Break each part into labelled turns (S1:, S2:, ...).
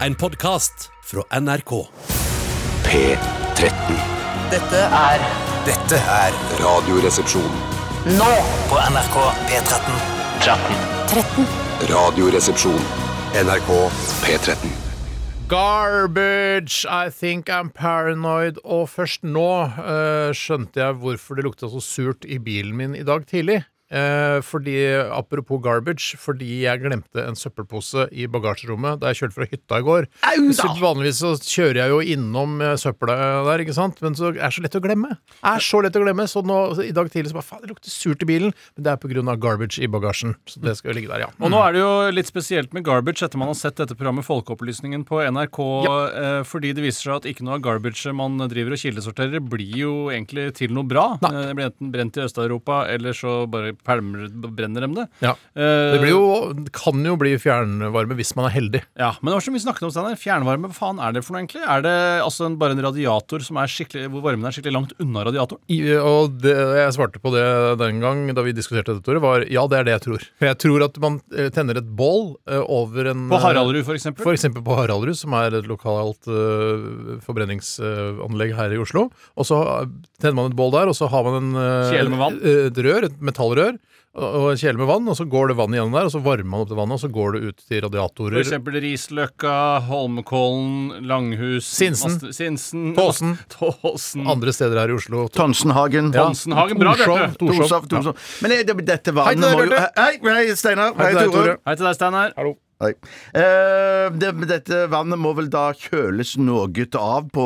S1: En podkast fra NRK.
S2: P13.
S3: Dette er
S2: Dette er Radioresepsjon.
S3: nå på NRK P13. 13.
S2: Radioresepsjon. NRK P13.
S4: Garbage, I think I'm paranoid. Og først nå eh, skjønte jeg hvorfor det lukta så surt i bilen min i dag tidlig. Eh, fordi, Apropos garbage, fordi jeg glemte en søppelpose i bagasjerommet da jeg kjørte fra hytta i går. Så vanligvis så kjører jeg jo innom eh, søpla der, ikke sant? men så er det så lett å glemme. Er så lett å glemme, Så nå, så i dag tidlig så bare faen, det lukter surt i bilen. Men det er pga. garbage i bagasjen. Så det skal jo ligge der, ja.
S5: Og nå er det jo litt spesielt med garbage etter man har sett dette programmet Folkeopplysningen på NRK, eh, fordi det viser seg at ikke noe av garbage man driver og kildesorterer, blir jo egentlig til noe bra. Eh, Det blir enten brent i Øst-Europa, eller så bare pælmer, brenner dem det.
S4: ja.
S5: Eh,
S4: Det blir jo, kan jo bli fjernvarme hvis man er heldig.
S5: Ja, Men det var som vi snakket om, Steiner, fjernvarme, hva faen er det for noe egentlig? Er det altså en, bare en radiator som er skikkelig, hvor varmen er skikkelig langt unna radiatoren?
S4: I, og det, jeg svarte på det den gang da vi diskuterte dette, Tore, var ja, det er det jeg tror. For jeg tror at man eh, tenner et bål eh, over en eh,
S5: På Haraldrud, for
S4: For
S5: eksempel.
S4: eksempel på Haraldrud, som er et lokalt eh, forbrenningsanlegg eh, her i Oslo. Og så eh, tenner man et bål der, og så har man en, eh,
S5: Kjele med vann.
S4: eh, et rør, et metallrør, og og en kjele med vann, og så går det vann igjennom der, og så varmer man opp det vannet, og så går det ut til
S5: For
S4: radiatorer.
S5: eksempel Risløkka, Holmenkollen, Langhus
S4: Sinsen.
S5: Mast- Sinsen
S4: Tåsen.
S5: Tåsen.
S4: Andre steder her i Oslo.
S6: Tonsenhagen.
S5: Hansenhagen, bra, Bjarte.
S4: Torshov.
S6: Torshov. Torshov. Men er det,
S4: Hei
S6: dette
S4: til
S6: vannet
S4: deg,
S6: må jo
S4: Bjarte.
S6: Hei, hei, Steinar. Hei,
S4: til deg, Tore.
S6: Tore.
S5: Hei til deg, Steinar.
S6: Hei. Eh, det, dette vannet må vel da kjøles noe av på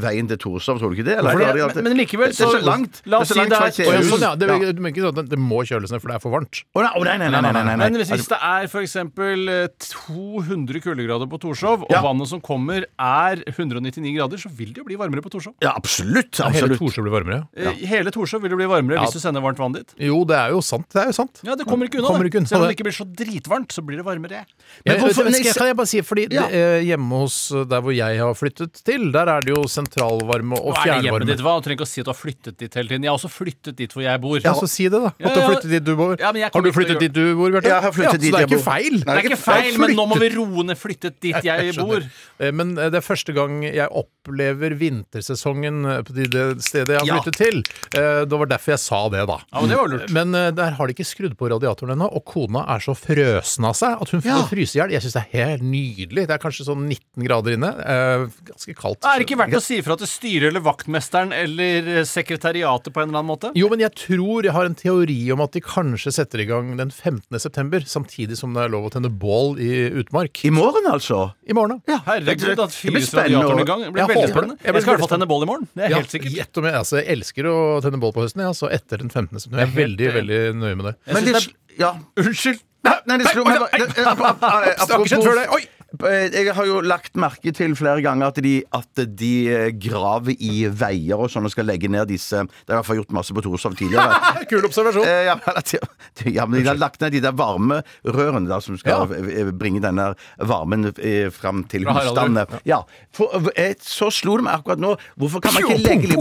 S6: veien til Torshov, tror du ikke det? Eller?
S5: Hvorfor det?
S6: Har de hatt det?
S5: Men- men likevel
S6: Det er
S5: så-
S6: så langt.
S5: la oss
S6: det
S5: si
S6: er så langt
S5: det er
S6: fra
S5: et
S6: T-
S4: Å, ja, sånn, ja. Det,
S6: Ja.
S4: du mener ikke sånn at det må kjøles ned, for det er for varmt.
S6: Å, nei, å, nei, nei, nei, nei, nei, nei.
S5: Men hvis, hvis det er f.eks. 200 kuldegrader på Torshov, og
S6: Ja.
S5: vannet som kommer er 199 grader, så vil det jo bli varmere på Torshov.
S6: Ja, absolutt.
S4: Hele
S6: absolutt.
S4: Torshov blir varmere.
S5: Eh, Hele Torshov vil det bli varmere hvis du sender varmt vann dit.
S4: Jo, det er jo sant. Det er jo sant.
S5: Ja, Det kommer ikke unna.
S4: Kommer
S5: det.
S4: ikke unna
S5: Selv om
S4: det.
S5: det ikke blir så dritvarmt, så blir det
S4: Jeg,
S5: varmere.
S6: Men hvorfor-
S4: men skal,
S6: nei,
S4: kan jeg bare si, fordi
S6: Ja.
S4: det, eh, Hjemme hos eh, der hvor jeg har flyttet til, der er det jo sentralvarme og
S5: Hva er det hjemmet
S4: fjernvarme.
S5: ditt, hva? Du trenger ikke å si at du har flyttet dit hele tiden. Jeg har også flyttet dit hvor jeg bor.
S4: Ja, altså, så si det, da. At
S5: Ja,
S4: du har
S5: ja.
S4: flyttet dit du bor.
S5: Ja, men jeg
S4: har
S5: kommer
S4: du
S5: ikke til å
S4: flyttet
S5: gjøre
S4: dit du bor, Bjarte?
S6: Ja, jeg har
S4: så
S6: flyttet dit
S4: det er
S6: jeg
S4: ikke
S6: bor.
S4: feil.
S5: det er ikke feil, men nå må vi roe ned. Flyttet dit jeg bor.
S4: Eh, Men eh, det er første gang jeg opplever vintersesongen eh, på det det stedet jeg har
S5: Ja.
S4: flyttet til. Eh, Det var derfor jeg sa det, da.
S5: Ja, men det var lurt.
S4: Men eh, der har de ikke skrudd på radiatoren ennå, og kona er så frøsen av seg at hun får
S6: Ja.
S4: fryse i hjel. Jeg syns det er helt nydelig. Det er kanskje sånn 19 grader inne. Eh, ganske kaldt.
S5: Er det ikke verdt å si ifra til styret eller vaktmesteren eller eh, sekretariatet på en eller annen måte?
S4: Jo, men jeg tror jeg har en teori om at de kanskje setter i gang den 15. september, samtidig som det er lov å tenne bål i utmark.
S6: I morgen, altså?
S4: I morgen, da.
S5: Herregud, at
S6: Det blir
S5: fyres
S6: spennende
S5: radiatoren
S6: å-
S5: i gang. Det blir
S4: Jeg
S5: veldig
S4: håper det.
S5: spennende.
S4: Jeg
S5: Jeg,
S4: blir
S5: skal i hvert
S4: veldig
S5: fall tenne bål i morgen. Det er
S4: Ja,
S5: helt sikkert.
S4: gjett om jeg, altså, jeg elsker å tenne bål på høsten, ja, så etter den 15. september. Jeg er veldig, veldig nøye med det.
S6: Men
S5: synes
S6: det Ja.
S5: Unnskyld!
S6: Nei, nei, det slo meg bare- det- eh, ap- ap- eh,
S4: Snakker ikke før det. Oi!
S6: Eh, Jeg har jo lagt merke til flere ganger at de, at de eh, graver i veier og sånn og skal legge ned disse Det har jeg i hvert fall gjort masse på Torshov tidligere.
S4: Kul observasjon.
S6: Eh, Ja, men at de- ja, men De har lagt ned de der varmerørene der, som skal
S4: Ja.
S6: eh, eh, bringe denne varmen eh, fram til
S5: Fra Harald
S6: husstandene. Ja, for, eh, så slo det meg akkurat nå Hvorfor kan man ikke legge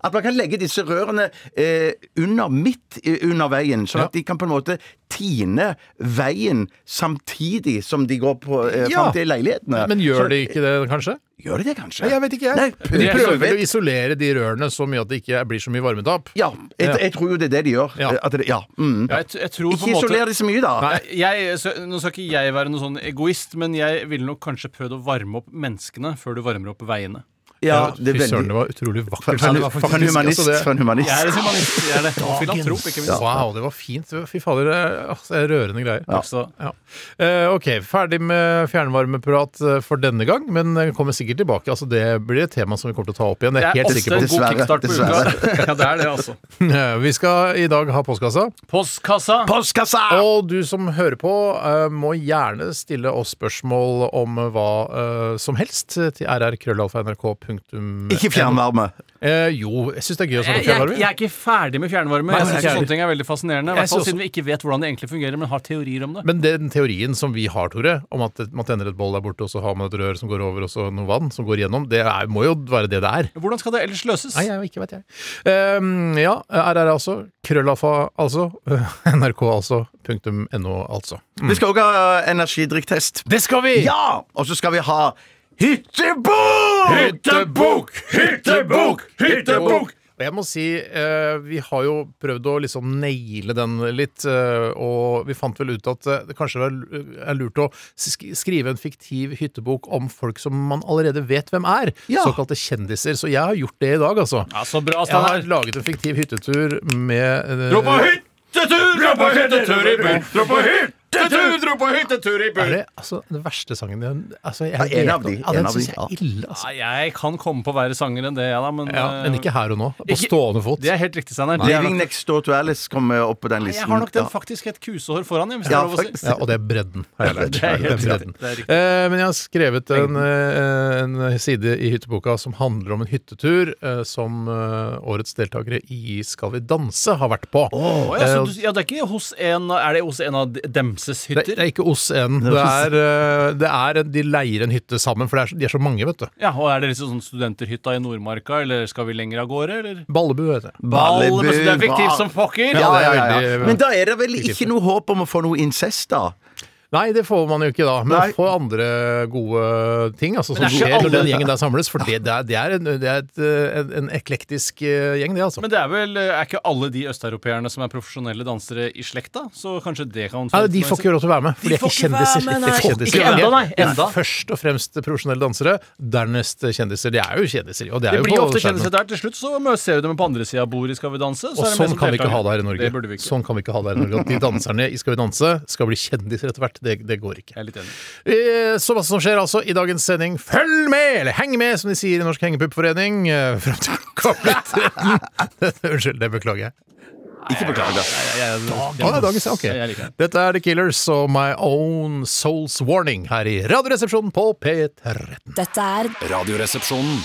S6: At man kan legge disse rørene eh, under midt eh, under veien, sånn at de kan på en måte tine veien samtidig som de går på, eh,
S4: Ja.
S6: fram til leilighetene.
S4: Men gjør
S6: Så-
S4: de ikke det, kanskje?
S6: Gjør de det, kanskje?
S4: Nei, jeg vet ikke, jeg.
S6: Nei,
S4: De prøver
S6: prøver
S4: vel å isolere de rørene så mye at det ikke blir så mye varmetap.
S6: Ja, jeg, jeg tror jo det er det de gjør.
S4: Ja.
S6: Eh, At det, ja. Mm.
S5: Jeg, t- jeg tror på
S6: Ikke
S5: en måte
S6: isoler de så mye, da.
S5: jeg, så, Nå skal ikke jeg være noen sånn egoist, men jeg ville nok kanskje prøvd å varme opp menneskene før du varmer opp veiene.
S6: Ja, det
S4: Fy
S6: er
S4: søren, det
S6: veldig
S4: var utrolig vakkert.
S6: For en
S4: Det var faktisk-
S6: humanist.
S4: altså, det-
S6: For en humanist.
S5: Jeg er en humanist, jeg er det. Og filantrop, ikke minst.
S4: Wow, det var fint. Fy fader, det er- altså, det er rørende greier.
S5: Takk skal du ha.
S4: Ja. Eh, ok, ferdig med fjernvarmeprat eh, for denne gang, men jeg kommer sikkert tilbake. Altså, det blir et tema som vi kommer til å ta opp igjen. Det
S5: Det
S4: er
S5: er
S4: jeg helt
S5: ofte
S4: sikker
S5: en
S4: på.
S5: god
S6: Dessverre,
S5: kickstart på uka. Ja, det er det, altså.
S4: Vi skal i dag ha postkassa,
S5: Postkassa.
S6: Postkassa!
S4: og du som hører på eh, må eh, gjerne stille oss spørsmål om hva eh, som helst til rrkrøllalfa.nrk.no. punktum
S6: Ikke fjernvarme.
S4: Eh, jo, jeg syns det er gøy å
S5: Jeg,
S4: snakke
S5: jeg, er ikke-
S4: fjernvarme.
S5: jeg er ikke ferdig med fjernvarme.
S4: Nei,
S5: jeg
S4: jeg
S5: synes
S4: er ikke
S5: sånne ting er veldig fascinerende. I
S4: Jeg
S5: hvert fall
S4: synes
S5: siden vi ikke vet hvordan det egentlig fungerer, men har teorier om det.
S4: Men den teorien som vi har, Tore, om at man tenner et boll der borte, og så har man et rør som går over, og så noe vann som går gjennom, det er, må jo være det det er.
S5: Hvordan skal det ellers løses?
S4: Nei, jeg, ikke vet jeg. Um, ja, RR altså. Krøllafa altså. NRK altså. Punktum no altså.
S6: Vi skal òg ha eh, energidrikktest.
S4: Det skal vi!
S6: Ja! Og så skal vi ha hyttebok!
S4: Hyttebok!
S6: Hyttebok! Hyttebok!
S4: Og jeg må si, eh, vi har jo prøvd å liksom naile den litt, eh, og vi fant vel ut at eh, det kanskje er er lurt å sk skrive en fiktiv hyttebok om folk som man allerede vet hvem er,
S6: Ja.
S4: såkalte kjendiser. Så jeg har gjort det i dag, altså.
S5: Ja, så bra,
S4: Jeg har
S5: Steinar.
S4: laget en fiktiv hyttetur med eh,
S5: hyttetur! Dra på hyttetur i byen! Dra på hyttetur! Dra på hyttetur i
S4: Er det altså, den verste sangen jeg- altså, jeg,
S6: Ja, en av de,
S4: Ja,
S6: en
S4: den
S6: av de,
S4: syns jeg
S6: ja.
S4: er ille, altså.
S5: Jeg kan komme på verre sanger enn det, jeg, da. Men,
S4: Ja, men
S5: eh,
S4: ikke her og nå. På
S5: Ikke-
S4: stående fot.
S5: Det er helt riktig, Steinar. Det er
S6: Living
S5: nok-
S6: next door to Alice kommer opp på den listen.
S5: Jeg har nok den
S6: Ja.
S5: faktisk et kusehår foran, jeg, hvis det
S6: Ja,
S5: er lov å si.
S6: faktisk.
S4: Ja, og det er bredden. har jeg lært.
S5: Det er helt
S4: Det er
S5: riktig.
S4: bredden.
S5: Det er riktig.
S4: Eh, men jeg har skrevet en, eh, en side i hytteboka som handler om en hyttetur eh, som eh, årets deltakere i Skal vi danse har vært på.
S5: Å, ja,
S4: Eh,
S5: så du, ja, det er ikke hos en Er det hos en av Demses
S4: Det, det
S5: hytter?
S4: er ikke oss en. Det er, eh, det er en, de leier en hytte sammen, for det er, så- de er så mange, vet du.
S5: Ja, og Er det liksom sånn studenterhytta i Nordmarka, eller skal vi lenger av gårde, eller?
S4: Ballebu, heter det.
S5: Ball, men så det er
S6: Ball.
S5: fiktivt som pokker!
S6: Ja, ja,
S4: det
S6: ja,
S4: er Eh,
S6: ja.
S4: veldig-
S6: Men da er det vel ikke noe håp om å få noe incest, da?
S4: Nei, det får man jo ikke da, men
S6: Nei.
S4: få andre gode ting altså, som
S5: Men det er ikke
S4: skjer når den
S5: alle-
S4: gjengen der samles. For det, det er, det er, en, det er et, eh, en, en eklektisk eh, gjeng, det, altså.
S5: Men det er vel eh, er ikke alle de østeuropeerne som er profesjonelle dansere i slekta? Så kanskje det kan
S4: Nei, de får ikke lov til å være med, for de er
S5: får
S4: ikke
S5: ikke være
S4: kjendiser. De
S5: med,
S4: er
S5: nei.
S4: kjendiser.
S5: Ikke enda, nei,
S4: De er
S5: enda.
S4: Først og fremst profesjonelle dansere, dernest kjendiser. De er jo kjendiser, og det er jo
S5: Det blir jo
S4: på
S5: ofte
S4: skjermen.
S5: kjendiser der. Til slutt så mø- ser du dem på andre sida av bordet i Skal vi danse.
S4: Og
S5: er det med
S4: sånn
S5: som
S4: kan vi ikke ha
S5: deltaker.
S4: det her i Norge.
S5: Det burde vi ikke.
S4: Sånn kan vi ikke ha det her i Norge. At de danserne i Skal vi danse skal bli kjendiser etter hvert, det, det går
S5: Jeg
S4: ikke.
S5: er litt enig.
S4: Eh, Så masse som skjer altså i dagens sending. Følg med, eller heng med, som de sier i Norsk Hengepuppforening. eh, Frem til klokka blir 13. Unnskyld, det beklager jeg.
S6: Ikke beklager.
S5: Jeg, jeg, jeg,
S4: Ah, det er dagens, ja, ok.
S5: jeg liker det.
S4: Dette er The Killers og My Own Soul's Warning her i Radioresepsjonen på P13.
S7: Dette er
S2: Radioresepsjonen.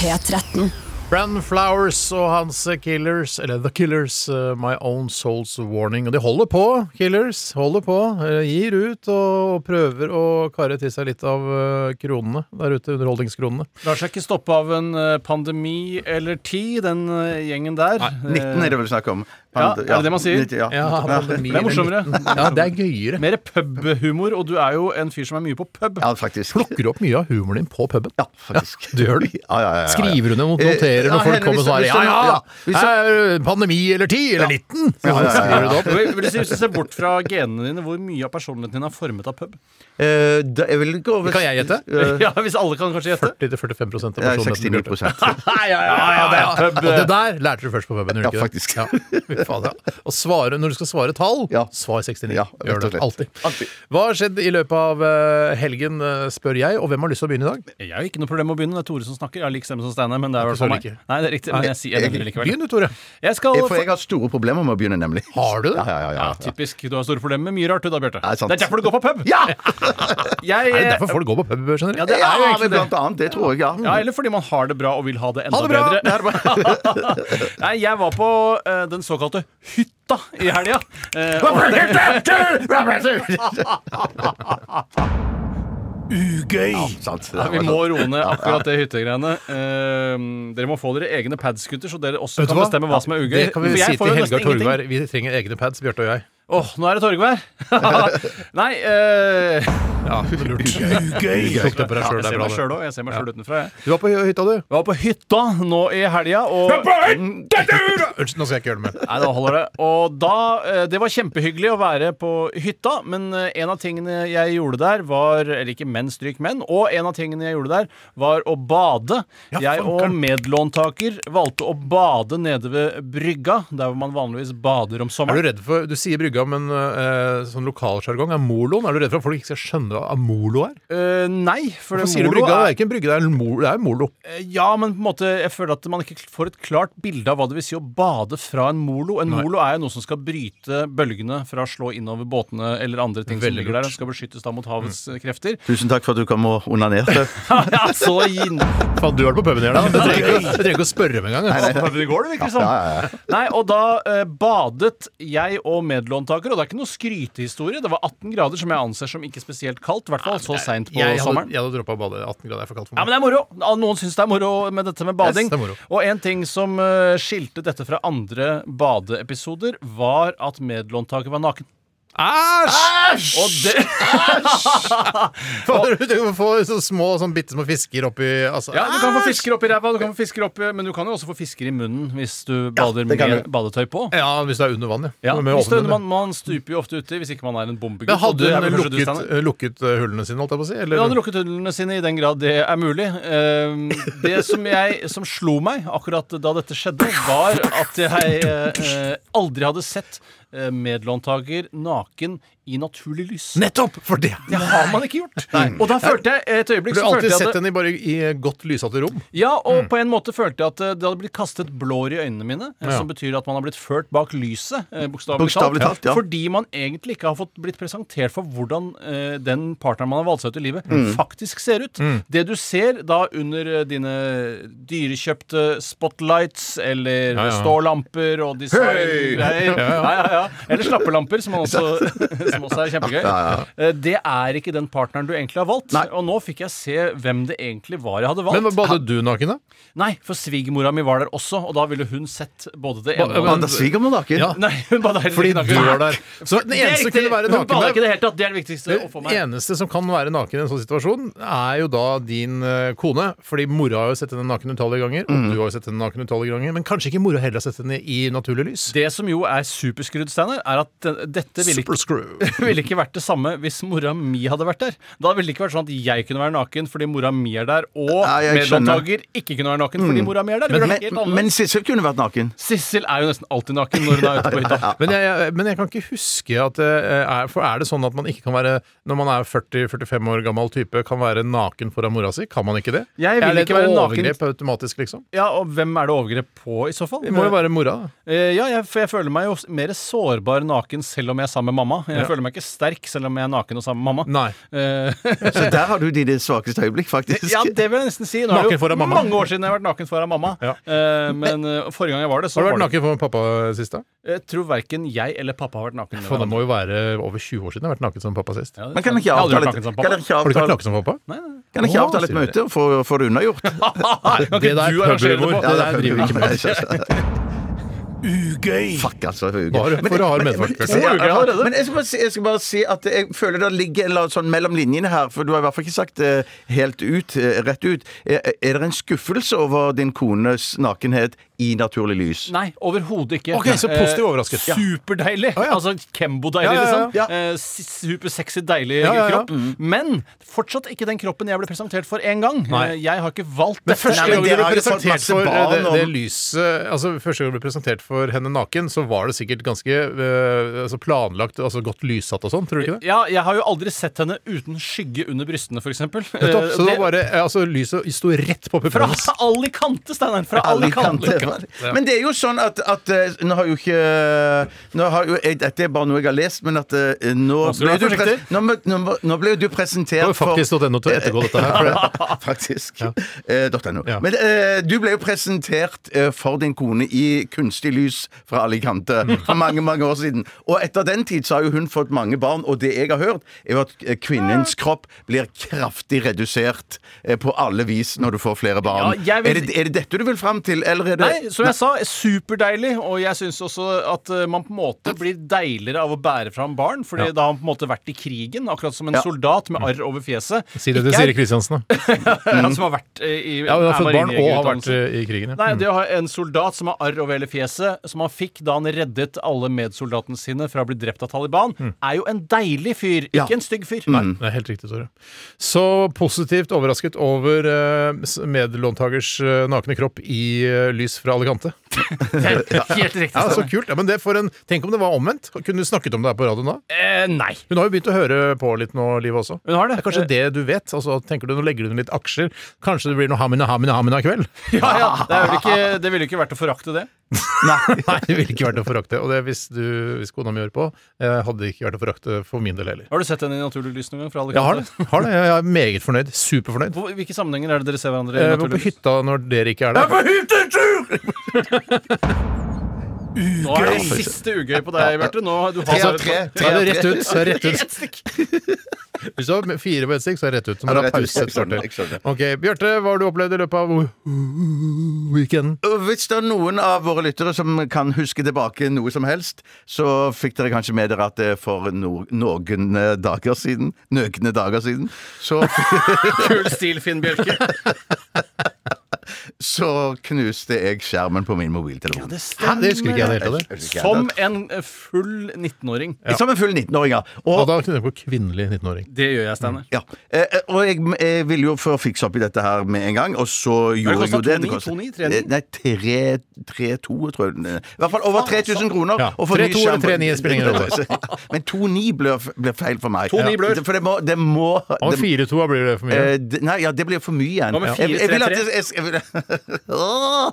S7: P13.
S4: Bran Flowers og hans Killers, eller The Killers, eh, My Own Soul's Warning. Og de holder på, Killers. Holder på. eh, gir ut og, og prøver å karre til seg litt av eh, kronene der ute. Underholdningskronene.
S5: Lar seg ikke stoppe av en eh, pandemi eller ti, den eh, gjengen der.
S6: 19 er det vel snakk om.
S5: Ja, er det det man sier?
S6: 90, ja.
S4: pandemi-
S5: Det er morsommere.
S4: Ja, det er gøyere.
S5: Mer pubhumor, og du er jo en fyr som er mye på pub.
S6: ja, faktisk.
S4: Plukker du opp mye av humoren din på puben?
S6: Ja, faktisk.
S4: Du gjør det.
S6: Ja, ja, ja, ja, ja.
S4: Skriver du ned og
S6: Eh,
S4: noterer
S6: ja,
S4: når folk
S6: Henrik,
S4: kommer og
S6: hvis-
S4: svarer
S6: hvis
S4: ja,
S6: du-
S4: ja,
S6: ja, hvis du-
S4: er pandemi eller 10 eller 19? Så
S6: Ja, ja, ja, ja.
S4: skriver du det opp.
S5: Vil vil du si, Hvis du ser bort fra genene dine, hvor mye av personligheten din er formet av pub?
S6: Eh, da, jeg vil ikke over...
S4: Kan jeg gjette?
S6: Eh,
S5: Ja, Hvis alle kan kanskje gjette?
S4: 40-45 av
S6: ja,
S4: personligheten.
S6: 69
S4: Bjarte.
S5: Ja, ja, ja, det er pub. eh.
S4: Og det eh. der lærte du først på puben, gjorde du
S6: Ja,
S4: ikke det?
S6: faktisk.
S4: Ja, fy faen, ja. Og svare, når du skal svare tall,
S6: Ja.
S4: svar 69.
S6: Ja,
S4: Gjør
S6: rett og
S4: det
S6: slett.
S4: alltid.
S6: Alltid.
S4: Hva har skjedd i løpet av eh, helgen, eh, spør jeg, og hvem har lyst til å begynne i dag?
S5: Jeg har ikke noe problem med å begynne. Det er Tore som snakker. Jeg har lik stemme som Steinar, men det er i hvert fall
S4: Ikke så
S5: meg.
S4: like.
S5: Nei, det er riktig, men jeg sier jeg nevner det likevel.
S4: Begynn du, Tore.
S5: Jeg skal
S6: For jeg har store problemer med å begynne, nemlig.
S4: Har du det?
S6: Ja, ja, ja,
S5: ja,
S6: ja.
S5: typisk. Du har store problemer med mye rart, du da, Bjarte.
S6: Ja, sant.
S5: Det er derfor du går på pub!
S6: Ja!
S5: Jeg,
S4: Er det derfor folk går på pub generelt?
S5: Eh, Ja, det
S6: ja
S5: er jo egentlig
S6: men
S5: det.
S6: blant annet. Det tror jeg, ja.
S5: Ja, eller fordi man har det bra og vil ha det enda
S4: Ha det bra!
S5: bedre. Nei, jeg var på eh, den såkalte hytta i helga. Eh, og-
S6: Ugøy! Ja, altså, sant.
S5: Ja, vi
S4: sånn.
S5: må roe ned akkurat det hyttegreiene. Eh, dere må få dere egne pads, gutter, så dere også
S4: Vet du
S5: kan
S4: hva?
S5: bestemme hva som er ugøy.
S4: Det kan vi
S5: For jeg
S4: si
S5: får jo
S4: til Helga
S5: nesten ingenting.
S4: Torgvær. Vi trenger egne pads, Bjarte og jeg.
S5: Åh, nå er det torgvær! Nei eh,
S4: Ja, det er lurt. Du tok det på deg
S5: ja,
S4: selv, det er bra.
S5: Jeg ser meg
S4: det.
S5: sjøl òg. Jeg ser meg sjøl utenfra, jeg.
S4: Du var på hytta, du?
S5: Jeg var på hytta nå i helga, og Mm.
S4: Unnskyld, nå skal jeg ikke gjøre det mer.
S5: Nei, da holder det. Og da, eh, Det var kjempehyggelig å være på hytta, men eh, en av tingene jeg gjorde der, var Eller ikke menn, stryk menn. Og en av tingene jeg gjorde der, var å bade. jeg og medlåntaker valgte å bade nede ved brygga, der hvor man vanligvis bader om
S4: Er du
S5: sommeren.
S4: redd for Du sier brygga, men eh, sånn lokalsjargong er moloen. Er du redd for at folk ikke skal skjønne av av Molo her?
S5: Eh, nei, for
S4: Hvorfor sier du
S5: Molo
S4: brygga? Det
S5: er-
S4: er ikke en brygge, det er, en mol, det er Molo.
S5: Eh, Ja, men på en måte, jeg føler at man ikke får et klart bilde av hva det vil si å bade fra en molo. En molo er jo noe som skal bryte bølgene fra å slå innover båtene eller andre ting som
S4: Veldig
S5: ligger der
S4: lurt.
S5: og skal beskyttes da mot havets eh, krefter.
S6: Tusen takk for at du kom og onanerte.
S5: ja, så ginn...
S4: Faen, du har vært på puben i helga. Jeg trenger ikke- jeg trenger ikke å spørre om engang. altså.
S5: Prøvde i går, det virker det som. Nei, og da eh, badet jeg og medlåntaker, og det er ikke noe skrytehistorie. Det var 18 grader, som jeg anser som ikke spesielt kaldt, i hvert fall så seint på
S4: Jeg hadde,
S5: sommeren.
S4: jeg hadde droppa å bade. 18 grader er for kaldt for
S5: Ja,
S4: meg.
S5: men det er moro! Noen syns det er moro med dette med bading.
S4: Yes, det er moro.
S5: og en ting som eh, skilte dette fra andre badeepisoder, var at medlåntaker var naken. Æsj! Og det,
S4: Fader, du kan få så små, sånn bitte små fisker oppi altså,
S5: ja, du kan få
S4: æsj!
S5: fisker oppi ræva, du kan få fisker oppi, men du kan jo også få fisker i munnen hvis du bader
S6: det kan
S5: med
S6: du.
S5: badetøy på.
S4: Ja, hvis det er under vann,
S5: Ja,
S4: Med
S5: hvis det,
S4: ovnen,
S5: man, man stuper jo ofte uti hvis ikke man er en bombegutt.
S4: Men
S5: og det
S4: hadde
S5: er
S4: hun
S5: vel kanskje du,
S4: lukket,
S5: Steinar?
S4: eh, lukket eh, hullene sine, holdt jeg på å si? Eller?
S5: Hun hadde lukket hullene sine i den grad det er mulig. Ehm, Det som, jeg, som slo meg akkurat da dette skjedde, var at jeg eh, aldri hadde sett eh, medlåntaker naken i naturlig lys.
S4: Nettopp! For det
S5: Det har man ikke gjort. Og da følte jeg et øyeblikk
S4: Du
S5: så
S4: har
S5: følte
S4: alltid
S5: jeg
S4: sett
S5: at det-
S4: henne i, bare i godt lysete rom.
S5: Ja, og på en måte følte jeg at eh, det hadde blitt kastet blår i øynene mine, eh,
S4: Ja.
S5: som betyr at man har blitt ført bak lyset, eh, bokstavelig
S6: Bokstavelig
S5: talt,
S6: talt, ja.
S5: fordi man egentlig ikke har fått blitt presentert for hvordan eh, den partneren man har valgt seg ut i livet, faktisk ser ut. Det du ser da under eh, dine dyrekjøpte spotlights eller
S4: ja.
S5: stålamper og designgreier, ja, ja, ja. eller slappelamper, som, man også, som også er kjempegøy, eh, det er ikke den partneren du egentlig har valgt. Og nå fikk jeg se hvem det egentlig var jeg hadde valgt.
S4: Men badet du naken, da?
S5: Nei, for svigermora mi var der også, og da ville hun sett både det
S4: Ba-
S5: ene og det
S4: men-
S6: Bada svigermor naken.
S4: Ja.
S5: Nei, hun bada heller
S4: Fordi
S5: ikke
S4: du var der. Så den
S5: Det er
S4: eneste
S5: riktig.
S4: kunne være
S5: Hun bada ikke i
S4: naken
S5: det hele tatt. Det er det viktigste å få
S4: den
S5: meg.
S4: eneste som kan være naken i en sånn situasjon, er jo da din eh, kone. Fordi mora har jo sett henne naken utallige ganger,
S5: Mm.
S4: og du har jo sett henne naken utallige ganger. Men kanskje ikke mora heller har sett henne i naturlig lys.
S5: Det som jo er superskrudd, Steinar, er at den- dette ville ikke,
S4: Superscrew.
S5: ville ikke vært det samme hvis mora mi hadde vært der. Da ville det ikke vært sånn at jeg kunne være naken fordi mora mi er der, og
S6: Ja, jeg skjønner.
S5: medlåntaker ikke kunne være naken fordi mora mi er der. Det ville
S6: Men,
S5: vært helt
S6: men,
S5: annerledes.
S6: men Sissel kunne vært naken.
S5: Sissel er jo nesten alltid naken når hun er ute på hytta.
S4: Men jeg, jeg, men jeg kan ikke huske at det er, For er det sånn at man ikke kan være Når man er 40-45 år gammel type, kan være naken foran mora si? Kan man ikke det?
S5: Jeg vil
S4: er det
S5: ikke være
S4: et
S5: naken.
S4: overgrep automatisk, liksom?
S5: Ja, og hvem er det overgrep på, i så fall?
S4: Det må jo være mora, da.
S5: Eh, Ja, jeg, for jeg føler meg jo s- mer sårbar naken selv om jeg er sammen med mamma. Jeg føler meg ikke sterk selv om jeg er naken og sammen med mamma.
S4: Nei.
S5: Eh,
S6: Så der har du dine svakeste øyeblikk, faktisk.
S5: ja, det vil jeg nesten si. Nå er det
S4: Naken
S5: jo
S4: foran mamma.
S5: mange år siden jeg har vært naken foran mamma.
S4: Ja.
S5: Eh, men eh, forrige gang jeg var det, så
S4: Har du vært
S5: var det
S4: naken for pappa sist, da?
S5: Jeg tror verken jeg eller pappa har vært naken. med
S4: Faen, det
S5: hverandre.
S4: må jo være over 20 år siden jeg har vært naken som pappa sist.
S5: Ja, det
S6: Men kan
S5: er sant.
S6: dere ikke
S5: Jeg har aldri vært
S6: avtale
S5: naken
S6: et,
S5: som
S6: kan
S5: pappa.
S4: Har du
S6: dere ikke
S4: ikke vært
S6: avtale,
S4: naken som pappa?
S5: Nei, nei.
S6: kan dere ikke
S4: Å,
S6: avtale et
S4: sier du.
S6: møte og få få det unnagjort?
S5: Kan ikke du arrangere det på?
S4: Ja, det
S5: der
S4: driver vi
S5: ikke
S4: ikke
S5: med.
S4: med.
S3: Ugøy.
S6: Fuck, altså. for ugøy.
S4: Bare
S6: Men-
S4: for å ha
S6: men-
S4: medfart,
S6: men-
S4: kanskje.
S6: ja,
S5: Ugøy allerede.
S6: Men jeg skal, bare si, jeg skal bare si at jeg føler det ligger en eller annen sånn mellom linjene her, for du har i hvert fall ikke sagt det helt ut, eh, rett ut. Er, er det en skuffelse over din kones nakenhet i naturlig lys?
S5: Nei, overhodet ikke.
S4: Ok, så positiv overrasket.
S5: Eh, superdeilig.
S4: ja.
S5: Altså Kembo-deilig,
S4: Ja, ja, ja.
S5: liksom. Eh, s- supersexy, deilig
S4: Ja, ja, ja.
S5: kropp. Men fortsatt ikke den kroppen jeg ble presentert for én gang.
S4: Nei.
S5: Eh, Jeg har ikke valgt
S4: Men
S5: dette.
S4: første
S6: Nei, men
S4: gang du
S6: dere
S4: ble
S6: har jo fått
S4: presentert
S6: masse
S4: for eh,
S6: barn
S4: det, det
S6: og-
S4: lyset Altså Første gang du ble presentert for henne naken, så var det sikkert ganske eh, altså planlagt, altså godt lyssatt og sånn, tror du ikke det?
S5: Ja, jeg har jo aldri sett henne uten skygge under brystene, f.eks.
S4: Nettopp, så det var bare, eh, altså, lyset sto rett på puppene
S5: Fra
S4: hennes.
S5: alle kanter, Steinar! Fra alle kanter.
S6: Men det er jo sånn at, at eh, Nå har jo ikke eh, nå har jo, jeg, Dette er bare noe jeg har lest, men at eh, nå,
S5: skal du
S6: ble
S5: være
S6: du pres,
S5: forsiktig.
S6: nå, mø- nå, mø- nå ble jo du
S4: Det
S6: presentert
S4: var
S6: for
S4: faktisk.no til å ettergå dette her. For det.
S6: Faktisk. Eh, dot .no.
S4: Ja.
S6: Men eh, du ble jo presentert eh, for din kone i kunstig lys fra Alicante for mange mange år siden. Og etter den tid så har jo hun fått mange barn, og det jeg har hørt, er jo at eh, kvinnens kropp blir kraftig redusert eh, på alle vis når du får flere barn.
S5: Ja, jeg vil-
S6: er, det, er det dette du vil fram til, eller er det
S5: Nei, som jeg sa, superdeilig. Og jeg syns også at eh, man på en måte blir deiligere av å bære fram barn. For da har man på en måte vært i krigen, akkurat som en
S6: Ja.
S5: soldat med arr over fjeset.
S4: Mm. Si det til
S5: Ikke er-
S4: Siri Kristiansen, da.
S5: Ja, som har vært eh, i
S4: Mm. Ja, hun har
S5: er
S4: fått barn og har vært
S5: marinejegerutdannelse.
S4: eh, i krigen, ja.
S5: Nei, det å ha en soldat som har arr over hele fjeset, som han fikk da han reddet alle medsoldatene sine fra å bli drept av Taliban,
S4: Mm.
S5: er jo en deilig fyr, ikke
S6: Ja.
S5: en stygg fyr.
S4: Det er helt riktig, Tore. Så positivt overrasket over eh, s- medlåntakers eh, nakne kropp i eh, lys fra Alicante.
S5: Helt riktig.
S4: Ja, så kult. Ja, men det for en, tenk om det var omvendt. Kunne du snakket om det her på radioen da?
S5: Eh, nei.
S4: Hun har jo begynt å høre på litt nå, Liv også.
S5: Hun har det.
S4: er kanskje det du vet. Altså, tenker du, Nå legger du ned litt aksjer. Kanskje det blir noe hamina, hamina, hamina i kveld?
S5: Ja, ja. Det, er vel ikke, det ville ikke vært å forakte det.
S4: Nei, det ville ikke vært å forakte. Og det hvis, du, hvis kona mi hører på, eh, hadde det ikke vært å forakte for min del heller.
S5: Har du sett henne i Naturlig lys noen gang? Fra
S4: Jeg har
S5: Alicante?
S4: det. Har det. Jeg er meget fornøyd. Superfornøyd.
S5: Hvor- Hvilke sammenhenger er det dere ser hverandre i?
S4: Jeg var
S5: Naturlig
S4: Eh, på
S5: lys?
S4: hytta når dere ikke er der.
S5: Nå er det siste ugøy på deg, Bjarte. Nå har du har
S6: av tre.
S4: Ta det rett ut. så er det Rett ut. Hvis du har fire på ett stikk, så er det rett ut. Så må
S6: Ja,
S4: du ha
S6: det er rett ut.
S4: pause
S6: Jeg
S4: et
S6: skjønner, jeg
S4: kvarter.
S6: skjønner.
S4: Ok, Bjarte, hva har du opplevd i løpet av weekenden?
S6: Og Hvis det er noen av våre lyttere som kan huske tilbake noe som helst, så fikk dere kanskje med dere at det for no noen eh, dager siden Nøkne dager siden så,
S5: Kul stil, Finn Bjelke.
S6: så knuste jeg skjermen på min mobiltelefon.
S4: Hæ, det husker ikke jeg i det hele tatt.
S6: Jeg husker ikke
S5: Som
S6: det.
S5: en eh, full 19-åring.
S6: Som en full 19-åring, ja. Og
S4: Og da kjenner jeg på kvinnelig 19-åring.
S5: Det gjør jeg, Steinar.
S6: Ja. Eh, eh, og jeg, jeg ville jo få fikse opp i dette her med en gang, og så gjorde jeg jo
S5: kostet
S6: det.
S5: 2,9, 2,9, 3,9?
S6: Eh, Nei, 3,2, tror jeg. den er. I hvert fall over
S5: altså.
S6: 3000 kroner.
S4: Ja,
S6: og for
S4: 3,2
S6: ny skjerm-
S4: eller 3,9 spiller ingen
S6: Men 2,9 ble, ble feil for meg.
S5: 2,9 blør.
S6: For det må, det må
S4: Og
S6: det-
S4: 4-2 blir det for mye.
S6: eh, det- nei, ja, det blir for mye igjen.
S5: Hva med
S6: Ja. Jeg, jeg vil at
S5: 4,3,3?
S6: det- jeg, jeg vil, Åh!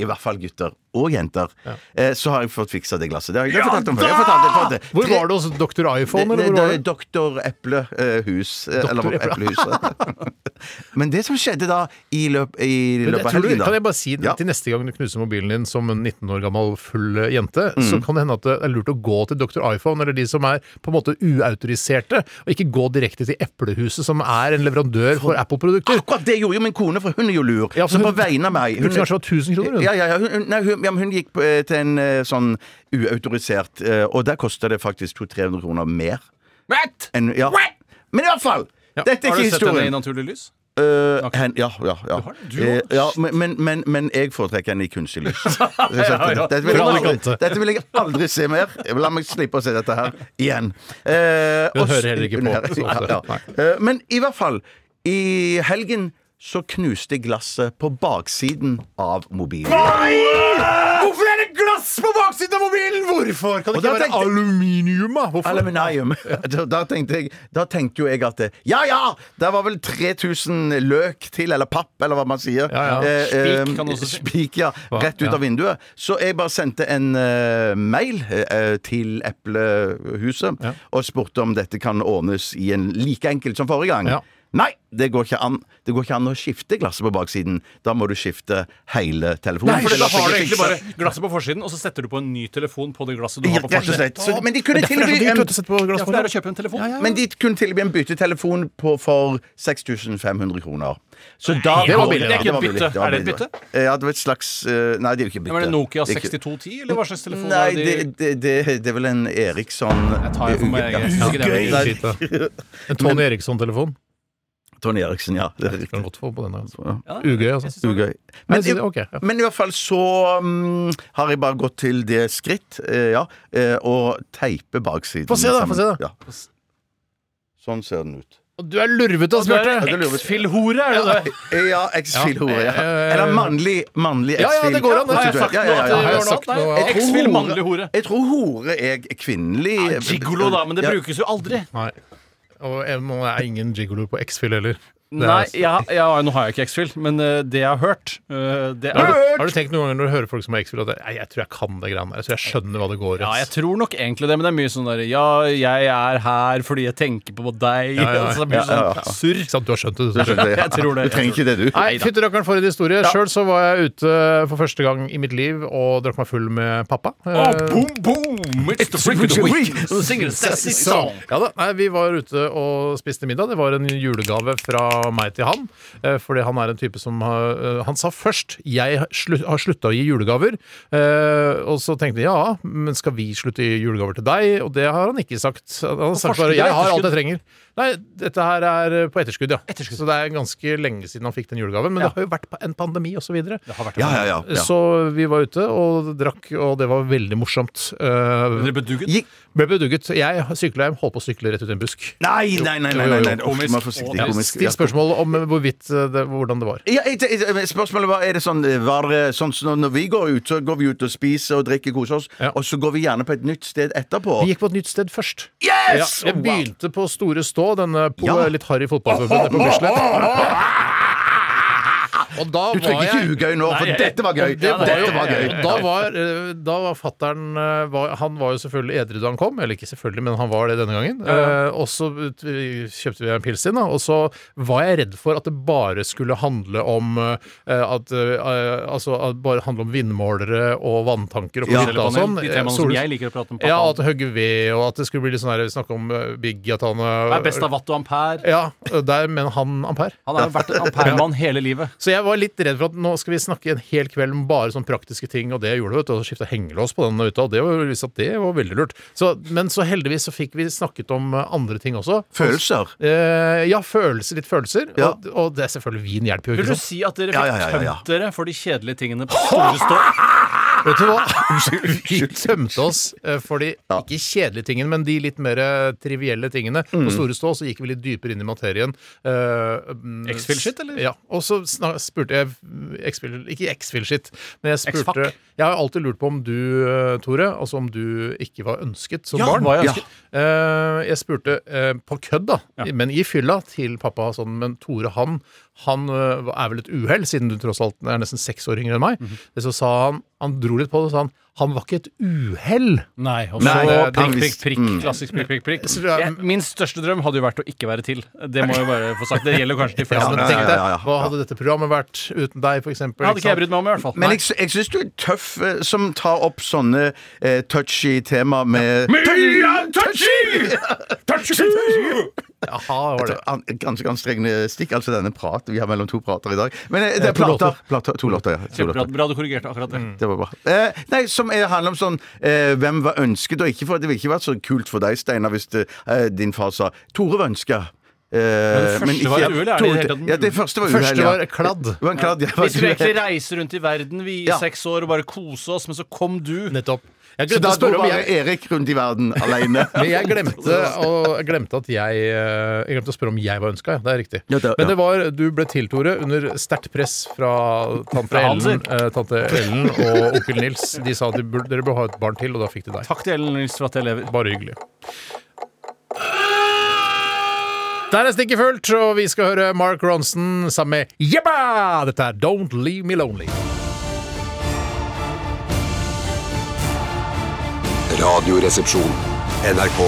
S6: I hvert fall gutter og jenter. Eh, så har jeg fått fiksa det glasset. Det har jeg, det har jeg fortalt om før. Jeg har fortalt det, jeg har fortalt det.
S4: Hvor
S6: Tre-
S4: var det hos Dr. iPhone?
S6: det,
S4: Eller
S6: det,
S4: hvor var
S6: det er
S4: det?
S6: Doktor Eplehus. eh, Eller
S4: Doktor Eple.
S6: Eplehuset. Men det som skjedde da i, løp, i
S4: Men jeg
S6: løpet av
S4: tror du,
S6: helgen da
S4: kan jeg bare si
S6: Ja.
S4: Til neste gang du knuser mobilen din som en 19 år gammel full eh, jente, så
S6: Mm.
S4: kan det hende at det er lurt å gå til Dr. iPhone, eller de som er på en måte uautoriserte, og ikke gå direkte til Eplehuset, som er en leverandør for Apple-produkter.
S6: Akkurat det gjorde jo min kone, for hun er jo lur.
S4: Ja,
S6: så
S4: for
S6: på
S4: hun-
S6: vegne av meg
S4: Hun burde kanskje ha 1000 kroner, hun.
S6: Ah, Ja, ja, ja, hun, hun- nei, hun, ja, men hun gikk på, eh, til en eh, sånn uautorisert, eh, og der kosta det faktisk 200-300 kroner mer.
S5: What?
S6: enn- ja. Men i hvert fall! Dette er
S5: Har
S6: ikke
S5: du sett henne i
S6: historien.
S5: Naturlig lys?
S6: Eh, hen, ja, ja. ja.
S5: har det, du
S6: Eh,
S5: også?
S6: ja men, men, men, men jeg foretrekker henne i kunstig lys. Dette, vil jeg
S4: Fra
S6: aldri,
S4: Alicante.
S6: dette vil jeg aldri se mer. La meg slippe å se dette her igjen. Eh,
S4: Hun
S6: og-
S4: hører heller ikke på,
S6: Hun hører-
S4: så ofte.
S6: ja, ja. Eh, Men i hvert fall, i helgen så knuste jeg glasset på baksiden av mobilen.
S4: Hvorfor er det glass på baksiden av mobilen?! Hvorfor? Kan det
S6: Og da
S4: ikke være
S6: tenkte-
S4: aluminium, da? Hvorfor?
S6: Aluminium. Da, da, tenkte jeg, da tenkte jo jeg at det- Ja ja! Der var vel 3000 løk til, eller papp, eller hva man sier. Eh,
S4: Ja, ja.
S5: Spik kan du også si.
S6: Spik, ja. Rett ut
S4: Ja.
S6: av vinduet. Så jeg bare sendte en eh, mail eh, til Eplehuset
S4: Ja.
S6: og spurte om dette kan ordnes i en like enkelt som forrige gang.
S4: Ja.
S6: Nei, det går, ikke an. det går ikke an å skifte glasset på baksiden. Da må du skifte hele telefonen.
S5: For da har du
S6: For det lar seg ikke
S5: egentlig bare
S6: fikse.
S5: glasset på forsiden, og så setter du på en ny telefon på det glasset du har på
S6: Rett og
S5: forsiden.
S6: slett. Så- Men de kunne
S4: Derfor er det
S6: tilby
S4: så dyrt
S6: en
S4: vet du, å sette på glass
S5: Ja,
S4: på
S5: for det er å kjøpe en telefon.
S6: Men de kunne tilby en byttetelefon på, for 6500 kroner. Så da
S5: det var billig,
S6: Ja,
S5: det er ikke et
S6: var
S5: bytte.
S6: billig, var
S5: Er det et
S6: billig.
S5: bytte?
S6: Eh, Ja, det var et slags eh, Nei, det er jo ikke bytte.
S5: Ja, men er det Nokia
S6: Det er ikke-
S5: 6210, eller hva slags telefon
S6: Nei,
S5: er
S6: det,
S5: det?
S6: det, det, det er vel en Eriksson
S5: Jeg tar jo for meg, jeg.
S6: Ja.
S5: Ikke det er veldig
S6: Nei,
S4: Skitt, da. En Tony Eriksson-telefon.
S6: Tony Eriksen, ja. Det er
S4: Kan
S6: riktig.
S4: godt få på den. Altså.
S5: Ja,
S4: Ugøy, altså.
S5: jeg synes det var-
S6: Ugøy.
S4: Men,
S6: Men, i-
S4: ok, ja.
S6: men i hvert fall så mm, har jeg bare gått til det skritt, eh, ja, eh, å teipe baksiden.
S4: Få se da, få se da.
S6: sammen. Ja. Sånn ser den ut.
S4: Du er lurvete, ass, Bjarte!
S6: Ja, det lurer jeg på.
S5: Exfil-hore, er det det?
S6: Ja, eksfil-hore. Ja.
S4: Eh,
S6: Eller mannlig, mannlig
S4: ja,
S6: eksfil.
S4: det går an, det.
S5: Har jeg sagt
S6: Ja,
S5: noe?
S6: ja, ja,
S5: at det
S6: ja.
S4: Har jeg
S5: gjør noe?
S4: sagt noe?
S5: Nei,
S4: Jeg
S6: tror
S5: Exfil,
S6: hore-
S5: mannlig hore.
S6: Jeg tror hore er kvinnelig.
S5: Gigolo, da, men det
S6: Ja.
S5: brukes jo aldri.
S4: Nei. Og jeg- man er ingen gigolo på X-Fill heller. Det er- altså-
S5: Nei, jeg, jeg, nå har jeg ikke X-Fil, men eh, det jeg har hørt eh, det
S4: Har
S5: er,
S4: du, har du tenkt noen ganger når du hører folk som har X-Fill at jeg, jeg tror jeg kan det greiene der. Jeg tror jeg skjønner hva det går i.
S5: Ja, jeg
S4: ass.
S5: tror nok egentlig det, men det er mye sånn derre Ja, jeg er her fordi jeg tenker på deg.
S4: Ja, ja, ja.
S5: Altså, det blir
S6: Ja, ja,
S5: sånn surr.
S4: Ikke sant, du har skjønt det, du.
S6: Ja.
S5: Jeg tror det,
S6: Du
S5: jeg
S6: trenger ikke det, du.
S4: Nei, fytterakkeren for en historie. Sjøl så var jeg ute for første gang i mitt liv og drakk meg full med pappa.
S5: Oh,
S4: Eh,
S5: boom, boom! It's the freak of the week! Sing a sassy song!
S4: Ja da, nei, Vi var ute og spiste middag. Det var en julegave fra meg til han. eh, Fordi han er en type som har eh, Han sa først 'jeg har slu- har slutta å gi julegaver'. eh, Og så tenkte jeg 'ja, men skal vi slutte å gi julegaver til deg?' Og det har han ikke sagt. Han har sagt
S5: forskudd
S4: bare 'jeg
S5: eller
S4: har alt jeg
S5: etterskudd?
S4: trenger'. Nei, dette her er eh, på etterskudd, ja. Så det er ganske lenge siden han fikk den julegaven. Men
S5: Ja.
S4: det har jo vært pa- en pandemi osv.
S6: Ja, ja, ja. ja.
S4: Så vi var ute og drakk, og det var veldig morsomt. Eh,
S5: Dere bedugget?
S6: Gikk.
S4: ble bedugget. Jeg sykla hjem, holdt på å sykle rett ut i en busk.
S6: Nei, nei, nei. nei, nei, nei.
S4: Jo,
S5: jo, jo.
S6: Uff, vær forsiktig.
S5: Komisk.
S6: Komisk.
S4: Still
S6: Ja,
S4: spørsmålet om hvorvidt eh, det, hvordan det var.
S6: Ja, jeg- jeg- men spørsmålet var er det sånn, eh, var det sånn som når vi går ut, så går vi ut og spiser og drikker, koser oss,
S4: Ja.
S6: og så går vi gjerne på et nytt sted etterpå.
S4: Vi gikk på et nytt sted først.
S6: Yes!
S4: jeg begynte på Store Stå, denne po
S6: Ja.
S4: litt harry fotballforbundet på Bislett. Og da
S6: Du trenger
S4: var
S6: ikke
S4: jeg-
S6: ljuge nå, for
S5: Nei, jeg-
S6: dette var gøy!
S4: Det var jo,
S6: dette var gøy.
S4: Da var, eh, da var fatteren eh, var- Han var jo selvfølgelig edru da han kom. Eller ikke selvfølgelig, men han var det denne gangen. Eh, og så ut- vi- kjøpte vi en pils inn, da. Og så var jeg redd for at det bare skulle handle om eh, at, eh, Altså at det bare handle om vindmålere og vanntanker og
S6: Ja.
S4: hytta og sånn.
S5: De temaene eh, som
S4: Sol-
S5: jeg liker å prate om.
S4: ja,
S5: pappa.
S4: at hogge ved, og at det skulle bli litt sånn her snakk om eh, Biggie, at han
S5: Det
S4: eh,
S5: er best av watt og ampere.
S4: Ja, eh, der, men han ampere.
S5: Han har jo vært en amperemann hele livet.
S4: Så jeg var litt redd for at nå skal vi snakke en hel kveld om bare sånn praktiske ting, og det jeg gjorde, vet du, og skifta hengelås på den hytta, og det var, jo visst at det var veldig lurt. Så, men så heldigvis så fikk vi snakket om eh, andre ting også.
S6: Følelser.
S4: Eh, ja, følelser, litt følelser.
S6: Ja.
S4: Og, og det er selvfølgelig vin hjelper jo,
S5: Vil
S4: ikke
S5: du
S4: sant?
S5: si at dere
S6: Ja, ja, ja,
S5: fikk
S6: ja, ja.
S5: tømt dere for de kjedelige tingene på store stå?
S4: Vet du hva? Vi tømte oss eh, for de ikke kjedelige tingene, men de litt mer eh, trivielle tingene. På Store Stå så gikk vi litt dypere inn i materien. Eh, mm,
S5: X-Fill shit, eller?
S4: Ja. Og så sna- spurte jeg mm, X-Fill- Ikke X-Fill shit, men jeg
S5: X-Fac.
S4: spurte Jeg har alltid lurt på om du, eh, Tore, altså om du ikke var ønsket som
S5: Ja,
S4: barn.
S5: var jeg ønsket.
S4: Eh, jeg spurte eh, på kødd, da, men i fylla, til pappa sånn Men Tore, han, han eh, er vel et uhell, siden du tross alt er nesten seks år yngre enn meg. Så sa han Han dro litt på det og sa han han var ikke et uhell.
S5: Nei, og så
S6: Nei, det er
S5: prikk, prikk,
S6: visst.
S5: prikk. Klassisk prikk, prikk, prikk.
S4: Så det er-
S5: Jeg, min største drøm hadde jo vært å ikke være til. Det må jeg bare få sagt. Det gjelder jo kanskje de
S4: Ja,
S5: fleste.
S4: men
S6: ja,
S5: mennesker.
S4: tenk
S6: ja,
S4: deg,
S6: ja, ja.
S4: Hva hadde dette programmet vært uten deg, f.eks.?
S5: Hadde ikke jeg brydd meg om i hvert fall.
S6: Men
S5: Nei.
S6: jeg, sy- jeg syns du er tøff eh, som tar opp sånne eh, touchy temaer med
S4: touchy! Jaha, var det.
S6: An- Ganske anstrengende stikk, altså denne praten vi har mellom to prater i dag. Men eh,
S4: Eh,
S6: det er
S4: to låter.
S6: plater. plater to låter, ja. To
S5: Kjempebra
S6: låter.
S5: bra du korrigerte akkurat det.
S6: Det var bra. Eh, nei, som eh, handler om sånn eh, Hvem var ønsket og ikke? For det ville ikke vært så kult for deg, Steinar, hvis det, eh, din far sa Tore var ønska. Eh,
S5: første var et uhell, er det i
S6: Tore-
S5: det hele tatt?
S6: Ja, det første var uhell.
S4: Første
S6: Ja.
S4: var kladd.
S6: Det var en kladd, ja, det var
S5: Vi skulle
S6: et uhell.
S5: egentlig reise rundt i verden vi i
S6: Ja.
S5: seks år og bare kose oss, men så kom du.
S4: Nettopp. Jeg
S6: Så
S4: glemte
S6: da
S4: å
S6: dro
S4: spørre om
S6: bare
S4: jeg
S6: Erik rundt i verden aleine.
S4: Men jeg glemte, og, jeg glemte at jeg eh, Jeg glemte å spørre om jeg var ønska, ja. Det er riktig.
S6: Ja, det-
S4: Men
S6: ja.
S4: det var Du ble til, Tore, under sterkt press fra tante
S5: Fra
S4: Ellen,
S5: Hanser.
S4: eh, tante Ellen og onkel Nils. De sa at de burde, dere bør ha et barn til, og da fikk de deg.
S5: Takk til Ellen Nils for at jeg lever.
S4: Bare hyggelig. Der er stikket fullt, og vi skal høre Mark Ronson sammen med Jebba! Dette er Don't Leave Me Lonely.
S2: Radioresepsjon. NRK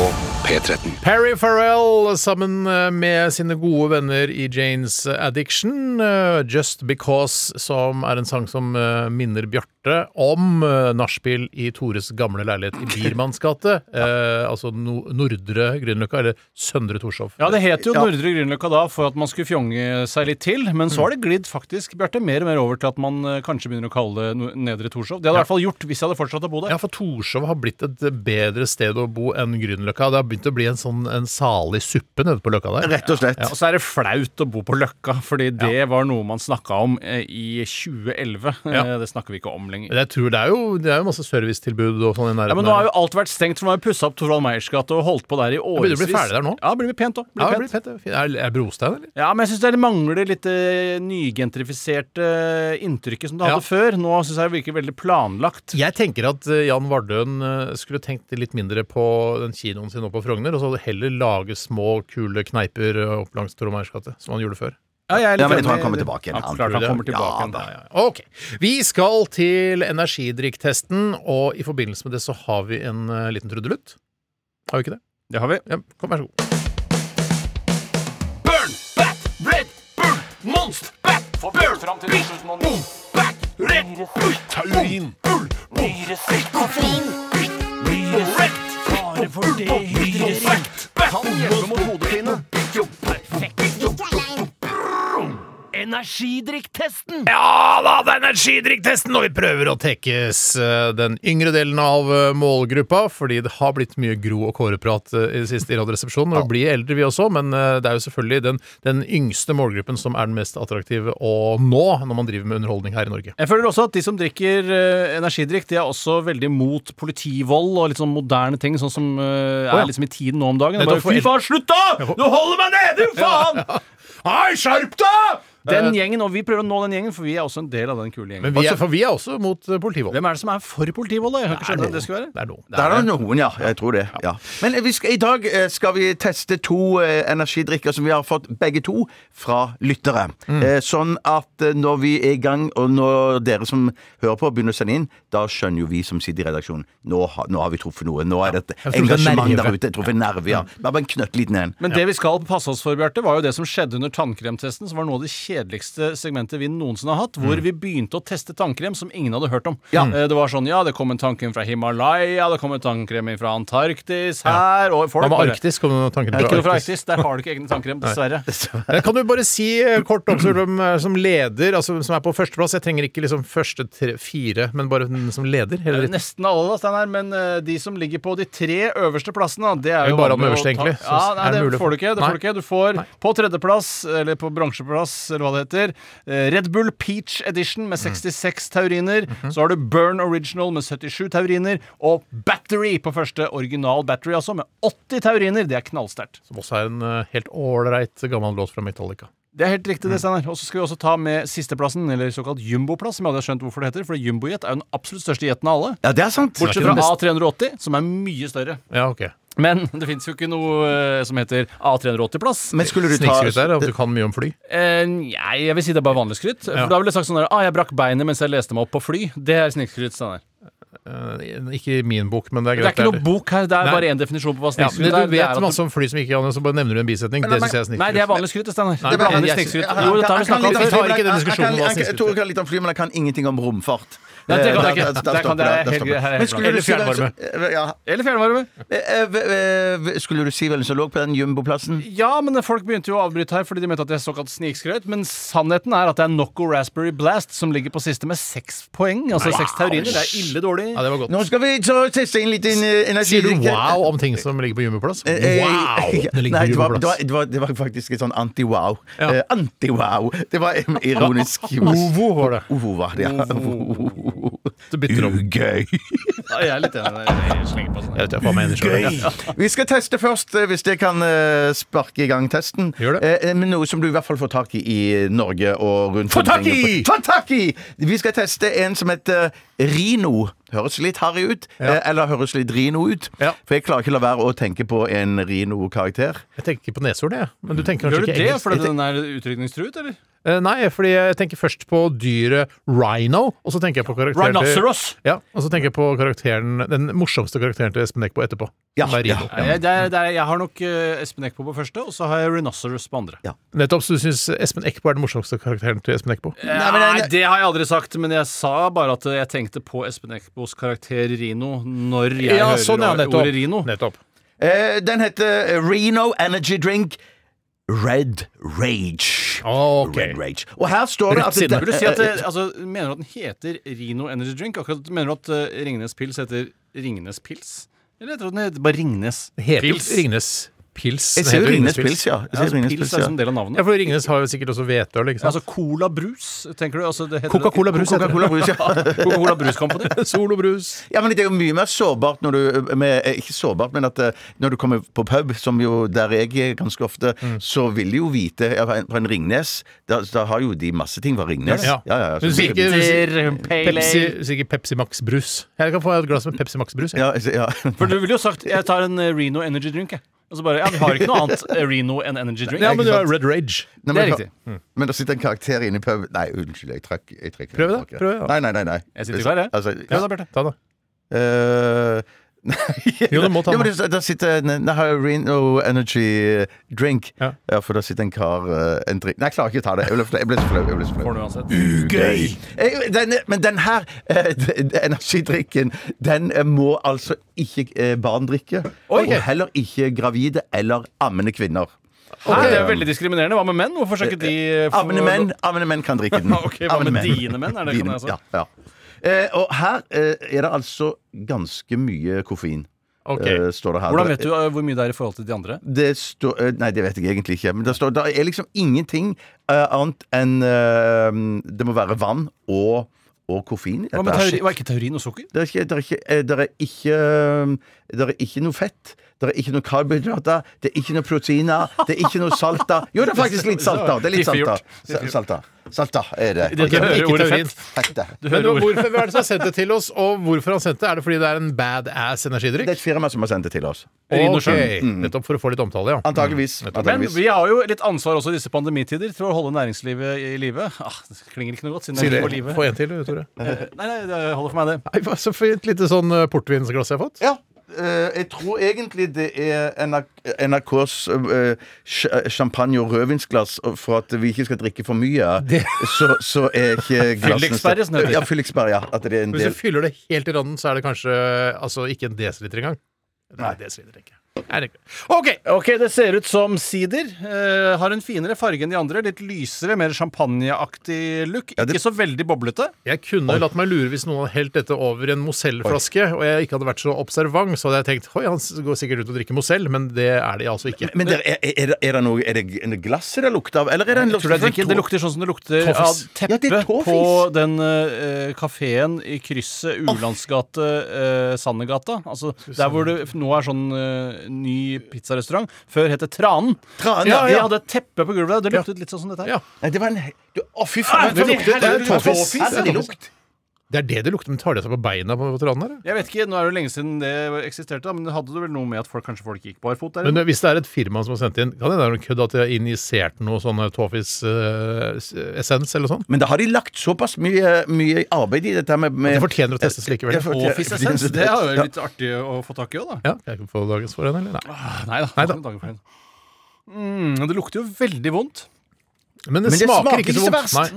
S2: P13.
S4: Perry Farrell sammen eh, med sine gode venner i Janes Addiction. eh, Just Because, som er en sang som eh, minner Bjarte om eh, nachspiel i Tores gamle leilighet i Biermanns gate. Eh, altså no Nordre Grünerløkka, eller Søndre Torshov.
S5: Ja, Det het jo Nordre Grünerløkka da for at man skulle fjonge seg litt til, men så har det glidd faktisk Bjarte, mer og mer over til at man eh, kanskje begynner å kalle det no- Nedre Torshov. Det hadde jeg i hvert fall gjort hvis jeg hadde fortsatt å bo der.
S4: Ja, for Torshov har blitt et bedre sted å bo enn Grünerløkka. Det har begynt å bli en sånn en salig suppe nede på løkka der.
S6: Rett og slett.
S5: Og så er det flaut å bo på Løkka, fordi det var noe man snakka om eh, i 2011. Eh, Det snakker vi ikke om lenger.
S4: Men Jeg tror det er jo, det er jo masse servicetilbud og sånn i
S5: Ja,
S4: nærheten.
S5: men nå har
S4: der.
S5: jo alt vært stengt, for nå har vi pussa opp Torvald Meyers gate og holdt på der i
S4: begynner
S5: årevis.
S4: å bli ferdig der nå.
S5: Ja, det blir pent òg.
S4: ja, det blir fett. det er fint. Er, er brostein, eller?
S5: Ja, men jeg syns det mangler litt det nygentrifiserte eh, inntrykket som det
S4: Ja.
S5: hadde før. Nå syns jeg det virker veldig planlagt.
S4: Jeg tenker at eh, Jan Vardøen eh, skulle tenkt litt mindre på den kinoen sin nå på Frogner, og så heller lage små, kule kneiper eh, opp langs Torvald Meyers gate, som han gjorde før.
S5: jeg er litt
S6: Ja, men jeg tror
S5: enig.
S6: han kommer tilbake igjen.
S5: Ja, klart han kommer tilbake igjen.
S6: da.
S5: Ja, ja.
S4: Ok. Vi skal til energidrikktesten, og i forbindelse med det så har vi en eh, liten trudelutt. Har vi ikke det?
S5: Det har vi.
S4: Ja, kom, vær så god.
S8: Perfekt.
S3: energidrikktesten!
S4: Ja da, det er energidrikktesten, og vi prøver å tekkes eh, den yngre delen av eh, målgruppa, fordi det har blitt mye Gro og Kåre-prat eh, i det siste i Radioresepsjonen. Og vi blir eldre, vi også, men eh, det er jo selvfølgelig den, den yngste målgruppen som er den mest attraktive å nå når man driver med underholdning her i Norge.
S5: Jeg føler også at de som drikker eh, energidrikk, de er også veldig mot politivold og litt sånn moderne ting, sånn som eh,
S4: Å, ja.
S5: er liksom i tiden nå om dagen. Det er
S4: Nettopp
S5: Bare,
S4: for
S5: Fy faen, slutt da! Du holder meg nede, jo faen!
S4: Hei, skjerp deg!
S5: Den gjengen, og vi prøver å nå den gjengen, for vi er også en del av den kule gjengen.
S4: Men vi er, for vi er også mot eh, politivold.
S5: Hvem er det som er for politivold, da? Jeg har ikke skjønt
S4: noen.
S5: at det skulle være.
S4: Det er noen.
S6: Det er da noen, ja. Jeg tror det. ja. Men vi skal, i dag eh, skal vi teste to eh, energidrikker som vi har fått begge to fra lyttere. Eh, sånn at eh, når vi er i gang, og når dere som hører på, begynner å sende inn, da skjønner jo vi som sitter i redaksjonen nå, har- nå har vi truffet noe. Nå er det et
S4: Jeg tror det er
S6: engasjement
S4: nerve.
S6: der ute. Jeg tror det er nerve, ja. Bare en knøttliten en.
S5: Men det vi skal passe oss for, Bjarte, var jo det som skjedde under tannkremtesten, som var noe av det kjedeligste segmentet vi noensinne har hatt,
S4: Mm.
S5: hvor vi begynte å teste tannkrem som ingen hadde hørt om. Eh, Det var sånn, ja, det kom en tannkrem fra Himalaya, det kom en tannkrem fra Antarktis her, og folk
S4: Hva med
S5: bare-
S4: Arktis? Kom det noen tanker
S5: Ikke
S4: på
S5: noe fra
S4: Arktis?
S5: Arktis, der har du ikke egne tannkrem, dessverre.
S4: Men Kan du bare si eh, kort om hvem eh, som leder, altså som er på førsteplass? Jeg trenger ikke liksom første tre, fire, men bare den som leder? hele dritten.
S5: Nesten alle, da, Steinar, men eh, de som ligger på de tre øverste plassene, da, det er
S4: Det er
S5: jo
S4: bare den
S5: vanlig å
S4: øverste,
S5: ta-
S4: egentlig, så
S5: Ja, nei,
S4: er det
S5: det,
S4: mulig å få-
S5: får du ikke. Det
S4: Nei.
S5: får du ikke. Du får på tredjeplass, eller på bransjeplass, eller hva det heter, eh, Red Bull Peach Edition
S4: Mhm.
S5: med 66 tauriner. Så har du Burn Original med 77 tauriner, og Battery på første original Battery, altså, med 80 tauriner. Det er knallsterkt.
S4: Som også er en eh, helt ålreit gammel låt fra Metallica.
S5: Det er helt riktig, det, Steinar. Mhm. Og så skal vi også ta med sisteplassen, eller såkalt jumboplass, som jeg hadde skjønt hvorfor det heter, for jumbojet er jo den absolutt største jeten av alle.
S6: Ja, det er sant.
S5: Bortsett fra A380, som er mye større.
S4: Ja, ok.
S5: Men det fins jo ikke noe eh, som heter A380-plass.
S6: Men skulle du ta
S4: Snikskryt der, at du kan mye om fly.
S5: Eh, nei, jeg vil si det er bare vanlig skryt. For da ville jeg sagt sånn der ah, jeg brakk beinet mens jeg leste meg opp på fly. Det er snikskryt. Steinar.
S4: Eh, Ikke i min bok, men det er
S5: Det er
S4: greit.
S5: ikke noe bok her, det er
S4: Nei.
S5: bare én definisjon på hva
S4: Ja,
S5: snikskryt
S4: men
S5: er.
S4: du
S5: Det er
S4: vet
S5: at
S4: masse om fly som ikke kan, så bare nevner du en bisetning. Det syns jeg er
S5: du... Nei, det er
S4: snikskryt.
S5: vanlig skryt, det, Steinar.
S4: Nei,
S5: Det
S4: det er
S5: blander
S4: vanlig
S5: snikskryt.
S6: Jeg- jeg-
S5: Jo, dette har vi
S6: jeg kan
S5: snakket
S6: litt
S5: om
S6: om
S4: tar ikke
S5: før.
S6: fly,
S4: den
S6: men jeg- jeg
S4: diskusjonen
S6: kan-
S4: hva
S6: jeg-
S4: snikskryt
S6: Tore kan litt om fly, men jeg kan ingenting om romfart.
S5: Nei, det kan
S6: Eh,
S5: jeg ikke.
S6: da- da-
S5: Der
S6: da
S5: kan
S6: stopper
S5: dere
S6: det, da
S5: helt-
S6: stopper det.
S5: her er
S6: Men skulle
S5: helt
S6: du si
S4: blankt.
S6: den som- Ja,
S5: Eller fjernvarme.
S6: Eh, eh, Skulle du si hvem som lå på den jumboplassen?
S5: Ja, men folk begynte jo å avbryte her fordi de mente at jeg såkalt snikskrøt. Men sannheten er at det er Nocco Raspberry Blast som ligger på siste med seks poeng. Altså seks tauriner. Det er ille dårlig.
S4: Ja, det var
S6: Nå
S4: godt.
S6: skal vi så teste inn litt eh,
S4: Sier du
S6: energidrikk.
S4: wow om ting som ligger på jumboplass?
S6: Eh, eh,
S4: Wow! Det ligger
S6: Nei,
S4: på
S6: det var, det, var,
S4: jumboplass.
S6: det, var, det var faktisk et sånn anti-wow.
S4: Ja.
S6: Eh, anti-wow. Det var em, ironisk.
S4: Ovo var det.
S6: Ovo var det, ja.
S4: Du bytter om.
S6: Ugøy.
S5: Ja, jeg er litt enig. Jeg slenger på sånn.
S4: Jeg vet ikke hva jeg mener selv. Ja.
S6: Vi skal teste først, eh, hvis det kan eh, sparke i gang testen.
S4: Gjør det.
S6: Eh, eh, men noe som du i hvert fall får tak i i Norge og rundt
S4: Få tak i!
S6: Få tak i! Vi skal teste en som heter eh, Rino. Høres litt harry ut. eh, Eller høres litt Rino ut.
S4: Ja.
S6: For jeg klarer ikke å la være å tenke på en Rino-karakter.
S4: Jeg tenker ikke på neshorn, jeg. Men du tenker
S5: Gjør
S4: kanskje
S5: du
S4: ikke
S5: det
S4: engelsk?
S5: fordi
S6: sånn-
S5: den er utrydningstruet, eller?
S4: Eh, Nei, fordi jeg tenker først på dyret rhino, og så tenker jeg på karakteren til, ja, og så tenker jeg på karakteren, den morsomste karakteren til Espen Eckbo etterpå.
S6: Ja,
S4: som er rhino.
S5: Nei, Jeg, det er, det er, jeg har nok eh, Espen Eckbo på første, og så har jeg Rhinoceros på andre.
S6: Ja.
S4: Nettopp, så du syns Espen Eckbo er den morsomste karakteren til Espen Eckbo?
S5: Nei,
S6: Nei, men jeg-
S5: det har jeg aldri sagt, men jeg sa bare at jeg tenkte på Espen Eckbos karakter Rino når jeg hører ordet Rino.
S4: sånn nettopp.
S6: Eh, den heter Reno Energy Drink Red Rage.
S4: Ah, Ok.
S6: Red Rage. Og her står det
S4: Rett side.
S5: Vil du si at det,
S4: eh,
S5: altså, Mener du at den heter Rino Energy Drink? Akkurat Mener du at eh, Ringnes Pils heter Ringnes Pils? Eller heter den heter bare Ringnes
S4: Heter jo
S5: Pils?
S4: Ringnes Pils.
S6: Jeg
S4: Den
S6: ser jo
S4: heter
S6: Ringnes Pils, ja. Jeg
S5: Ja,
S6: ser
S5: altså,
S6: Ringnes
S5: pils
S6: Pils,
S5: er
S6: ja.
S5: altså en del av navnet.
S4: Ja, for Ringnes har jo sikkert også liksom. hvetøl, ikke sant?
S5: Altså Cola Brus, tenker du? Altså, det heter-
S4: Coca-Cola Brus heter det.
S6: Coca-Cola Brus, ja.
S5: Coca-Cola Brus Company.
S4: Solobrus.
S6: ja. Men det er jo mye mer sårbart når du med, eh, Ikke sårbart, men at eh, når du kommer på pub, som jo der jeg er ganske ofte,
S4: Mm.
S6: så vil de jo vite ja, På en- på en Ringnes Da, da har jo de masse ting fra Ringnes.
S4: Ja.
S6: ja, ja,
S4: Men du sier ikke du sier
S5: Pale
S4: Pepsi,
S5: Ale.
S4: du sier ikke Pepsi Max-brus. Jeg kan få et glass med Pepsi Max-brus. jeg.
S6: ja, så- ja.
S5: For du ville jo sagt 'jeg tar en eh, Reno Energy Drink', jeg. Og så bare 'ja, vi har ikke noe annet eh, Reno enn Energy Drink'.
S4: Ja, men du har Red Rage.
S5: Det
S6: Nei,
S5: er
S6: men-
S5: riktig.
S4: Mm.
S6: Men det sitter en karakter inne i pub Nei, unnskyld, jeg trakk jeg trakk-
S4: Prøv det,
S6: trakk-
S4: prøv det, ja.
S6: Nei, nei, nei. nei.
S5: Jeg sitter klar, jeg.
S6: Altså,
S4: Ja, da, Bjarte. Ta det.
S6: Eh, Nei
S4: Jo, du må ta
S6: Ja, men
S4: den.
S6: det- Der sitter en der har jeg Reno Energy Drink.
S4: Ja.
S6: Ja. for der sitter en kar eh, en drink. Nei, jeg klarer ikke å ta det. Jeg ble, jeg ble så flau. Jeg ble så
S5: Får
S6: flau.
S5: du uansett.
S6: Ugøy! Eh, Den, men den her eh, den- den energidrikken, den eh, må altså ikke eh, barn drikke. Og heller ikke gravide eller ammende kvinner.
S5: Nei, det er veldig diskriminerende. Hva med menn? Hvorfor skal ikke de eh, få
S6: Avne menn, avne menn kan drikke den.
S5: Ok, hva med
S6: Avne
S5: dine menn, er det ikke
S6: Dine-
S5: det jeg sa?
S6: Ja, ja. Eh, og her eh, er det altså ganske mye koffein.
S4: Ok.
S6: eh, står det her.
S5: Hvordan
S6: Det-
S4: altså,
S5: vet du eh, hvor mye det er i forhold til de andre?
S6: Det står eh, Nei, det vet jeg egentlig ikke. Men det, står, det er liksom ingenting eh, annet enn eh, Det må være vann og, og koffein i dette.
S5: Hva med
S6: her.
S5: teori, hva er ikke taurin og sukker?
S6: Det er ikke, det er ikke, eh, det er ikke, um, det er ikke noe fett. Det er ikke noe karbohydrater. Det er ikke noe proteiner. Det er ikke noe salter. Jo, det er faktisk litt salter. Det er litt
S5: Fiffig gjort.
S6: salter. Sa- Salter, salter er det.
S5: Det-
S6: Ok,
S5: hører
S4: ikke
S5: ordet
S4: taurin.
S5: fett.
S6: fett det.
S5: Du
S4: Men
S5: hører
S4: hvorfor
S5: ordet.
S4: hvem er det som har sendt det til oss, og hvorfor har han sendt det? Er det fordi det er en badass
S6: Det er
S4: energidrikk?
S6: et firma som har sendt det til oss.
S5: Urin og
S4: Ok,
S5: skjønn.
S4: Nettopp for å få litt omtale, ja.
S6: Antageligvis.
S5: Men
S6: antageligvis.
S5: vi har jo litt ansvar også i disse pandemitider til å holde næringslivet i live. Ah, det klinger ikke noe godt siden
S4: Si det.
S5: jeg er på live.
S4: Få en til, Tore.
S5: Eh, Nei, nei, det holder for meg, det.
S4: Nei, hva Så fint lite sånn eh, portvinsglass jeg har fått.
S6: Ja. eh, jeg tror egentlig det er NRK- NRKs eh, sj- champagne- og rødvinsglass og for at vi ikke skal drikke for mye. Så, så er ikke glassene
S5: Fylliksperre, som det heter.
S6: Ja, fylliksperre. Ja. At det er en
S4: Hvis
S6: del
S4: du fyller det helt til randen, så er det kanskje altså, ikke en desiliter engang. Nei, desiliter tenker jeg. Nei, det er ikke. OK!
S5: Ok, Det ser ut som sider. Eh, har en finere farge enn de andre. Litt lysere, mer champagneaktig look. Ikke så veldig boblete.
S4: Jeg kunne latt meg lure hvis noen hadde helt dette over i en Mosell-flaske, og jeg ikke hadde vært så observant, så hadde jeg tenkt Oi, han s- går sikkert ut og drikker Mosell, men det er de altså ikke.
S6: Men der, er, er, det- er det noe Er det er det glasset det lukter av, eller er det en lukt
S5: Tror du jeg drikker? Det lukter sånn som det lukter av
S4: Toffis.
S6: Ja, det
S5: teppet
S6: er toffis.
S5: på den uh, kafeen i krysset Ulandsgate, uh, Sandegata. Altså der hvor det f- nå er sånn eh, ny pizzarestaurant. Før het det Tranen.
S6: Tranen,
S5: ja,
S6: ja,
S5: ja.
S6: ja.
S5: hadde et teppe på gulvet. Det luktet litt sånn som dette her.
S4: Ja.
S6: Nei, det var en du, Å, fy faen!
S5: Ah,
S6: Det
S5: fordi
S6: lukter det
S5: her-
S6: er toffis.
S5: toffis,
S6: Her er det lukt.
S4: Det er det det lukter. Men tar de seg på beina på veteranen her? ja?
S5: Jeg vet ikke, Nå er det jo lenge siden det eksisterte, da, men det hadde det vel noe med at folk, kanskje folk gikk barfot der?
S4: Men
S5: inne?
S4: eh, hvis det er et firma som har sendt inn, kan det være noe kødd at de har injisert noe sånn eh, Toffis-essens eller sånn?
S6: Men da har de lagt såpass mye, mye arbeid i dette her med, med
S4: Det fortjener å testes likevel.
S6: Jeg får-
S5: Og fissessens. Det er jo litt artig å få tak i òg, da.
S4: Ja, kan jeg ikke få dagens for en, eller? Nei.
S5: Nei da.
S4: Neida.
S5: dager for sent. Mm, det lukter jo veldig vondt.
S4: Men det,
S6: Men det
S4: smaker,
S6: smaker
S4: ikke så
S6: ikke så
S4: vondt.
S6: verst.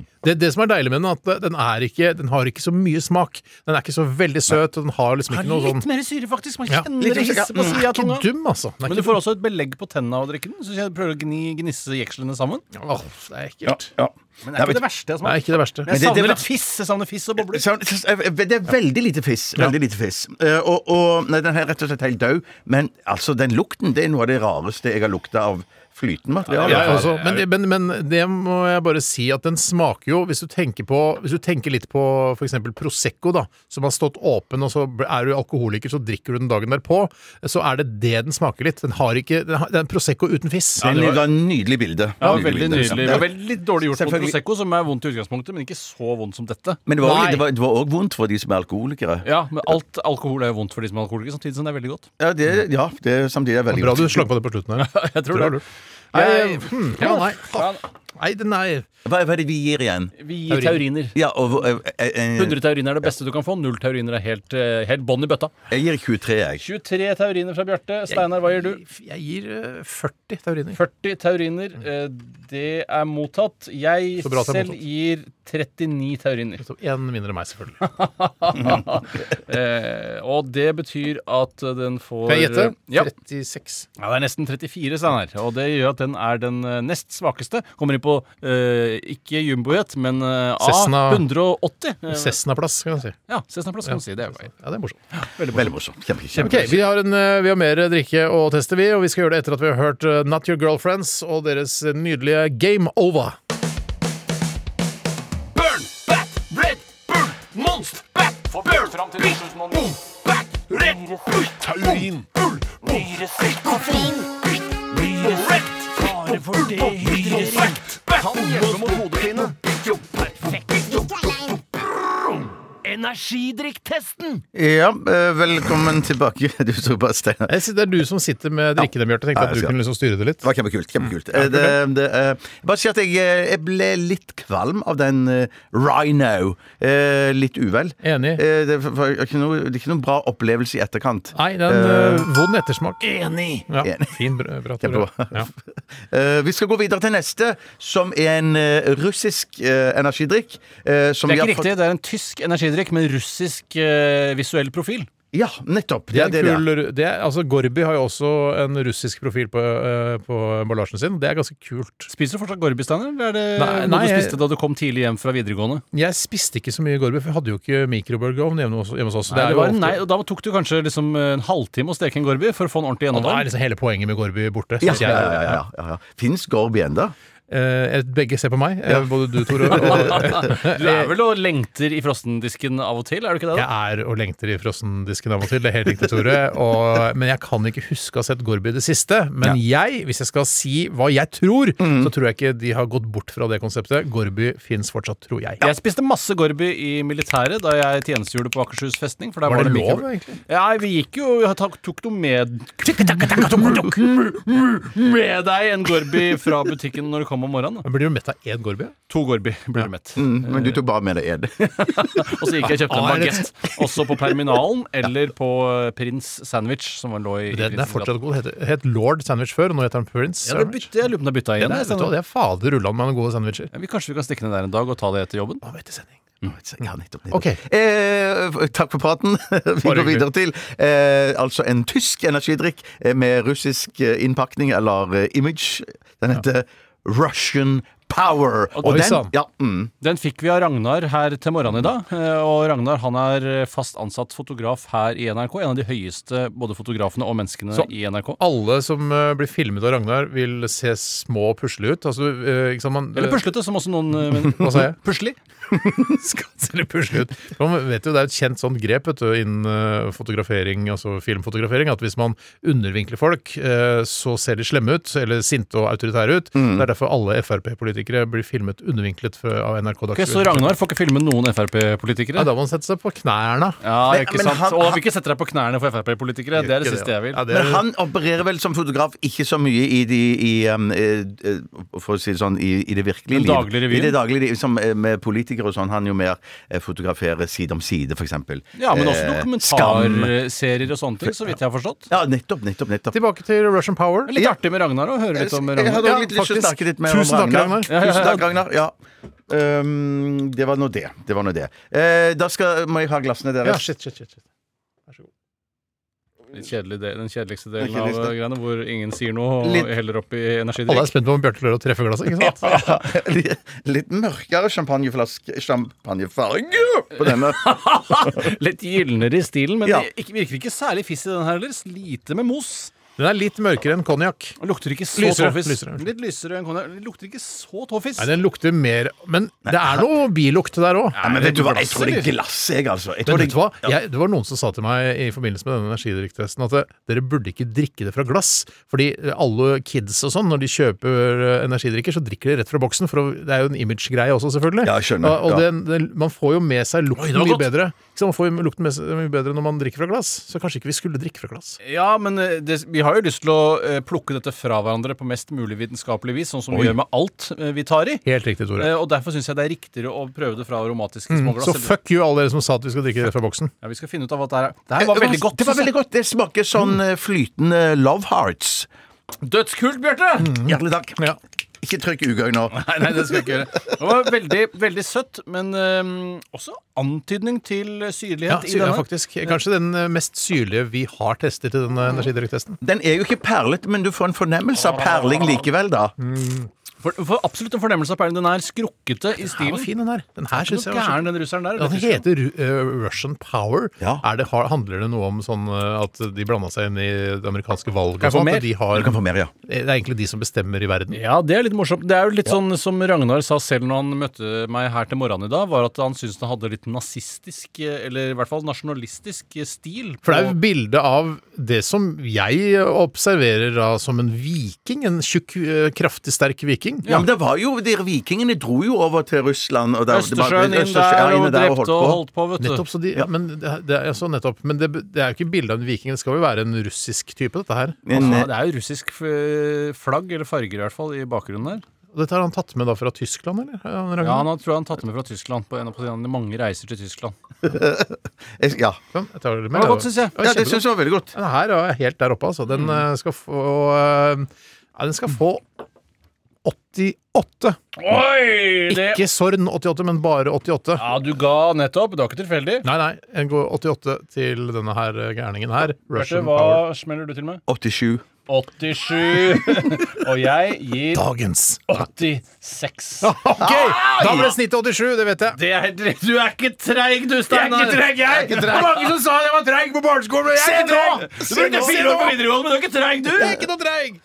S4: Nei. Det, det som er deilig med den, er at den, er ikke, den har ikke så mye smak. Den er ikke så veldig søt, og den har liksom ikke noe sånn
S5: mer syre, faktisk. Man
S4: Ja.
S5: kjenner
S6: Litt
S5: det hisset på
S6: usikker.
S5: siden av
S4: Ikke
S5: tunga.
S4: dum, altså. Den er
S5: Men du
S4: ikke
S5: får også et belegg på tenna av å drikke den. Så jeg prøver å gni, gnisse jekslene sammen.
S4: Åh, det er
S6: Ja,
S4: ekkelt.
S5: Men
S6: ja.
S5: det er
S6: Nei,
S5: ikke det verste jeg
S4: Det er
S5: smaker.
S4: ikke det verste.
S5: Men jeg
S6: Men det- det
S5: savner
S6: var-
S5: litt fiss. Jeg savner fiss og bobler.
S6: Så- så- så- Det er veldig lite fiss. Veldig lite fiss. Eh, Og, og nei, den er rett og slett helt død. Men altså, den lukten det er noe av det rareste jeg har lukta av flytende materiale.
S4: Jeg også, men, det- men, men det må jeg bare si at den smaker jo Hvis du tenker, på, hvis du tenker litt på f.eks. Prosecco, da, som har stått åpen, og så er du alkoholiker, så drikker du den dagen derpå, så er det det den smaker litt. Den har ikke den har, Det er en Prosecco uten fiss.
S6: Men det var et nydelig bilde.
S5: Ja,
S6: Nydelig
S5: veldig
S6: bilde. liksom.
S5: nydelig.
S6: Ja.
S5: Veldig dårlig gjort mot
S6: Selvfølgelig.
S5: Prosecco, som er vondt i utgangspunktet, men ikke så vondt som dette.
S6: Men det var
S4: Nei.
S6: også- det var- det var òg vondt for de som er alkoholikere.
S5: Ja, men alt alkohol er jo vondt for de som er alkoholikere, samtidig som det er veldig godt.
S6: Ja, det, ja, det samtidig er veldig
S4: Bra du
S6: vondt.
S4: slang på det på slutten her. Jeg
S5: tror det.
S4: Nei,
S5: Jeg-
S4: hmm, ja, nei.
S5: Ja,
S4: nei, den er
S6: Hva, hva er det vi gir igjen?
S5: vi gir tauriner.
S6: Ja, og, hvor- eh, eh, eh,
S5: 100 tauriner er det beste du kan få. Null tauriner er helt, eh, helt bånn i bøtta.
S6: jeg gir 23, jeg.
S5: 23 tauriner fra Bjarte. Steinar, hva gjør du?
S4: Jeg gir eh, 40 tauriner.
S5: 40 tauriner. eh, Det er mottatt. Jeg
S4: Så bra at det er
S5: selv
S4: mottatt.
S5: gir 39 tauriner.
S4: Så En mindre enn meg, selvfølgelig.
S5: Eh, og det betyr at eh, den får
S4: Kan jeg gjette?
S5: Ja.
S4: 36.
S5: ja, det er nesten 34, Steinar. Og det gjør at den er den eh, nest svakeste. Kommer inn på eh, ikke jumbojet, men eh,
S4: Cessna.
S5: A180. Eh,
S4: Cessna-plass, kan jeg si.
S5: ja, Cessna-plass kan du si. Det er jo greit.
S4: Ja, det er morsomt.
S6: Veldig morsomt. Kjempe, kjempe.
S4: Ok, vi har, en, eh, vi har mer drikke å teste, vi. Og vi skal gjøre det etter at vi har hørt eh, Not Your Girlfriends og deres eh, nydelige Game Over.
S8: Burn, bat, red, burn, monst, bat, burn, bit, boom, bat, red, bull, taurin, bull, boom, bit, koffein, bit, boom, red, bare for det hele rett. Kan hjelpe mot hodepine. Jo, perfekt. Jo, brum. Energidrikktesten!
S6: Ja, eh, velkommen tilbake. Du tok bare Steinar.
S4: Jeg synes Det er du som sitter med drikkene, Bjarte. Tenkte
S6: Ja,
S4: at du
S6: jeg skal.
S4: kunne liksom styre det litt.
S6: Det var kjempekult. kjempekult Eh, det, det, eh, Bare si at jeg, eh, jeg ble litt kvalm av den eh, Rhino. Eh, litt uvel.
S4: Enig.
S6: Eh, det, var- var ikke noe, det er ikke noen bra opplevelse i etterkant.
S4: Nei, det er en eh, vond ettersmak.
S8: Enig!
S4: Ja,
S6: enig.
S4: fin, bra, bra Tore.
S6: Kjempebra.
S4: Ja.
S6: Eh, vi skal gå videre til neste, som er en eh, russisk eh, energidrikk. eh, som
S5: Det er ikke
S6: vi har fått-
S5: riktig. Det er en tysk energidrikk med russisk eh, visuell profil.
S6: Ja, nettopp.
S4: Det er
S6: det det
S4: kul, ru- det er, altså Gorby har jo også en russisk profil på, eh, på emballasjen sin. Det er ganske kult.
S5: Spiser du fortsatt Gorby, Steiner? Eller er det
S4: Nei,
S5: noe
S4: nei,
S5: du
S4: jeg-
S5: spiste da du kom tidlig hjem fra videregående?
S4: Jeg spiste ikke så mye Gorby, for vi hadde jo ikke mikrobølgeovn hjemme, hos- hjemme hos oss. er
S5: Nei, det
S4: jo
S5: var,
S4: ofte-
S5: nei, og Da tok det kanskje liksom en halvtime å steke en Gorby for å få en ordentlig
S4: og da er
S5: gjennomvarm.
S4: liksom hele poenget med Gorby borte.
S6: Ja,
S4: synes
S6: ja,
S4: jeg.
S6: ja, ja, ja, ja, ja. Fins Gorby ennå?
S4: Eh, begge ser på meg, eh, både du, Tore, og
S5: Du er vel og lengter i frostendisken av og til, er du ikke det?
S4: Jeg
S5: da?
S4: er og lengter i frossendisken av og til, det er helt riktig, Tore. Og, men jeg kan ikke huske å ha sett Gorby i det siste. Men jeg, hvis jeg skal si hva jeg tror,
S5: Mm.
S4: så tror jeg ikke de har gått bort fra det konseptet. Gorby fins fortsatt, tror jeg.
S5: Jeg spiste masse Gorby i militæret da jeg tjenestegjorde på Akershus festning. For der
S4: Var
S5: var,
S4: det
S5: mye-
S4: lov, egentlig?
S5: Ja, vi gikk jo jeg tok, tok noe med Med deg en Gorby fra butikken når du kom om morgenen. da.
S4: Men Blir du mett av én Gorby?
S5: To Gorby ble du mett.
S6: Mm, Men du tok bare med deg én.
S5: Og så gikk jeg og kjøpte en
S4: Ah, er det-
S5: bagett. Også på Perminalen eller på eh, Prins Sandwich, som lå i i
S4: Den er
S5: Prinsens gate.
S4: fortsatt god. Het, het Lord Sandwich før, og nå heter han Prince.
S5: Ja, det bytte, jeg lurer på om det er bytta
S4: Den
S5: inn.
S4: er, vet
S5: jeg,
S4: du, hva,
S5: Steinar.
S4: det er fader ulland med gode sandwicher.
S5: Ja, vi, kanskje vi kan stikke ned der en dag og ta det etter jobben?
S4: Hva vet du, sending?
S5: Mm.
S6: Ja, nettopp, nettopp.
S4: Mm. Ok.
S6: Eh, takk for praten. Vi
S4: Bare
S6: går
S4: hyggelig.
S6: videre til eh, altså en tysk energidrikk eh, med russisk eh, innpakning, eller eh, image. Den heter Russian Power.
S4: Oi,
S6: den,
S4: sann.
S6: ja, mm,
S5: Den fikk vi av Ragnar her til morgenen i dag. eh, Og Ragnar han er eh, fast ansatt fotograf her i NRK. En av de høyeste både fotografene og menneskene
S4: Så-
S5: i NRK.
S4: Alle som eh, blir filmet av Ragnar, vil se små og pusle ut. Altså, eh, ikke sant, man,
S5: Eller puslete, som også noen eh, mener.
S4: Hva sa jeg?
S5: Puslig.
S4: Skal selv pusle ut. For Man vet jo, Det er et kjent sånt grep vet du, innen eh, fotografering, altså filmfotografering, at hvis man undervinkler folk, eh, så ser de slemme ut, eller sinte og autoritære ut. Det er derfor alle Frp-politikere blir filmet undervinklet fra- av NRK
S5: Ok, så
S4: Dagsrevyen.
S5: Ragnar får ikke filme noen
S4: ja,
S5: Frp-politikere?
S4: da må man sette seg på knærne.
S5: Ja,
S6: Men-
S5: ikke
S6: men
S5: sant.
S6: han-
S5: Og han vil ikke sette deg på knærne for Frp-politikere. Det er det
S4: Ikke
S5: siste jeg vil.
S4: Ja, det er-
S6: Men han opererer vel som fotograf ikke så mye i, de, i um, eh, eh, For å si det sånn, i, i det virkelige
S5: Den
S6: liv.
S5: daglige revyen?
S6: I det daglige liv, som eh, med politikere og sånn. Han jo mer eh, fotograferer side om side, for eksempel.
S5: Ja, men også
S6: Eh, Skam.
S5: dokumentarserier og sånne ting, så vidt jeg har forstått.
S6: Ja, nettopp, nettopp, nettopp.
S4: Tilbake til Russian Power.
S5: Det er Litt artig med Ragnar å høre litt om
S6: Jeg
S5: Ragnar.
S6: hadde
S4: Ja,
S6: også litt lyst til å
S4: faktisk.
S6: snakke litt mer
S4: Tusen
S6: om
S4: takk,
S6: Ragnar.
S4: Ragnar.
S5: Ja, ja, ja.
S6: Tusen takk, Ragnar. Ja. Ehm, det var nå det. Det var nå det. Eh, da skal, må jeg ha glassene
S4: Ja,
S6: deres.
S4: shit, shit, shit, shit.
S5: Den kjedelige del- den kjedeligste delen
S6: Den
S5: av
S6: kjedeligste.
S5: greiene, hvor ingen sier noe og
S6: Litt-
S5: heller opp i
S4: Alle er
S5: energidrikk.
S4: spent på om Bjarte klarer å treffe glasset. ikke sant?
S6: litt, litt mørkere champagneflaske Champagnefarge på denne.
S5: Litt gylnere i stilen, men
S6: Ja.
S5: det ikke, virker ikke særlig fiss i den her heller. Lite med mos.
S4: Den er litt mørkere enn konjakk.
S5: Og Lukter ikke så
S4: Lysere,
S5: tåfis.
S4: lysere.
S5: Litt lysere enn konjakk. Det Lukter ikke så tåfis.
S4: Nei, Den lukter mer Men det er noe bilukt der òg.
S6: Nei, men vet du hva, jeg tror det er
S5: eller?
S6: glass, jeg, altså. Jeg
S4: Men
S6: tror
S4: vet
S6: det
S4: du hva? Jeg, det var noen som sa til meg i forbindelse med denne energidrikktesten at eh, dere burde ikke drikke det fra glass. Fordi eh, alle kids og sånn, når de kjøper eh, energidrikker, så drikker de rett fra boksen. For å, det er jo en image-greie også, selvfølgelig.
S6: Ja, jeg skjønner,
S4: Og, og
S6: ja.
S4: den, den, man får jo med seg lukten
S5: var
S4: mye
S5: godt.
S4: bedre. Ikke sant? Man får jo lukten med seg mye bedre når man drikker fra glass. Så kanskje ikke vi skulle drikke fra glass.
S5: Ja, men eh, det, vi har jo lyst til å eh, plukke dette fra hverandre på mest mulig vitenskapelig vis, sånn som vi gjør med alt eh, vi tar i.
S4: Helt riktig, Tore.
S5: Eh, Og derfor syns jeg det er riktigere å prøve det fra aromatiske små glass.
S4: Så
S5: eller-
S4: fuck you, alle dere som sa at vi skal drikke det fra boksen.
S5: Ja, vi skal finne ut av hva det er. Eh, Det her var
S6: Det
S5: veldig godt.
S6: Det
S5: synes
S6: var
S5: jeg.
S6: veldig godt. Det smaker sånn
S4: Mm.
S6: eh, flytende love hearts.
S5: Dødskult, Bjarte!
S6: Hjertelig takk.
S4: Mm. Ja.
S6: Ikke trykk ugøy nå.
S5: Nei, nei, det skal jeg ikke gjøre. Det var veldig, veldig søtt, men eh, også antydning til
S4: Ja,
S5: syrlighet i
S4: sy- ja,
S5: denne.
S4: faktisk. Kanskje den eh, mest syrlige vi har testet i denne energidrikktesten.
S6: Den er jo ikke perlet, men du får en fornemmelse av perling likevel, da.
S4: Mm.
S5: For, for absolutt en fornemmelse av perlen. Den er skrukkete
S4: Den
S5: i
S4: var
S5: stilen.
S4: fin, den her. Den her synes
S5: Noe
S4: jeg var så
S5: gæren, den russeren der.
S4: Ja, det heter Ru- eh, Russian Power.
S6: Ja.
S4: Er det, har, handler det noe om sånn eh, at de blanda seg inn i det amerikanske valget?
S5: jeg
S4: og
S5: få
S4: sånt,
S5: mer?
S4: at de har, eh,
S6: Du kan få mer, ja.
S4: det er egentlig de som bestemmer i verden.
S5: Ja, det er litt morsomt. Det er jo litt sånn som Ragnar sa selv når han møtte meg her til morgenen i dag, var at han syntes det hadde litt nazistisk, eh, eller i hvert fall nasjonalistisk eh, stil.
S4: For det er jo
S5: på-
S4: et bilde av det som jeg observerer da som en viking. En tjukk, eh, kraftig, sterk viking.
S6: Ja, men det var jo, de Vikingene dro jo over til Russland. Og der,
S5: Østersjøen inn
S6: Østersjø-
S5: der
S6: ja,
S5: og
S6: inne
S5: drepte og holdt på, vet du.
S4: Nettopp, så de, ja. men, det, det, er- ja, så nettopp. men det, det er jo ikke bilde av en viking, det skal jo være en russisk type, dette her.
S5: Ja,
S6: Men, eh,
S5: Altså, det er jo russisk eh, flagg, eller farger i hvert fall, i bakgrunnen der.
S4: Og dette har han tatt med da fra Tyskland, eller? Han
S5: Ja,
S4: Ragnar?
S5: han har, tror jeg han tatt det med fra Tyskland på en av på sine mange reiser til Tyskland.
S6: jeg- ja.
S4: Sånn, jeg tar det
S5: Det
S4: med.
S5: var godt, synes jeg.
S6: ja, det
S4: kjempegodt.
S6: syns jeg var veldig godt.
S4: Den
S5: Mm.
S4: her er helt der oppe, altså. Den eh, skal få eh, Ja, den skal få 88.
S5: Oi! Det,
S4: Ikke Sorn 88, men bare 88.
S5: ja, du ga nettopp. Det var ikke tilfeldig.
S4: Nei, nei, jeg går 88 til denne her eh, gærningen her.
S5: Bjarte,
S4: Russian Power.
S5: hva smeller du til med?
S6: 87.
S5: 87. Og jeg gir
S4: Dagens.
S5: 86.
S4: Ok,
S5: Ah,
S4: da ble snittet 87, det vet jeg.
S5: Det er, du er ikke treig, du, Steinar. Jeg er ikke treig, jeg. Det var mange som sa jeg var treig på barneskolen. Men jeg er ikke treig. Du brukte fire år på videregående, men du er ikke treig, du.
S4: Ikke noe dreig!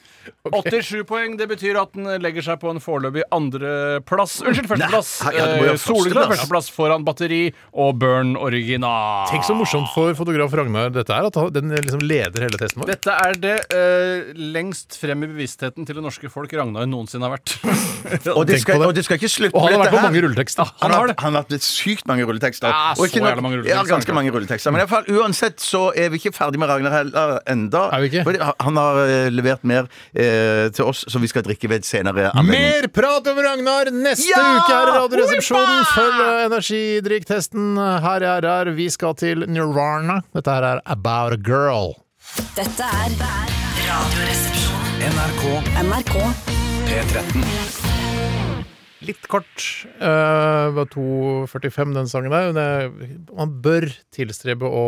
S5: 87 poeng. Det betyr at den legger seg på en foreløpig andreplass. Unnskyld, førsteplass.
S6: Nei, ja, det må
S5: Eh,
S6: jo være
S5: Soleklar
S6: førsteplass.
S5: førsteplass foran Batteri og Burn Original.
S4: Tenk så morsomt for fotograf Ragnar dette er, at han- den liksom leder hele testen vår.
S5: Dette er det eh, lengst frem i bevisstheten til det norske folk Ragnar noensinne har vært.
S6: Og det, skal,
S4: på det.
S6: og det skal ikke slutte
S4: Og han
S6: med
S4: har
S6: dette
S4: vært på
S6: her.
S4: mange rulletekster.
S6: Han
S5: Ah, har
S6: har,
S5: det.
S6: han har hatt sykt mange rulletekster.
S5: Ja,
S6: Og ikke
S5: så
S6: nok-
S5: jævla mange rulletekster,
S6: Ja, ganske mange rulletekster. Men i hvert fall, uansett så er vi ikke ferdig med Ragnar heller enda.
S4: Er vi ikke?
S6: Fordi Han har eh, levert mer eh, til oss som vi skal drikke ved et senere anledning.
S4: Mer prat om Ragnar neste
S6: Ja!
S4: uke her i Radioresepsjonen. Følg eh, energidrikktesten her er her. Vi skal til Nirvana. Dette her er About a Girl.
S7: Dette er Radioresepsjonen.
S3: NRK
S7: NRK
S3: P13.
S4: Litt kort. eh, Det var 2.45, den sangen der. Men det, man bør tilstrebe å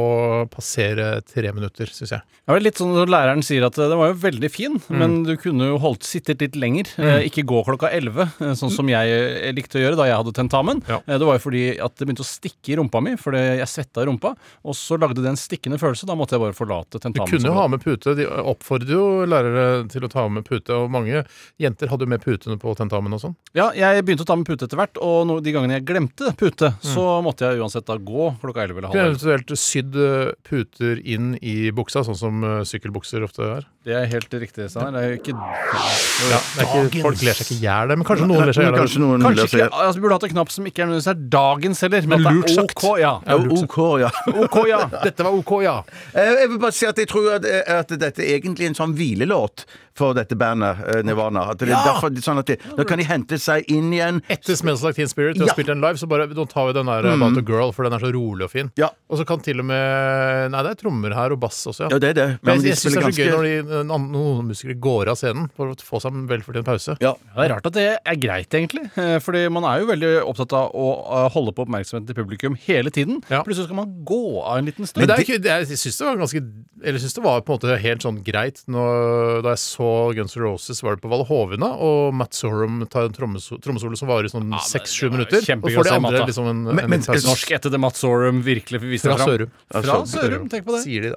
S4: passere tre minutter, syns jeg.
S5: Det var litt sånn at Læreren sier at eh, den var jo veldig fin,
S4: Mm.
S5: men du kunne jo holdt sittet litt lenger. Eh, Ikke gå klokka elleve, eh, sånn som jeg eh, likte å gjøre da jeg hadde tentamen.
S4: Ja.
S5: Eh, Det var jo fordi at det begynte å stikke i rumpa mi, fordi jeg svetta i rumpa. Og så lagde det en stikkende følelse. Da måtte jeg bare
S4: Du
S5: forlate tentamen.
S4: kunne jo
S5: som-
S4: ha med pute. De oppfordrer jo lærere til å ta med pute. Og mange jenter hadde jo med putene på tentamen og sånn.
S5: Ja, jeg begynte å ta med pute etter hvert, og no, de gangene jeg glemte pute,
S4: Mm.
S5: så måtte jeg uansett da gå klokka elleve eller halv
S4: Kunne
S5: elleve.
S4: eventuelt sydd eh, puter inn i buksa, sånn som eh, sykkelbukser ofte er.
S5: Det er helt riktig, Steinar. Det er jo ikke
S4: Ja, det er ikke, folk ler seg ikke i hjel der, men kanskje noen ler seg i hjel.
S6: Kanskje noen
S5: Kanskje
S6: ler seg
S5: ikke, altså, Vi burde hatt en knapp som ikke er nødvendigvis er dagens heller, men, at
S4: lurt
S5: det er
S4: sagt.
S5: OK, ja.
S6: Ja, OK, ja.
S5: OK, ja.
S4: Dette var OK, ja.
S6: Eh, Jeg vil bare si at jeg tror at, eh, at dette er egentlig en sånn hvilelåt for dette bandet, eh, Nirvana. At det er derfor det er sånn at de, Nå kan de hente seg inn igjen.
S4: Etter Smells Like Teen Spirit, vi har
S6: Ja. Mm.
S4: spilt den live, så bare, nå tar vi den der About a Girl, for den er så rolig og fin.
S6: Ja.
S4: Og så kan til og med Nei, det er trommer her og bass også,
S6: Ja, det er det.
S4: Men
S6: Men de
S4: jeg syns det er
S6: spiller
S4: så gøy
S6: ganske-
S4: når de, noen noen musikere går av scenen for å få seg en velfortjent pause.
S5: Ja,
S6: Ja.
S5: Det er rart at det er greit, egentlig. Eh, Fordi man er jo veldig opptatt av å eh, holde på oppmerksomheten til publikum hele tiden.
S4: Ja.
S5: Plutselig skal man gå av en liten stund.
S4: Men det er, jo ikke- det er, jeg syns det var ganske Eller jeg syns det var på en måte helt sånn greit når, da jeg så Guns N' Roses var det på Val Hovina, og Matt Sorum tar en trommeso- trommesolo som varer i sånn seks-sju
S5: var
S4: minutter.
S5: kjempegøy
S4: Og for
S5: å
S4: det
S5: se,
S4: andre
S5: Matta.
S4: liksom en, en
S6: Men- men-
S4: liten pause.
S5: Norsk etter The Matt Sorum virkelig viste
S4: Fra
S5: fram.
S4: Sørum.
S5: Fra Sørum, tenk på det.
S4: Sier de, da.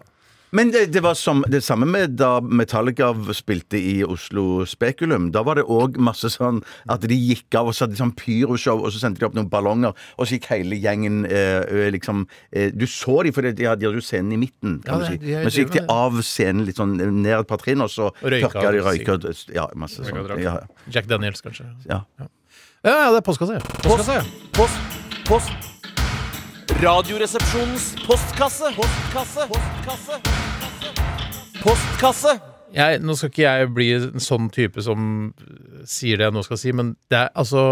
S6: Men det, det var som, det samme med da Metallica spilte i Oslo Spekulum. Da var det òg masse sånn at de gikk av og så hadde de sånn pyroshow, og så sendte de opp noen ballonger, og så gikk hele gjengen eh, ø, liksom eh, Du så dem, for de hadde de hadde jo scenen i midten,
S4: Ja,
S6: kan
S4: det-
S6: du
S4: de
S6: si.
S4: er-
S6: Men så gikk de av scenen litt sånn ned et par trinn, og så
S4: røyka
S6: tørka de
S4: og
S6: røyka og Ja, masse sånn.
S5: og drakk.
S6: Ja,
S4: Jack Daniels, kanskje.
S6: ja.
S4: Ja, ja, det er postkassa, ja.
S5: Postkassa, ja.
S3: Post, post. Radioresepsjonens postkasse. Postkasse. Postkasse. Postkasse.
S4: jeg, nå skal ikke jeg bli en sånn type som sier det jeg nå skal si, men det er altså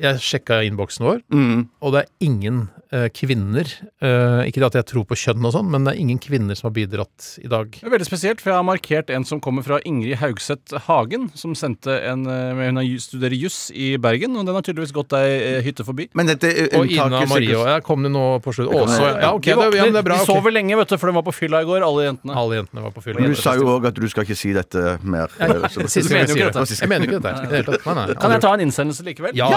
S4: Jeg sjekka innboksen vår, og det er ingen eh, kvinner eh, Ikke det at jeg tror på kjønn og sånn, men det er ingen kvinner som har bidratt i dag.
S5: Det er veldig spesielt, for jeg har markert en som kommer fra Ingrid Haugseth Hagen, som sendte en eh, men Hun har ju- studerer juss i Bergen, og den har tydeligvis gått ei eh, hytte forbi.
S6: Men dette eh, er
S4: Og Ina Marie og jeg kom det nå på slutt. Åse ja, ok, det, ja, men det er bra.
S5: De
S4: ok.
S5: sover lenge, vet du, for den var på fylla i går, alle jentene.
S4: Alle jentene var på fylla.
S6: Men du sa jo òg at du skal ikke si dette mer. eh, så-
S4: Siste gang jeg
S5: Du mener
S4: sier det.
S5: jo ikke dette.
S4: Jeg mener jo ikke dette. i det hele tatt. Nei, nei,
S5: Kan jeg
S4: aldri.
S5: ta en innsendelse likevel?
S4: Ja.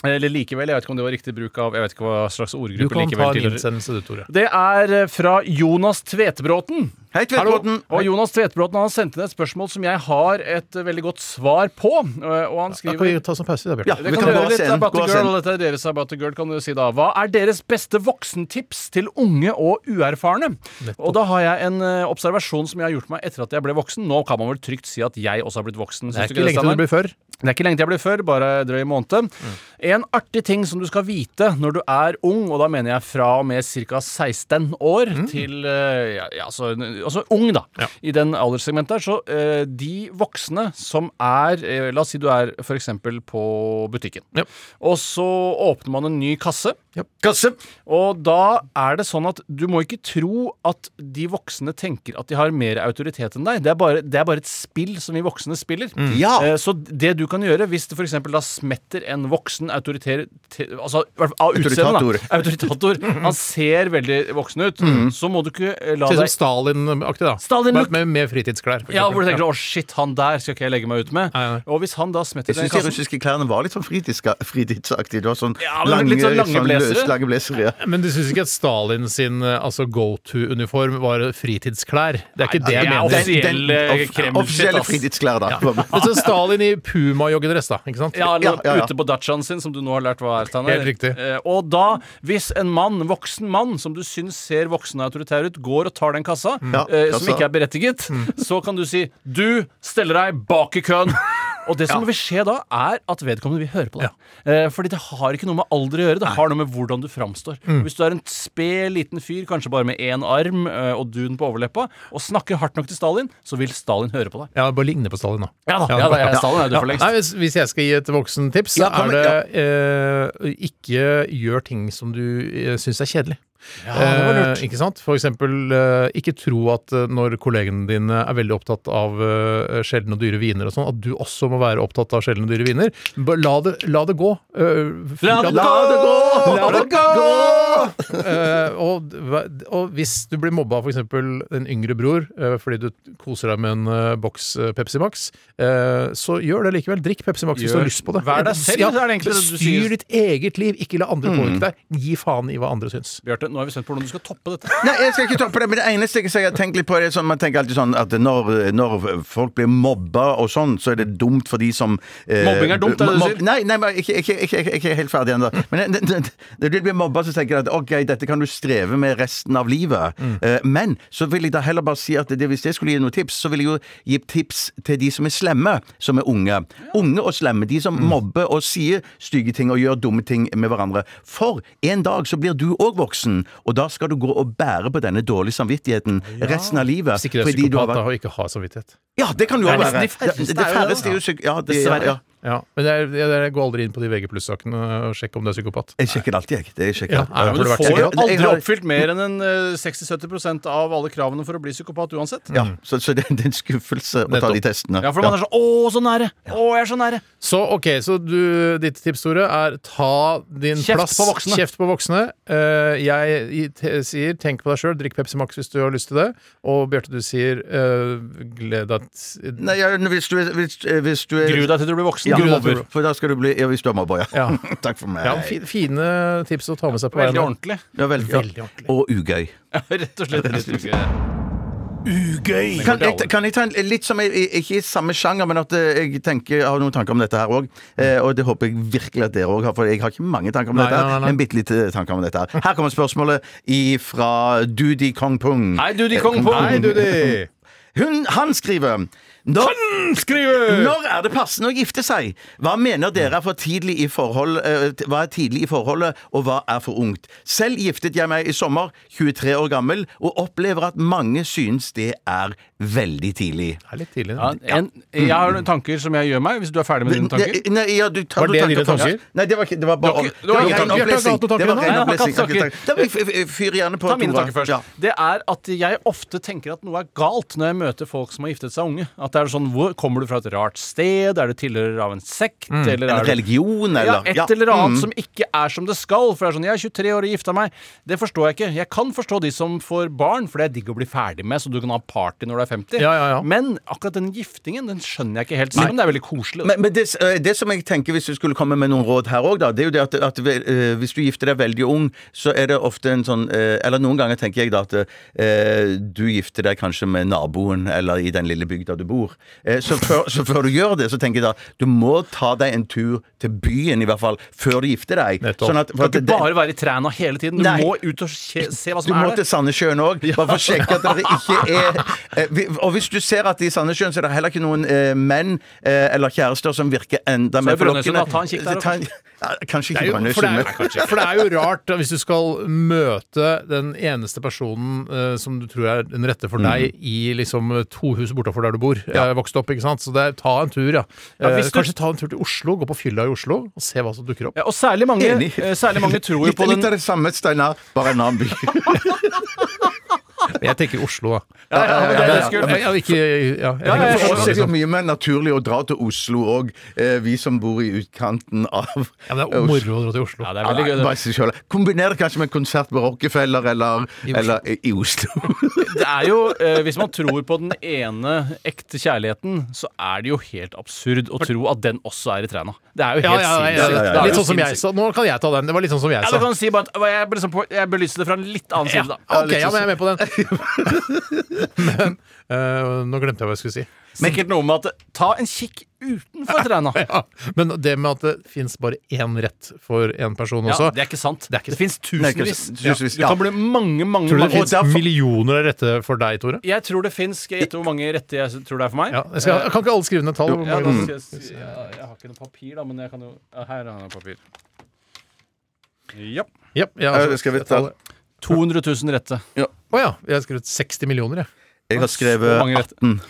S5: Eller likevel, jeg vet ikke om det var riktig bruk av Jeg vet ikke hva slags
S4: Du kan
S5: ordgruppe
S4: ta
S5: likevel
S4: en
S5: tidligere.
S4: innsendelse, du, Tore.
S5: Det er eh, fra Jonas Tvetebråten.
S6: Hei, Tvedtbråten.
S5: Og Jonas Tvetebråten han har sendt inn et spørsmål som jeg har et eh, veldig godt svar på. eh, Og han
S4: Da kan vi
S5: skriver
S4: ta oss en sånn pause, da,
S6: Ja,
S4: Bjarte.
S5: det
S6: vi
S5: kan
S6: kan
S5: du
S6: gå
S5: gjøre
S6: av
S5: litt
S6: scenen.
S5: about
S6: Gå
S5: the
S6: av
S5: girl,
S6: scenen.
S5: og dette er deres about the girl, kan du si da. Hva er deres beste voksentips til unge og uerfarne? Og da har jeg en eh, observasjon som jeg har gjort meg etter at jeg ble voksen. Nå kan man vel trygt si at jeg også har blitt voksen.
S4: Det
S5: Syns
S4: er
S5: du
S4: ikke lenge til
S5: Steinar?
S4: det blir før.
S5: Det er ikke lenge til jeg ble før, bare drøy måned. En artig ting som du skal vite når du er ung, og da mener jeg fra og med ca. 16 år til eh, ja, ja, altså, altså ung, da. I den alderssegmentet her. Så eh, de voksne som er eh, La oss si du er f.eks. på butikken.
S4: Ja.
S5: Og så åpner man en ny kasse.
S6: Kasse!
S5: Og da er det sånn at du må ikke tro at de voksne tenker at de har mer autoritet enn deg. Det er bare, det er bare et spill som vi voksne spiller.
S6: Ja.
S5: Eh, Så det du kan gjøre, hvis det f.eks. da smetter en voksen autoriter... te- Altså i hvert fall av utseende, da. Autoritator. Han ser veldig voksen ut.
S6: Mm.
S5: Så må du ikke eh, la
S4: Ser ut som
S5: deg
S4: Stalin-aktig, da.
S5: Stalin-
S4: Bare med, med fritidsklær. for
S5: ja, hvor du
S4: eksempel.
S5: tenker 'Å, shit, han der skal ikke jeg legge meg ut med'.
S4: Nei, nei.
S5: Og hvis han da smetter
S6: Jeg
S5: den
S6: syns de
S5: kassen
S6: russiske klærne var litt sånn fritidsga- fritidsaktige. Det var sånn
S5: Ja, men litt sånn lange blazere.
S6: løs- lange blazere, ja.
S4: Men du syns ikke at Stalin sin eh, altså, go to-uniform var fritidsklær? Det er ikke det jeg
S5: det er
S4: mener.
S5: offisiell- Offisielle
S6: off-
S5: Kreml-shit,
S6: offisielle
S5: ass. sånn,
S6: fritidsklær, da.
S4: Men så Stalin i puma-joggedress, da. Ikke sant?
S5: Ja, eller
S6: Ja, ja, ja.
S5: ute på dachaen sin, som du nå har lært hva er. Steiner.
S4: Helt riktig.
S5: Eh, og da, hvis en mann, voksen mann, som du syns ser voksen og autoritær ut, går og tar den kassa,
S4: Mm.
S6: Ja,
S5: eh, som
S6: kassa.
S5: ikke er berettiget, så kan du si 'du steller deg bak i køen'. Og det som vil skje da, er at vedkommende vil høre på deg. Eh, fordi det har ikke noe med alder å gjøre, det har noe med hvordan du framstår. Hvis du er en sped liten fyr, kanskje bare med én arm eh, og dun på overleppa, og snakker hardt nok til Stalin, så vil Stalin høre på deg.
S4: Ja, bare ligner på Stalin, da.
S5: Ja da, ja, da jeg er Stalin, jeg er
S4: Ja.
S5: du for lengst.
S4: Nei, hvis, hvis jeg skal gi et voksentips, så
S6: Ja,
S4: er
S6: kom
S4: det eh, ikke gjør ting som du eh, syns er kjedelig. Eh, ikke sant? For eksempel, eh, ikke tro at eh, når kollegene dine er veldig opptatt av eh, sjeldne og dyre viner og sånn, at du også må være opptatt av sjeldne og dyre viner. Bare La det, la det gå. Eh,
S5: La det gå!
S4: La det gå!
S6: gå!
S4: Eh, og, og hvis du blir mobba av f.eks. en yngre bror eh, fordi du koser deg med en eh, boks eh, Pepsi Max, eh, så gjør det likevel. Drikk Pepsi Max hvis du
S5: Gjør-
S4: har lyst på det.
S5: Vær deg selv,
S4: Ja,
S5: så er det egentlig det du sier. Mm.
S4: Styr ditt eget liv, ikke la andre påvirke deg. Gi faen i hva andre syns.
S5: Bjarte, nå er vi spent på hvordan du skal toppe dette.
S6: Nei, jeg skal ikke toppe det, men det eneste jeg har tenkt litt på, er sånn, man tenker alltid sånn at når, når folk blir mobba og sånn, så er det dumt for de som eh,
S5: Mobbing er dumt, er det du
S6: mob-
S5: sier?
S6: Nei, nei, men ikke, ikke, ikke, ikke, ikke helt ferdig ennå. Men eh, det- det- når du blir mobba, så tenker jeg at ok, dette kan du streve med resten av livet.
S5: Mm.
S6: Eh, men så vil jeg da heller bare si at det, hvis jeg skulle gi noen tips, så ville jeg jo gi tips til de som er slemme, som er unge. Unge og slemme. De som
S5: Mm.
S6: mobber og sier stygge ting og gjør dumme ting med hverandre. For en dag så blir du òg voksen, og da skal du gå og bære på denne dårlige samvittigheten resten av livet.
S4: Hvis ikke du er
S6: fordi du har
S4: psykopat da,
S6: vært-
S4: og ikke har samvittighet.
S6: Ja, det kan du òg
S5: Det er
S6: være.
S5: nesten de færreste
S6: Det, det
S5: er jo det,
S6: færreste er jo psyk... Ja, det,
S5: Dessverre.
S6: ja.
S4: Ja, men jeg, jeg, jeg går aldri inn på de VG sakene og sjekker om du er psykopat.
S6: Jeg sjekker det alltid, jeg. Det sjekker
S4: Ja,
S6: jeg.
S4: nei, men
S5: Men
S4: Har
S5: du
S4: det vært
S5: får jo
S6: sikkert? Jeg
S5: aldri
S6: har-
S5: oppfylt mer enn en eh, 60-70 av alle kravene for å bli psykopat uansett.
S6: Ja, så, så det, det er en skuffelse å ta
S4: Mm. Nettopp.
S6: de testene.
S5: Ja, for man er sånn 'Å, så nære! Å, jeg er så nære!'
S4: Så ok, så du, ditt tips, Tore, er ta din
S5: Kjeft
S4: plass
S5: på voksne.
S4: Kjeft på voksne. Eh, jeg i- te- sier tenk på deg sjøl, drikk Pepsi Max hvis du har lyst til det. Og Bjarte, du sier eh, gled deg t-
S6: Nei, ja, hvis du, er- hvis, eh, hvis du er
S5: Gru deg til du blir voksen.
S6: Ja,
S5: du
S6: for-
S5: mobber.
S6: For da skal du bli Ja, hvis du er mobber, ja.
S4: Ja.
S6: Takk for meg.
S4: Ja, fi- fine tips å ta med seg på
S5: Veldig
S4: veien.
S5: ordentlig.
S6: Ja, vel, ja.
S4: Veldig ordentlig.
S6: Og ugøy.
S5: Rett og slett.
S8: Ugøy.
S6: Kan jeg, kan jeg ta en litt som jeg, Ikke i samme sjanger, men at eh, jeg tenker, jeg har noen tanker om dette her òg. Eh, og det håper jeg virkelig at dere òg har, for jeg har ikke mange tanker om
S4: Nei,
S6: dette. her
S4: nei, nei, nei.
S6: Men bitte litt eh, tanker om dette her. Her kommer spørsmålet fra Dudi Kong Pung.
S5: Hei, du, de kong på
S4: Hei, du, de!
S6: Hun, han skriver når,
S5: Mm.
S6: Når er det passende å gifte seg? Hva mener dere er for tidlig i forhold eh, t- Hva er tidlig i forholdet, og hva er for ungt? Selv giftet jeg meg i sommer, 23 år gammel, og opplever at mange synes det er veldig tidlig.
S4: Det er litt tidlig.
S5: Ja,
S4: da.
S5: en, jeg har noen tanker som jeg gjør meg, hvis du er ferdig med dine tanker.
S6: Det- Nei, ja, du, tar,
S4: Var
S6: du
S4: det
S6: tanker
S4: dine
S6: først.
S4: tanker?
S6: Nei, det var, ikke- det var bare
S5: Du har ikke-
S6: det var
S5: du har ikke
S6: ren
S5: tanker.
S6: opplesing.
S4: Bjarte har ikke hatt noen tanker,
S6: Det var ren
S5: nei? Han
S6: opplesing.
S5: har ikke hatt
S6: Da må jeg f- f- Fyr gjerne på.
S5: Ta mine
S6: Tore.
S5: tanker først.
S6: Ja.
S5: Det er at jeg ofte tenker at noe er galt når jeg møter folk som har giftet seg unge. At det er sånn, hvor Kommer du fra et rart sted? Er du tilhører av en sekt? Mm. Eller
S6: En
S5: er du
S6: religion, eller?
S5: ja, et eller annet som ikke er som det skal. For det er sånn, jeg er 23 år og gifta meg. Det forstår jeg ikke. Jeg kan forstå de som får barn, for det er digg å bli ferdig med, så du kan ha party når du er 50.
S4: Ja, ja, ja.
S5: Men akkurat den giftingen den skjønner jeg ikke helt, selv om det er veldig koselig.
S6: Men, men det, eh, det som jeg tenker hvis du skulle komme med noen råd her òg, det er jo det at, at vel, eh, hvis du gifter deg veldig ung, så er det ofte en sånn eh, Eller noen ganger tenker jeg da at eh, du gifter deg kanskje med naboen eller i den lille bygda du bor. Eh, Så før, så før du gjør det, så tenker jeg da du må ta deg en tur til byen, i hvert fall, før du gifter deg. Sånn
S4: Nettopp.
S6: at,
S5: du kan ikke bare være i træna hele tiden. Du
S6: Nei.
S5: må ut og se, se hva
S6: du
S5: som
S6: må
S5: er
S6: til
S5: der.
S6: Sandessjøen òg, bare for å sjekke at det ikke er eh, vi- Og hvis du ser at i Sandessjøen så er det heller ikke noen eh, menn eh, eller kjærester som virker enda mer
S5: er Brønnøysund, da. Ta
S6: forlokkende
S5: en kikk der
S6: Ta en- Ja, Kanskje
S4: Det er
S6: ikke
S4: jo, for, det er, jo- for det er jo rart da, hvis du skal møte den eneste personen eh, som du tror er den rette for deg,
S5: Mm.
S4: i liksom to hus bortafor der du bor. Jeg vokste opp, ikke sant? Så det er, ta en tur, ja. Eh,
S5: hvis du-
S4: Kanskje ta en tur til Oslo, gå på fylla i Oslo, og se hva som dukker opp.
S5: Ja, og særlig mange,
S6: Enig.
S5: eh, særlig mange tror jo
S6: Litt,
S5: på den
S6: litt av det samme, Steinar, bare en annen by.
S4: Jeg tenker Oslo, da.
S5: Ja, ja, men det er ganske-
S4: Ja, men- ja, ikke, ja, jeg
S5: ja,
S4: tenker
S5: jeg
S4: Oslo,
S6: For oss er det
S4: liksom.
S6: jo mye mer naturlig å dra til Oslo òg, vi som bor i utkanten av
S4: Ja, men det er moro å dra til Oslo.
S5: Ja, det er
S6: Ja,
S5: veldig gøy.
S6: nei,
S5: det.
S6: bare seg selv. Kombiner det kanskje med konsert med Rockefeller eller i Oslo. Eller, i Oslo.
S5: Det er jo, eh, Hvis man tror på den ene ekte kjærligheten, så er det jo helt absurd å tro at den også er i træna. Det er jo
S4: Ja,
S5: helt
S4: ja, ja,
S5: sinnssykt.
S4: ja,
S5: Det
S4: ja.
S5: er
S4: Litt
S5: jo
S4: sånn som jeg
S5: sinnssykt.
S4: sa. Nå kan jeg ta den. Det var litt sånn som jeg
S5: Ja,
S4: sa.
S5: du kan si bare at jeg, liksom, på- jeg belyser det fra en litt annen side, da.
S4: Ok, ja, men jeg er med på den. Men eh, Nå glemte jeg hva jeg skulle si.
S5: Sikkert noe med at ta en kikk utenfor træna.
S4: Ja, men det med at det fins bare én rett for én person
S5: Ja,
S4: også
S5: det er ikke sant.
S4: Det er ikke sant.
S5: fins
S6: Nei, ikke
S5: tusenvis.
S6: sant. Tusenvis,
S5: Du
S6: ja.
S5: kan bli mange, mange,
S4: Tror du det
S5: mange
S4: fins millioner av rette for deg, Tore?
S5: Jeg tror det fins. Skal jeg gjette hvor mange rette jeg tror det er for meg?
S4: Ja, jeg skal, kan ikke alle skrive ned tall? Hvor
S5: Eh, Ja, altså- da
S4: mange-
S5: skal jeg, si, ja, jeg har ikke noe papir, da, men jeg kan jo ja, Her har jeg papir. Ja.
S4: Ja, jeg
S6: Ja,
S4: har
S6: det Eh, skal vi
S4: skrevet
S6: ta.
S4: tallet.
S5: 200 000 rette.
S4: Å ja, jeg har skrevet 60 millioner, jeg.
S6: Jeg har skrevet
S5: Så mange rett.
S6: 18.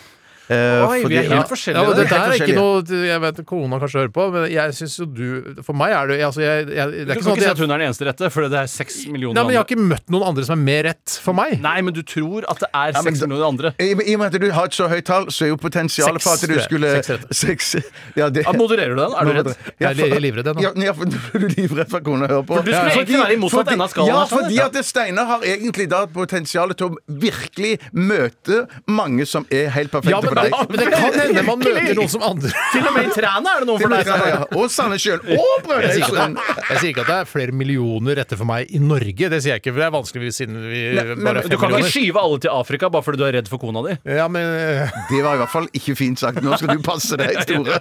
S6: eh,
S5: Oi, vi er
S6: ja.
S5: helt forskjellige.
S4: Ja, men det
S6: helt
S4: der er ikke
S6: forskjellige.
S4: noe Jeg vet kona kanskje hører på, men jeg syns jo du For meg er det altså, jeg, jeg, Det
S5: du
S4: er
S5: kan
S4: ikke sånn
S5: ikke si
S4: at
S5: at
S4: jeg
S5: hun er den eneste rette, for det er seks millioner
S4: Nei, men jeg har
S5: andre.
S4: ikke møtt noen andre som er mer rett for meg.
S5: Nei, men du tror at det er
S6: men
S5: seks
S6: da-
S5: millioner andre.
S6: I, I og med at du har et så høyt tall, så er jo potensialet
S4: Seks,
S6: for at du
S4: tror jeg.
S6: skulle
S4: Seks rette.
S6: Seks ja, det,
S5: Ja, modererer du den? Er du redd?
S4: Jeg er li- livredd ennå.
S6: Ja, ja, for du er livredd for at kona hører på.
S5: For du skulle
S6: Ja.
S5: egentlig være i motsatt ende av skalaen
S6: Ja,
S5: her, sånn,
S6: fordi
S5: ja.
S6: at Steinar har egentlig da potensialet til å virkelig møte mange som er helt perfekte
S4: Ja, men,
S6: for deg.
S4: men det kan hende man møter noen som andre
S5: Til og med i trærne er det noen
S6: Det
S5: for
S6: må
S5: deg.
S6: dere ha, ja. Og Sanne sjøl. Og
S4: Jeg sier, ikke at
S6: Brønnøysund.
S4: det er, jeg sier ikke at det er flere millioner rette for meg i Norge. Det sier jeg ikke, for det er vanskelig siden vi
S6: men-
S4: bare
S6: men
S4: er
S5: Du
S4: fem
S5: kan ikke
S4: millioner.
S5: skyve alle til Afrika bare fordi du er redd for kona di.
S4: Ja, men, eh,
S6: Det var i hvert fall ikke fint sagt. Nå skal du passe deg, Store.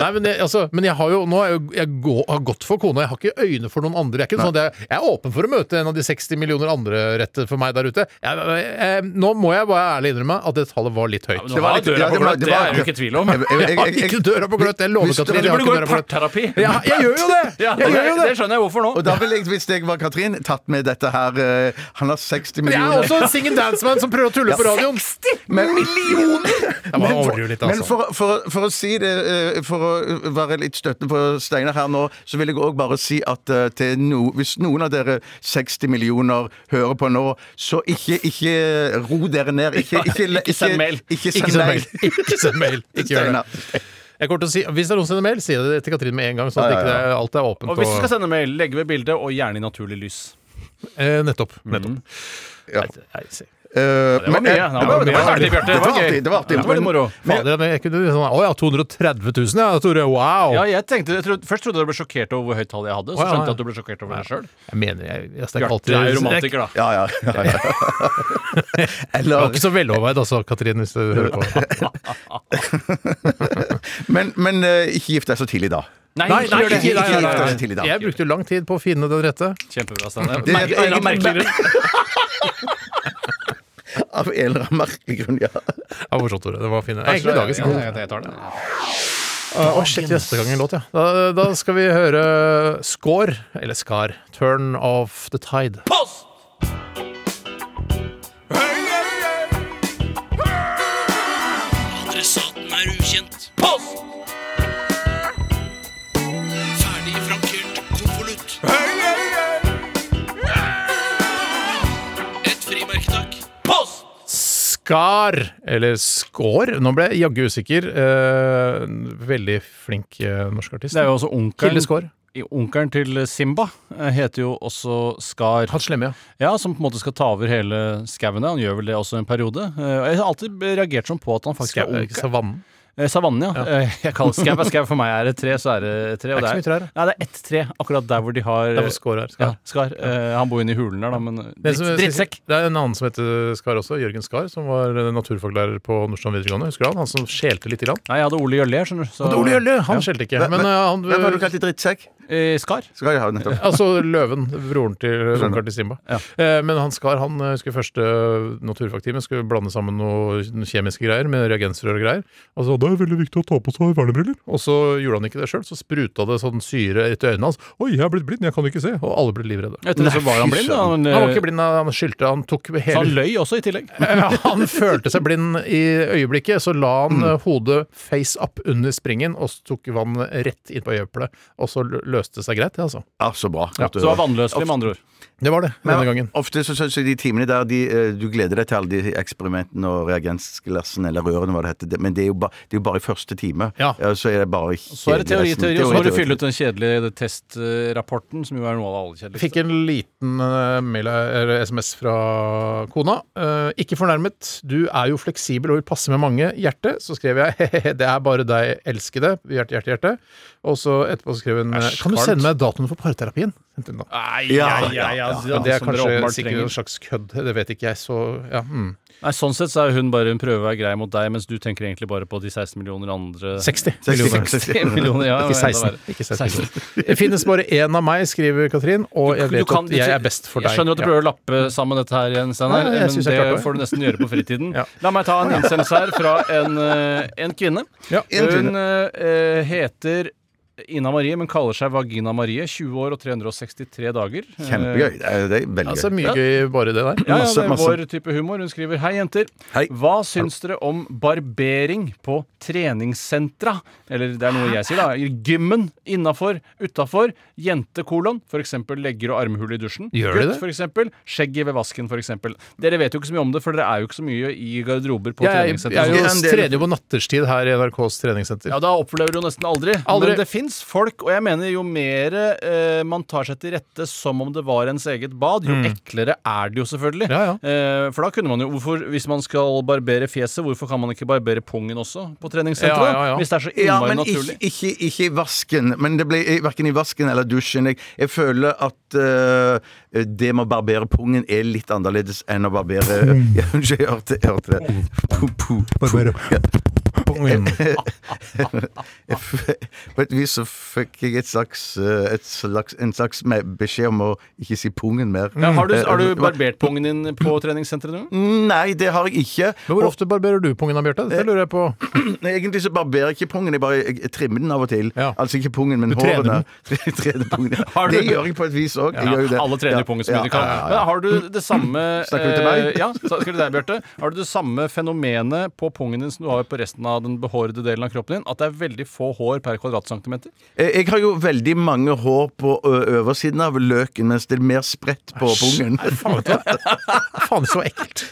S4: nei, men, jeg, altså, men jeg har jo nå er jeg, jo- jeg går, har gått for kona. Jeg har ikke øyne for noen andre. Jeg er, ikke sånn, at jeg, jeg er åpen for å møte en av de 60 millioner andre rette for meg der ute. Jeg, jeg, jeg, nå må jeg bare ærlig innrømme at det tallet var litt høyt.
S5: Du har
S6: litt-
S5: døra
S6: ja, det
S5: på
S6: var-
S5: gløtt,
S6: det
S5: det
S6: var-
S5: er jo ikke tvil om.
S6: Jeg- jeg-
S4: Jeg har
S6: jeg- jeg-
S4: ikke døra på gløtt! Jeg lover,
S6: Hvis-
S4: Katrin.
S5: Du
S4: Jeg har
S5: burde
S4: ikke
S5: gå
S4: døra på
S5: i
S4: gløtt.
S5: parterapi.
S4: Ja, jeg gjør jo det!
S5: Ja,
S4: Jeg
S5: det,
S4: gjør jo det!
S5: det skjønner jeg hvorfor nå.
S6: Og da ville jeg, hvis jeg var Katrin, tatt med dette her eh, Han har 60
S4: Men jeg er
S6: millioner.
S4: også en sing and dance-man som prøver å tulle på radioen.
S6: Men,
S4: må
S6: men, for,
S4: overdrive litt,
S6: men
S4: altså.
S6: for, for, for å si det eh, For å være litt støttende for Steinar her nå, så vil jeg òg bare si at eh, til no, hvis noen av dere 60 millioner hører på nå, så ikke, ikke ro dere ned. Ikke, ikke,
S5: Ikke send mail.
S6: Ikke
S4: Ikke
S6: send
S4: send
S6: mail.
S4: mail. Ikke send mail. Ikke gjør det.
S6: Steinar.
S4: Jeg kommer til å si, Hvis det er noen som sender mail, si det til Katrin med en gang. Sånn at
S6: Ja, ja,
S4: ikke
S6: ja.
S4: det, alt er åpent.
S5: Og hvis du skal sende mail, legg ved bildet, og gjerne i naturlig lys.
S4: eh, nettopp. nettopp.
S6: Mm. Ja.
S4: Nei, nei, se.
S6: Eh,
S5: var
S6: men,
S5: mye,
S6: eh,
S5: det var mye. Herlig, Bjarte.
S6: Det
S5: Det
S6: var
S5: var
S6: artig.
S5: gøy.
S6: Det var artig.
S5: Ja, det var litt
S6: Men-
S5: moro.
S4: Fader, men jeg kunne sånn, Å ja, 230 000, ja, Tore. Wow!
S5: Ja, jeg tenkte, jeg trodde, Først trodde jeg du ble sjokkert over hvor høyt tall jeg hadde. Så
S4: Å, ja,
S5: skjønte
S4: ja.
S5: jeg at du ble sjokkert over deg sjøl.
S4: Jeg mener, jeg, jeg
S5: Du
S4: snakker alltid
S5: er jo romantiker, da.
S6: Ja, ja. ja, ja.
S4: Det var
S6: Eller,
S4: ikke så veloverveid, altså, Katrin, hvis du hører på.
S6: men men eh, ikke gift deg så tidlig, da.
S5: Nei,
S4: Nei, nei,
S5: gjør det.
S4: ikke- nei, nei,
S6: gift deg
S4: nei,
S6: så tidlig,
S4: nei.
S6: da.
S4: Jeg brukte jo lang tid på å finne den rette.
S5: Kjempebra, Steinar.
S6: Det er
S5: Merkelig-
S6: egentlig-
S5: merkeligere.
S6: Av en eller annen merkelig grunn, ja.
S4: Ja, morsomt, Tore. Det var fine. Egentlig dagens
S5: Ja, ja, ja, jeg tar det.
S4: Å, shit, neste gang en låt, ja. Da, da skal vi høre Skår, eller Skar, 'Turn Off The Tide'.
S9: Adressaten er ukjent. Post! Ferdig frankert konvolutt. Et frimerke, takk. Post!
S4: Skar, eller Skår. Nå ble jeg jaggu usikker. Eh, veldig flink eh, norsk artist.
S5: Det er jo også
S4: Kilde
S5: onkelen
S4: Skår.
S5: i- Onkelen til Simba eh, heter jo også Skar.
S4: Han slemme, ja.
S5: Ja, Som på en måte skal ta over hele skauen. Han gjør vel det også en periode. Eh, og Jeg har alltid reagert sånn på at han faktisk
S4: Skau,
S5: er
S4: eh,
S5: onkel.
S4: Savannen.
S5: Eh, Savannen, ja. Eh, Jeg kaller det skau. for Skau for meg er et tre, så er det et tre. og
S4: Det er ikke så mye trær,
S5: Nei, det er ett tre akkurat der hvor de har
S4: Det er hvor Skår er.
S5: Ja,
S4: Skar.
S5: skar. Eh, han bor inne i hulen der, da, men
S4: Det
S5: dritt,
S4: som-
S5: drittsekk.
S4: Det er en annen som heter Skar også. Jørgen Skar, som var eh, naturfaglærer på Nordstrand videregående. Husker du han? Han som skjelte litt i land.
S5: Nei, jeg hadde Ole Jølle, jeg, skjønner du. så-
S4: Ole Jølle, han skjelte ikke. Men eh, han
S6: Hvem har du kalt i drittsekk?
S5: Eh, Skar.
S6: Skal jeg ha nettopp.
S4: Altså Løven, broren til onkelen til Simba.
S5: Ja.
S4: Eh, men han Skar han eh, skulle første naturfagtimen skulle blande sammen noe kjemiske greier med reagensrør og greier. Og så det er veldig viktig å ta på seg vernebriller. Og så gjorde han ikke det sjøl, så spruta det sånn syre etter øynene hans. Oi, jeg er blitt blind, jeg kan ikke se. Og alle ble livredde.
S5: Etter det så var han blind. da. Han,
S4: Han var
S5: eh,
S4: ikke blind, han skyldte Han tok
S5: så han
S4: hele
S5: løy også, i tillegg.
S4: Ja, han følte seg blind i øyeblikket, så la han
S5: Mm.
S4: eh, hodet face up under springen og så tok vann rett inn på øyeeplet. Og så lø- løste det seg greit, det, altså.
S6: Ja, så bra. Godt å
S5: Så var
S6: høre.
S5: vannløselig, med andre ord.
S4: Det var det
S6: Men
S4: denne gangen.
S6: Ofte så syns jeg de timene der de, eh, du gleder deg til alle de eksperimentene og reagensglassene eller rørene, hva det heter. Det- Men det er jo, ba, det er jo bare i første time.
S4: Ja.
S6: Så er det bare
S5: Så er det teori,
S6: kjedelig resten.
S5: teori, og så må du
S6: teori.
S5: fylle ut den kjedelige testrapporten, som jo er noe av det aller kjedeligste.
S4: Fikk en liten eh, mail eller SMS fra kona. Eh, ikke fornærmet. Du er jo fleksibel og vil passe med mange. Hjerte. Så skrev jeg hehehe, det er bare deg, elskede. Hjerte, hjerte, hjerte. Og så etterpå skrev hun
S5: Æsj,
S4: Kan du
S5: Carl.
S4: sende meg datoen for parterapien? Sendte hun da.
S5: Nei,
S6: Ja,
S5: nei, nei,
S6: ja,
S5: altså,
S4: Ja, det er
S5: som dere
S4: kanskje
S5: åpenbart
S4: sikkert
S5: trenger.
S4: en slags kødd. Det vet ikke jeg, så ja. Mm.
S5: Nei, Sånn sett så er hun bare en prøve å være grei mot deg, mens du tenker egentlig bare på de 16 millioner andre
S4: 60 millioner.
S6: 60
S5: millioner. Ja,
S4: Ikke
S5: men enda
S4: 16.
S5: verre.
S4: Ikke 16. Det finnes bare én av meg, skriver Katrin, og jeg
S5: Du
S4: vet
S5: kan-
S4: at jeg er best for deg.
S5: Jeg skjønner at du
S4: Ja.
S5: prøver å lappe sammen dette her igjen, Steinar,
S4: Nei, jeg
S5: men
S4: synes
S5: det
S4: jeg klarte det.
S5: får du nesten gjøre på fritiden.
S4: Ja.
S5: La meg ta en innsendelse her fra en, eh, en kvinne.
S4: Ja.
S5: Hun eh, heter Ina Marie, men kaller seg Vagina Marie. 20 år og 363 dager.
S6: Kjempegøy. Det er, det er veldig
S4: Altså,
S6: gøy.
S4: mye gøy bare i det der.
S5: Ja, ja,
S6: Masse,
S5: det er
S6: masse.
S5: vår type humor. Hun skriver Hei, jenter.
S6: Hei.
S5: Hva syns dere om barbering på treningssentra? Eller det er noe jeg sier, da. I gymmen, innafor, utafor. Jentekolon. F.eks. legger og armhull i dusjen.
S4: Gjør de det?
S5: for eksempel, Skjegget ved vasken, f.eks. Dere vet jo ikke så mye om det, for dere er jo ikke så mye i garderober på
S4: Jeg, jeg,
S5: treningssentra.
S4: er jo
S6: En del-
S4: trener jo på natterstid her i NRKs treningssenter.
S5: Ja, da opplever du jo nesten aldri.
S4: Aldri.
S5: Men det fins folk, og jeg mener jo mer eh, man tar seg til rette som om det var ens eget bad, jo eklere er det jo selvfølgelig.
S4: Mm. Ja, ja.
S5: Eh, for da kunne man jo hvorfor, Hvis man skal barbere fjeset, hvorfor kan man ikke barbere pungen også på
S4: Ja,
S5: treningssenteret?
S4: ja, ja.
S5: Hvis det er så
S6: Ja,
S5: innmari
S6: men ikke,
S5: naturlig.
S6: ikke, ikke i vasken. Men det ble verken i vasken eller dusjen. Jeg, jeg føler at eh, det med å barbere pungen er litt annerledes enn å barbere Ja, Unnskyld, jeg hørte, jeg hørte det. Po, po,
S4: Barbere. Pungen.
S6: Jeg f- På et vis så fikk jeg et slags, eh, et slags, en slags me- beskjed om å ikke si pungen mer.
S5: Ja, har, du, har
S6: Eh,
S5: du barbert pungen din på treningssenteret nå?
S6: Nei, det har jeg ikke.
S4: Men hvor ofte barberer du pungen da, Bjarte? Dette lurer jeg på.
S6: Nei, Egentlig så barberer jeg ikke pungen, jeg bare jeg trimmer den av og til.
S4: Ja.
S6: Altså ikke pungen, men
S4: Du trener
S6: hårene. Jeg trener pungen.
S5: Har du-
S6: Det gjør jeg på et vis òg.
S5: Ja, alle trener pungen så mye de kan. Men har du det samme
S6: Snakker du til meg?
S5: eh, Ja, snakker du til deg, Bjarte. Har du det samme fenomenet på pungen din som du har på resten av den behårede delen av kroppen din? At det er veldig få hår per kvadratcentimeter?
S6: Jeg har jo veldig mange hår på ø, øversiden av løken, mens det er mer spredt på pungen.
S4: Faen, vet du hva? Faen, så ekkelt.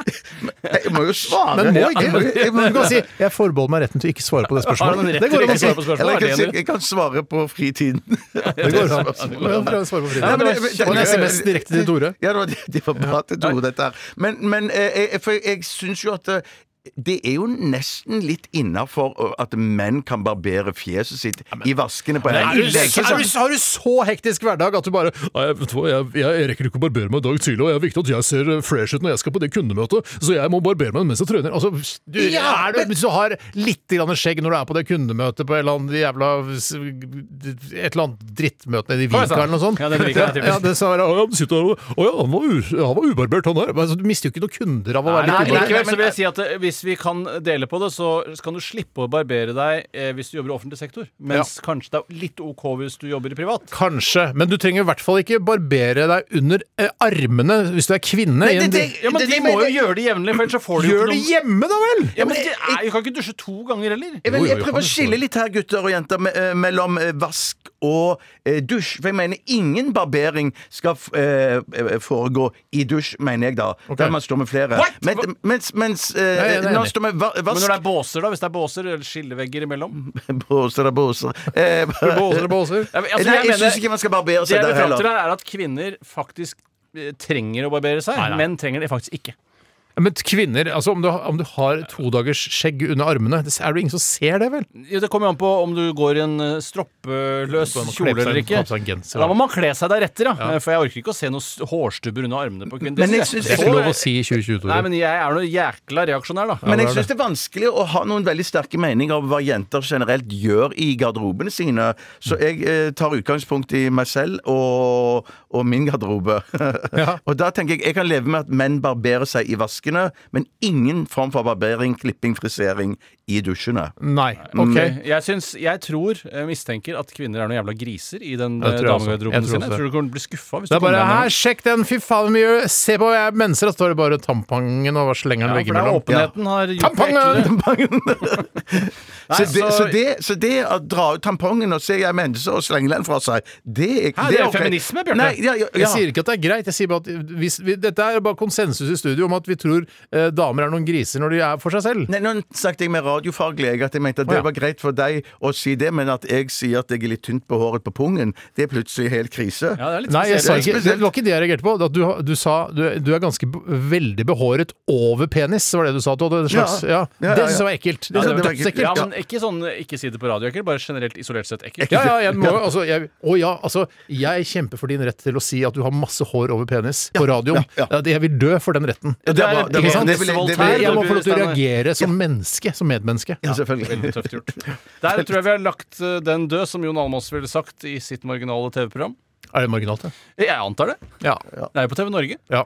S6: Jeg må jo svare!
S4: Men må
S6: Ja,
S4: ikke.
S6: jeg må- jeg må-
S4: Du kan si 'jeg forbeholder meg retten til å ikke svare på det spørsmålet'. Det går an å si.
S6: Eller jeg kan, si- jeg kan svare på fritiden.
S4: Det går an. Ja, prøv å svare på
S6: Nei, men
S4: fritiden.
S6: det- det-
S4: Og en SMS direkte til Tore.
S6: Ja, det var, det var bra til Tore, dette her. Men, men eh, jeg, for jeg syns jo at eh, det er jo nesten litt innafor eh, at menn kan barbere fjeset sitt i vaskene på
S4: Er du,
S6: helgen. Det er ikke
S4: er
S6: sånn-
S4: du, har du så hektisk hverdag at du bare Nei, vet du hva, jeg, jeg rekker ikke å barbere meg i dag tidlig, og det er viktig at jeg ser eh, fresh ut når jeg skal på det kundemøtet, så jeg må barbere meg mens jeg trener. Altså, du, er du, hvis du har litt grann skjegg når du er på det kundemøtet på et eller annet jævla s- Et eller annet drittmøte nede i Vika eller noe sånt.
S5: Ja, det er Vika, typisk.
S4: ja, det sa jeg, ja, du sitter her og Å ja, han var, u, han var ubarbert, han der. Men Altså, du mister jo ikke noen kunder av å være
S5: Nei,
S4: litt ubarbert.
S5: likevel så vil jeg si at eh, Hvis vi kan dele på det, så kan du slippe å barbere deg eh, hvis du jobber i offentlig sektor. Mens kanskje det er litt OK hvis du jobber i privat.
S4: Kanskje, men du trenger i hvert fall ikke barbere deg under eh, armene hvis du er kvinne. i en-
S5: Ja, men De må jo gjøre det jevnlig, for ellers så får du jo
S4: Gjør
S5: ikke
S4: det
S5: noen
S4: hjemme, da vel!
S5: ja, men det er, Du kan ikke dusje to ganger heller.
S6: Jeg, vil,
S4: Jo, jo,
S6: jeg
S4: jo,
S6: prøver å
S4: kan du
S6: skille litt her, gutter og jenter, me eh, mellom eh, vask og eh, dusj. For jeg mener ingen barbering skal f eh, eh, foregå i dusj, mener jeg da. Der man står med flere. Men, mens mens eh,
S4: jeg er enig.
S6: når man står med va
S5: Men når det
S6: vask
S5: er båser, da? Hvis det er båser eller skillevegger imellom?
S6: Båser og båser. Eh,
S4: Båser og båser.
S5: Ja, men, altså, jeg
S6: Nei, jeg
S5: mener-
S6: syns ikke man skal barbere
S5: Det
S6: seg
S5: jeg vil
S6: der
S5: fram til,
S6: heller.
S5: her er at kvinner faktisk eh, trenger å barbere seg. Menn trenger det faktisk ikke.
S4: Men kvinner, altså om du, om du har todagers skjegg under armene, det er det jo ingen som ser det, vel?
S5: Jo, Det kommer jo an på om du går i en eh, stroppeløs
S4: Man må kle
S5: kjole
S4: på seg en-
S5: eller ikke.
S4: ta på seg en genser,
S5: Da
S4: da.
S5: må man kle seg deretter, ja. Eh, For jeg orker ikke å se noen s- hårstubber under armene på kvinner.
S6: Men jeg
S5: synes
S4: Det er
S6: synes-
S4: ikke lov å si i 2020,
S5: Nei,
S4: Tore.
S5: men jeg er noe jækla reaksjonær, da.
S6: Men
S4: det
S6: jeg
S4: er
S6: syns det er vanskelig å ha noen veldig sterke meninger om hva jenter generelt gjør i garderobene sine, så jeg eh, tar utgangspunkt i meg selv og, og min garderobe. og da tenker jeg jeg kan leve med at menn barberer seg i vaskene, men ingen form for barbering, klipping, frisering i dusjene.
S4: Nei. Ok.
S5: Mm. Jeg, syns, jeg tror, jeg mistenker, at kvinner er noen jævla griser i den
S4: Jeg
S5: eh,
S4: tror jeg også. Jeg
S5: damegarderoben
S4: tror
S5: sin.
S4: også
S5: Jeg
S4: det.
S5: tror du kommer til å bli skuffa.
S4: Det er bare her, sjekk den, fy faen hvor mye Se på, jeg er menser, da står det bare tampangen og hva slenger den
S5: Ja, for det er
S4: veggimellom.
S5: åpenheten har gjort det
S4: Tampangen!
S5: ekle.
S6: Så, det,
S5: så-
S6: så, det, så det å dra ut tampongen og se jeg er menneske og slenge den fra seg, det er ikke
S5: det er
S6: ok.
S5: feminisme, Bjarte.
S6: Nei, ja, ja, ja.
S4: Jeg sier ikke at det er greit. Jeg sier bare at hvis vi, Dette er bare konsensus i studio om at vi tror eh, damer er noen griser når de er for seg selv.
S6: Nei, nå snakket jeg med radiofaglig jeg, at jeg mente at
S4: Å,
S6: det
S4: ja.
S6: var greit for deg å si det, men at jeg sier at jeg er litt tynt på håret på pungen, det er plutselig helt krise.
S5: Ja, det er litt
S4: Nei, jeg sa
S5: spesielt.
S4: ikke, det var ikke det jeg reagerte på. Det at du, har- du sa du, er- du er ganske b- veldig behåret over penis, var det du sa. at Du hadde en slags, ja.
S6: Ja. Ja, ja,
S4: Det syns
S6: ja.
S4: jeg var ekkelt.
S6: Ja,
S4: Det
S6: det
S4: synes jeg
S6: var
S4: var
S6: ekkelt.
S4: dødsekkelt.
S5: Ja, men ikke sånn ikke si det på radio, ekkelt. Bare generelt isolert sett ekkelt.
S4: Ja, ja, jeg må jo altså, jeg, Å ja, altså Jeg kjemper for din rett til å si at du har masse hår over penis på radioen.
S6: ja, ja.
S4: At Jeg vil dø for den retten.
S6: Ja, det er bra, det er
S4: Ikke
S6: bra.
S4: sant?
S6: Det vil jeg- det vil
S4: Jeg må få lov til å
S5: Steiner.
S4: reagere som menneske, som medmenneske.
S6: Ja, selvfølgelig.
S5: Tøft gjort. Der tror jeg vi har lagt eh, den død, som Jon Almaas ville sagt i sitt marginale TV-program.
S4: Er det marginalt, det?
S5: Jeg antar det.
S4: Ja.
S5: Det er jo på TV Norge.
S4: ja.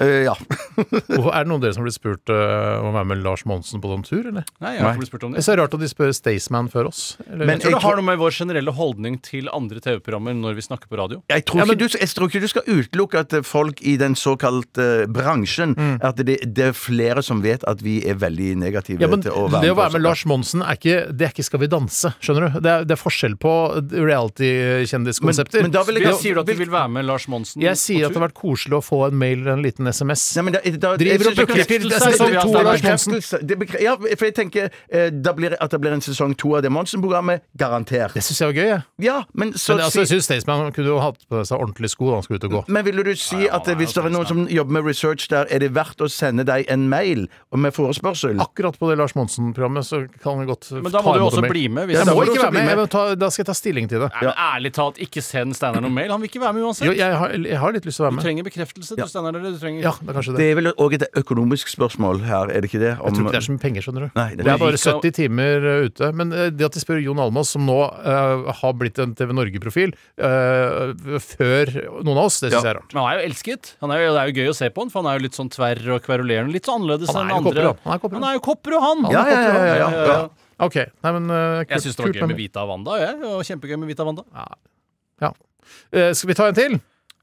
S6: Eh, ja.
S4: Hvorfor- Er det noen av dere som har blitt spurt eh, om å være med Lars Monsen på sånn tur, eller?
S5: Nei, jeg har ikke blitt spurt om
S4: Det
S5: det.
S4: er så rart at de spør Staysman før oss. Eller?
S6: Men
S5: Jeg tror
S6: jeg
S5: det har
S6: tror-
S5: noe med vår generelle holdning til andre TV-programmer når vi snakker på radio.
S6: Jeg tror, ikke du, jeg tror ikke du skal utelukke at eh, folk i den såkalte eh, bransjen
S4: Mm.
S6: At det, det er flere som vet at vi er veldig negative
S4: ja, men
S6: til å være
S4: det å være
S6: på-
S4: med Lars Monsen er ikke, det er ikke Skal vi danse, skjønner du? Det er, det er forskjell på reality-kjendiskonsepter.
S6: Men- men da vil
S5: Jeg
S6: Ja,
S5: sier du at du vil være med Lars Monsen?
S4: Jeg sier at det
S5: på tur?
S4: har vært koselig å få en mail eller en liten SMS.
S6: Nei, men da, da, jeg
S4: Driver
S6: synes
S4: og
S6: ikke-
S4: booker til
S5: bekreftelse,
S6: Det-
S4: sesong
S6: det-
S5: vi har
S4: to
S6: det-
S4: av Lars
S5: snakket om.
S4: Monsen.
S6: det bekre- Ja, for jeg tenker eh, da blir, at det blir en sesong to av det Monsen-programmet, garantert.
S4: Det syns jeg var gøy, jeg.
S6: Ja, men så
S4: Men altså,
S6: si-
S4: jeg syns Staysman kunne jo hatt på seg ordentlige sko da han skulle ut og gå.
S6: Men ville du si at hvis det er noen som jobber med research der, er det verdt å sende deg en mail og med forespørsel?
S4: Akkurat på det Lars Monsen-programmet så kan vi godt
S5: Men da må
S4: ta
S5: du jo
S4: imot en
S5: også
S4: mail.
S5: bli med. Hvis
S4: Jeg
S6: da
S5: Nei,
S4: må
S6: må du
S4: ikke
S6: også
S4: være
S6: bli
S4: med. Jeg
S6: med.
S4: må ta, da skal jeg ta stilling til det.
S5: men ærlig talt, ikke send Steinar noen mail. Han vil ikke være med uansett.
S4: Jo, jeg har, jeg har litt lyst til å være
S5: Du
S4: med.
S5: trenger bekreftelse, du Steinar. eller Du trenger
S4: Ja, det er kanskje det.
S6: Det er vel òg et økonomisk spørsmål her, er det ikke det?
S4: Jeg tror ikke det er så mye penger, skjønner du.
S6: Nei,
S4: det,
S6: det er
S4: er bare
S5: ikke-
S4: 70 timer eh, ute. Men eh, det at de spør Jon Almaas, som nå eh, har blitt en TV Norge-profil, eh, før noen av oss, det syns
S6: Ja.
S4: jeg er rart.
S5: Men han er jo elsket. Han er jo, det er jo gøy å se på han, for han er jo litt sånn tverr og kverulerende. Litt så annerledes
S4: Han er
S5: enn
S4: jo
S5: andre.
S4: kopperå. Han er kopperå.
S5: Han er jo kopperå, han!
S6: Ja, ja, ja, ja, ja, ja.
S4: OK. Nei, men eh, kult-
S5: Jeg syns det var
S4: kult
S5: gøy med
S4: meg.
S5: Vita Wanda. Jeg. Det var kjempegøy med Vita Wanda.
S4: Eh, Skal vi ta en til?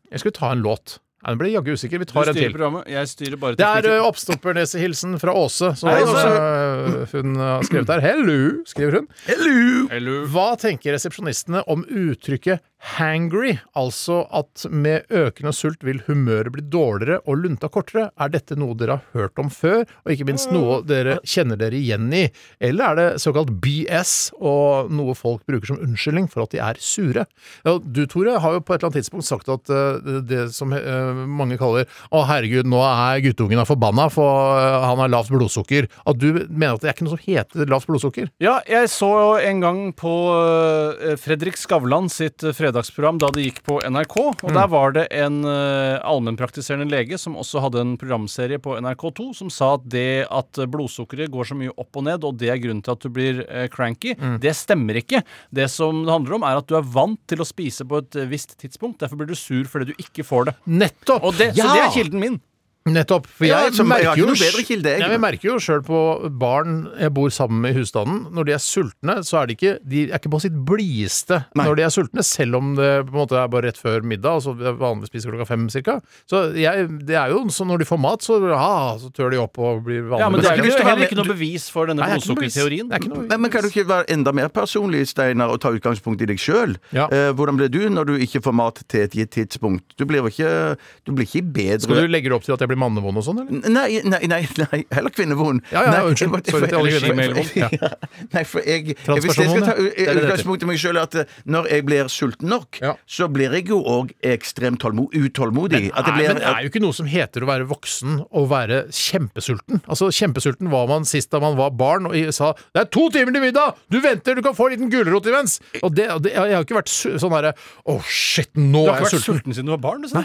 S4: Jeg skulle ta en låt. Nei, Nå ble jeg jaggu usikker. Vi
S5: Du
S4: tar en
S5: styrer
S4: til.
S5: programmet, jeg styrer bare
S4: Det er
S5: teknikken.
S4: eh, oppstopperneshilsen fra Åse, som
S5: Hei,
S4: eh, hun har skrevet her. Hello, skriver hun.
S5: Eller
S4: Hva tenker resepsjonistene om uttrykket 'hangry', altså at med økende sult vil humøret bli dårligere og lunta kortere? Er dette noe dere har hørt om før, og ikke minst
S5: Mm.
S4: noe dere kjenner dere igjen i? Eller er det såkalt BS, og noe folk bruker som unnskyldning for at de er sure? Ja, du, Tore, har jo på et eller annet tidspunkt sagt at eh, det som eh, mange kaller 'Å, herregud, nå er guttungen er forbanna, for eh, han har lavt blodsukker', at du mener at det er ikke noe som heter lavt blodsukker?
S5: Ja, jeg så en gang på eh, Fredrik Skavlan sitt eh, fredagsprogram da det gikk på NRK. Og der var det en eh, allmennpraktiserende lege som også hadde en programserie på NRK2 som sa at det at eh, blodsukkeret går så mye opp og ned, og det er grunnen til at du blir eh, cranky, det stemmer ikke. Det som det handler om, er at du er vant til å spise på et eh, visst tidspunkt. Derfor blir du sur fordi du ikke får det.
S4: Nettopp!
S5: Og det, Så det er kilden min.
S4: Nettopp. For jeg,
S6: Ja, altså, jeg
S4: merker
S6: har
S4: jo,
S6: ikke noe bedre kilde, jeg.
S4: Nei, men jeg merker jo sjøl på barn jeg bor sammen med i husstanden. Når de er sultne, så er de ikke, de er ikke på sitt blideste når de er sultne, selv om det på en måte er bare rett før middag, og så vi vanligvis spiser klokka fem cirka. Så jeg, det er jo sånn når de får mat, så, ah, så tør de opp og blir vanlige.
S5: Ja, men det
S6: Men
S5: er
S6: du
S5: jo
S6: skal ha
S5: heller
S6: med-
S5: ikke noe bevis for denne
S4: Nei, det er ikke noe bevis.
S5: blodsukkerteorien.
S4: Det er ikke noe-
S6: Men, men kan du ikke være enda mer personlig, Steinar, og ta utgangspunkt i deg sjøl?
S4: Ja.
S6: Eh, hvordan blir du når du ikke får mat til et gitt tidspunkt? Du blir jo ikke, du blir ikke bedre
S4: Skal du legge det opp til at jeg jeg blir mannevond og sånn, eller?
S6: Nei, nei, nei, nei, heller kvinnevond.
S4: Ja, ja,
S6: Nei,
S4: unnskyld.
S6: jeg måtte-
S4: Sorry til alle
S6: for-
S4: kvinner.
S5: Mailvond, ja.
S6: Nei, for jeg, jeg Hvis jeg
S4: Transpersonvond,
S6: skal
S4: ja.
S6: ta u-
S4: Det er det det
S6: utgangspunkt i meg sjøl, at eh, når jeg blir sulten nok,
S4: Ja.
S6: så blir jeg jo òg ekstremt tålmo- utålmodig. At jeg
S4: Nei,
S6: blir,
S4: men det er jo ikke noe som heter å være voksen og være kjempesulten. Altså, Kjempesulten var man sist da man var barn og i- sa 'det er to timer til middag, du venter, du kan få en liten gulrot imens'. Og det, og det, jeg har jo ikke vært su sånn herre 'å shit, nå
S5: Du
S4: er
S5: har ikke
S4: jeg
S5: vært
S4: sulten'.
S5: sulten siden du var barn? du sa.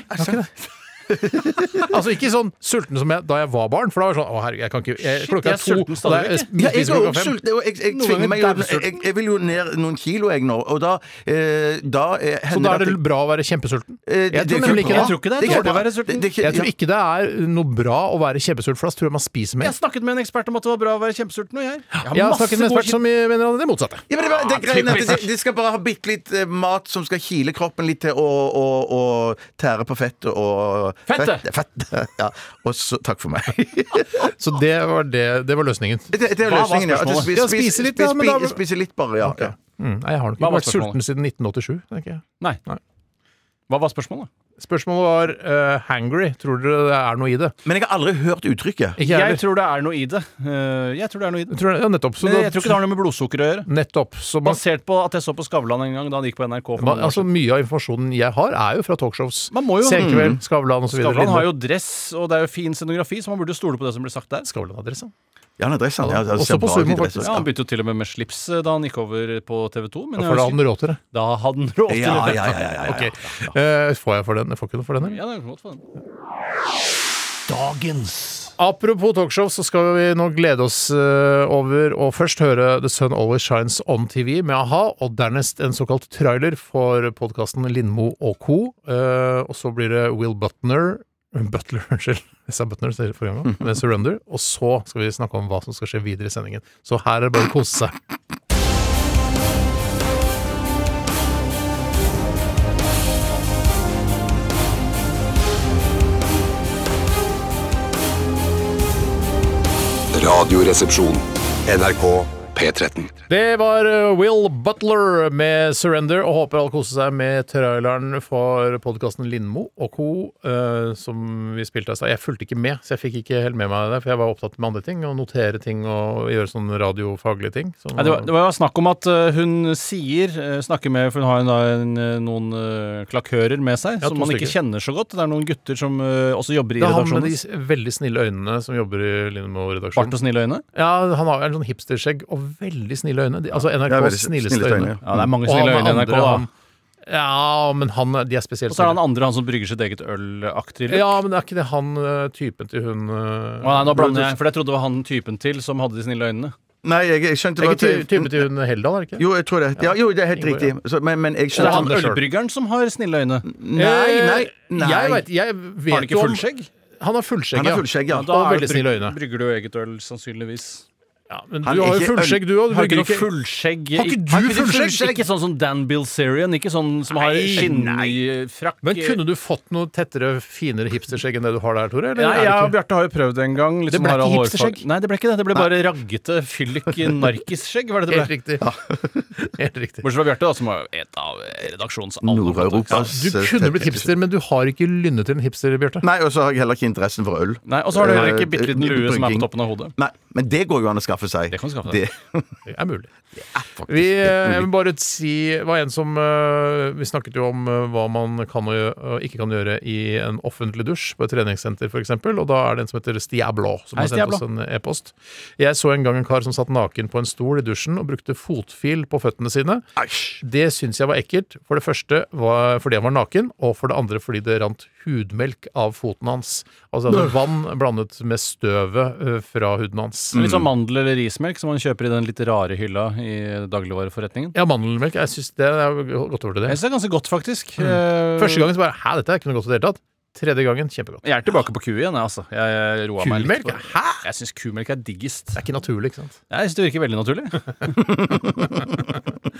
S4: Altså ikke sånn sulten som jeg da jeg var barn, for da var jeg sånn 'å herregud, jeg kan ikke jeg,
S5: Shit,
S4: Klokka er
S5: jeg er
S4: to,
S5: sulten stadig
S4: og det er-
S5: ikke.
S6: ja, jeg
S4: spiser
S6: er
S4: klokka
S6: også
S4: fem.
S6: sulten. og Jeg, jeg,
S5: Noen
S6: tvinger
S5: ganger
S6: meg jo
S5: dævsulten.
S6: jeg, jeg vil jo ned noen kilo, jeg nå. Og da, eh, da eh,
S4: Så
S6: hender
S4: da er
S6: at
S4: det
S6: jeg-
S4: bra å være kjempesulten?
S6: Eh,
S4: Jeg tror nemlig ikke
S6: bra.
S4: det.
S5: Jeg tror ikke det er
S6: ikke
S5: dårlig å
S6: bra.
S5: være sulten.
S6: Det- det er ikke-
S4: Jeg tror
S6: ja.
S4: ikke det er noe bra å være kjempesulten, for da tror jeg man spiser mer.
S5: Jeg snakket med en ekspert om at det var bra å være kjempesulten. Og jeg, jeg har
S4: Jeg har
S5: masse
S4: snakket med en
S5: gode
S4: ekspert som mener det motsatte.
S6: Ja, men det, var, det er greien at
S5: typisk.
S6: de, de skal bare ha bitte litt eh, mat som skal kile kroppen litt til, og, og, og tære på fettet og
S5: Fettet!
S6: Fett, fett, ja. Og så Takk for meg.
S4: Så det var, det, det var løsningen.
S6: Det, det er
S5: Hva var
S6: løsningen. ja. At du
S5: spørsmålet?
S6: spiser-
S4: Ja, spise litt, ja,
S6: spiser-
S4: men da-
S6: spiser- spiser litt bare, ja. ja.
S4: Mm, nei, jeg har nok ikke
S5: Hva var
S4: vært sulten
S5: spørsmålet?
S4: siden 1987. tenker jeg.
S5: Nei.
S4: Nei.
S5: Hva var spørsmålet?
S4: Spørsmålet var eh, hangry. Tror dere det er noe i det?
S6: Men jeg har aldri hørt uttrykket.
S4: Ikke
S5: Jeg
S4: jeg
S5: tror det er noe i det. Eh, Jeg tror det er noe i det.
S4: tror, ja, nettopp. Så
S5: Men
S4: da-
S5: jeg tror ikke det har noe med blodsukker å gjøre.
S4: Nettopp. Så man,
S5: Basert på at jeg så på Skavlan en gang da han gikk på NRK. For
S4: man,
S5: mange år
S4: altså,
S5: siden.
S4: mye av informasjonen jeg har, er jo fra talkshows.
S5: Man må jo- Mm.
S4: Senkveld, Skavlan osv.
S5: Skavlan har jo dress, og det er jo fin scenografi, så man burde stole på det som blir sagt der.
S4: Skavlan-adresse.
S6: Ja, han har dress, han. Ja,
S4: Også
S6: ser
S4: på
S6: bra ut i
S4: sumo,
S6: dress,
S4: faktisk.
S5: Ja, Han begynte jo til og med med slips eh, da han gikk over på TV 2.
S4: Ja, For
S5: Men jeg
S4: da
S5: husker-
S4: hadde han råd til det.
S5: da hadde han råd til
S6: Ja,
S5: det.
S6: ja, ja, ja, ja, ja.
S4: Ok. Eh, får jeg for den? Jeg får ikke noe for den? eller?
S5: Ja, det er godt for den.
S4: Apropos talkshow, så skal vi nå glede oss eh, over å først høre The Sun Always Shines On TV med a-ha, og dernest en såkalt trailer for podkasten Lindmo og co. Eh, og så blir det Will Butner Butler, unnskyld. Jeg sa Butner så det er forrige gang, med Surrender. Og så skal vi snakke om hva som skal skje videre i sendingen. Så her er det bare å kose seg.
S2: Radioresepsjon. NRK P13.
S4: Det var eh, Will Butler med 'Surrender', og håper alle koser seg med traileren for podkasten Lindmo og co., eh, som vi spilte i stad. Jeg fulgte ikke med, så jeg fikk ikke helt med meg det, for jeg var opptatt med andre ting, og notere ting og gjøre sånne radiofaglige ting. Så,
S5: Nei, det, var, det var snakk om at eh, hun sier eh, Snakker med For hun har en, da en, eh, noen eh, klakører med seg
S4: Ja, to
S5: som man ikke
S4: stykker.
S5: kjenner så godt. Det er noen gutter som eh, også jobber i
S4: det er han med
S5: redaksjonen.
S4: de s- veldig snille øynene som jobber i
S5: Bart
S4: Lindmo-redaksjonen.
S5: og snille øyne.
S4: Ja, Han har en sånn hipsterskjegg og veldig snille øyne. De, altså
S6: Ja,
S4: NRKs
S6: veldig
S4: snilleste øyne.
S5: Ja, det er mange
S4: Og han
S5: snille øyne i
S4: andre,
S5: NRK, da.
S4: han- Ja, men han, de er spesielt
S5: Og så er det han andre, han som brygger sitt eget øl-aktig.
S4: Ja, men det er ikke det han eh, typen til hun eh,
S5: Å, nei, nå blander jeg, for jeg trodde det var han typen til som hadde de snille øynene.
S6: Nei, jeg, jeg skjønte
S4: Det er
S6: bare
S4: ikke ty-
S6: at jeg-
S4: typen til hun Heldal, er det ikke?
S6: Jo, jeg tror det. Ja, jo, det er helt
S4: Ingeborg,
S6: riktig. Så, men, men
S5: Så
S6: jeg
S5: det
S6: skjønte
S5: er han
S4: det selv. Mm.
S5: ølbryggeren som har snille øyne.
S6: Nei, nei, nei.
S4: Eh, Jeg vet, jeg vet
S5: Har han ikke
S4: jo om-
S5: fullskjegg?
S4: Han har fullskjegg,
S6: Han har fullskjegg, ja.
S5: Ja, da
S4: og
S5: er
S4: veldig
S5: det bryg-
S4: snille øyne.
S5: Brygger du jo eget øl, sannsynligvis.
S4: Ja, men
S6: Han
S4: du
S6: er
S4: har jo
S6: ikke
S4: fullskjeg, du òg.
S5: Har ikke du fullskjegg?
S4: Har ikke
S5: i-
S4: du
S5: ikke
S4: fullskjegg?
S5: Ikke sånn som Dan Bilzerian, ikke sånn som har
S4: Nei,
S5: skinnfrakk.
S4: Men kunne du fått noe tettere, finere hipsterskjegg enn det du har der, Tore? Eller
S5: Nei,
S4: er
S5: jeg og
S4: det ikke?
S5: Bjarte har jo prøvd det en gang. Liksom,
S4: Det ble
S5: har
S4: ikke
S5: hårfag-
S4: hipsterskjegg?
S5: Nei, det ble ikke det. Det ble bare raggete fyllik-narkisskjegg. var det det
S4: Helt
S5: ble.
S4: riktig. Helt riktig.
S5: Bortsett fra Bjarte, da, som var et av redaksjonens aller
S6: Nord-Europas
S4: Du kunne blitt hipster, men du har ikke lynnet til en hipster, Bjarte.
S6: Nei, og så har jeg heller ikke interessen for øl.
S5: Nei, Og så har du heller
S6: Eh,
S5: ikke bitte liten lue som er
S6: brygging.
S5: på toppen av hodet.
S6: Nei, men det går jo an å skaffe seg.
S5: Det kan du skaffe
S6: Det-
S5: deg.
S4: Det er mulig.
S6: faktisk,
S4: Vi,
S6: det er
S4: eh, jeg
S6: mulig.
S4: vil bare si det var en som eh, Vi snakket jo om eh, hva man kan og gjø- og ikke kan gjøre i en offentlig dusj på et treningssenter, f.eks. Og da er det en som heter Stiablo, som
S5: Hei,
S4: har sendt
S5: Stiablo.
S4: oss en e-post. Jeg så en gang en kar som satt naken på en stol i dusjen og brukte fotfil på føttene sine.
S6: Æsj.
S4: Det syns jeg var ekkelt. For det første var fordi han var naken, og for det andre fordi det rant hudmelk av foten hans. Altså det var vann blandet med støvet eh, fra huden hans.
S5: Litt
S6: Mm.
S5: sånn mandel- eller rismelk som man kjøper i den litt rare hylla i dagligvareforretningen.
S4: Ja, mandelmelk. Jeg syns det er godt over til det.
S5: Jeg synes det er ganskje godt, faktisk.
S6: Mm.
S5: Eh,
S4: Første gangen så bare Hæ, dette er ikke noe godt i det hele tatt. Tredje gangen kjempegodt.
S5: Jeg er tilbake på ku igjen, jeg, altså. Jeg, jeg roa meg litt.
S4: Kumelk?
S5: på det.
S4: Hæ?
S5: Jeg syns kumelk er diggest.
S4: Det er ikke naturlig, ikke sant?
S5: Jeg synes det virker veldig naturlig.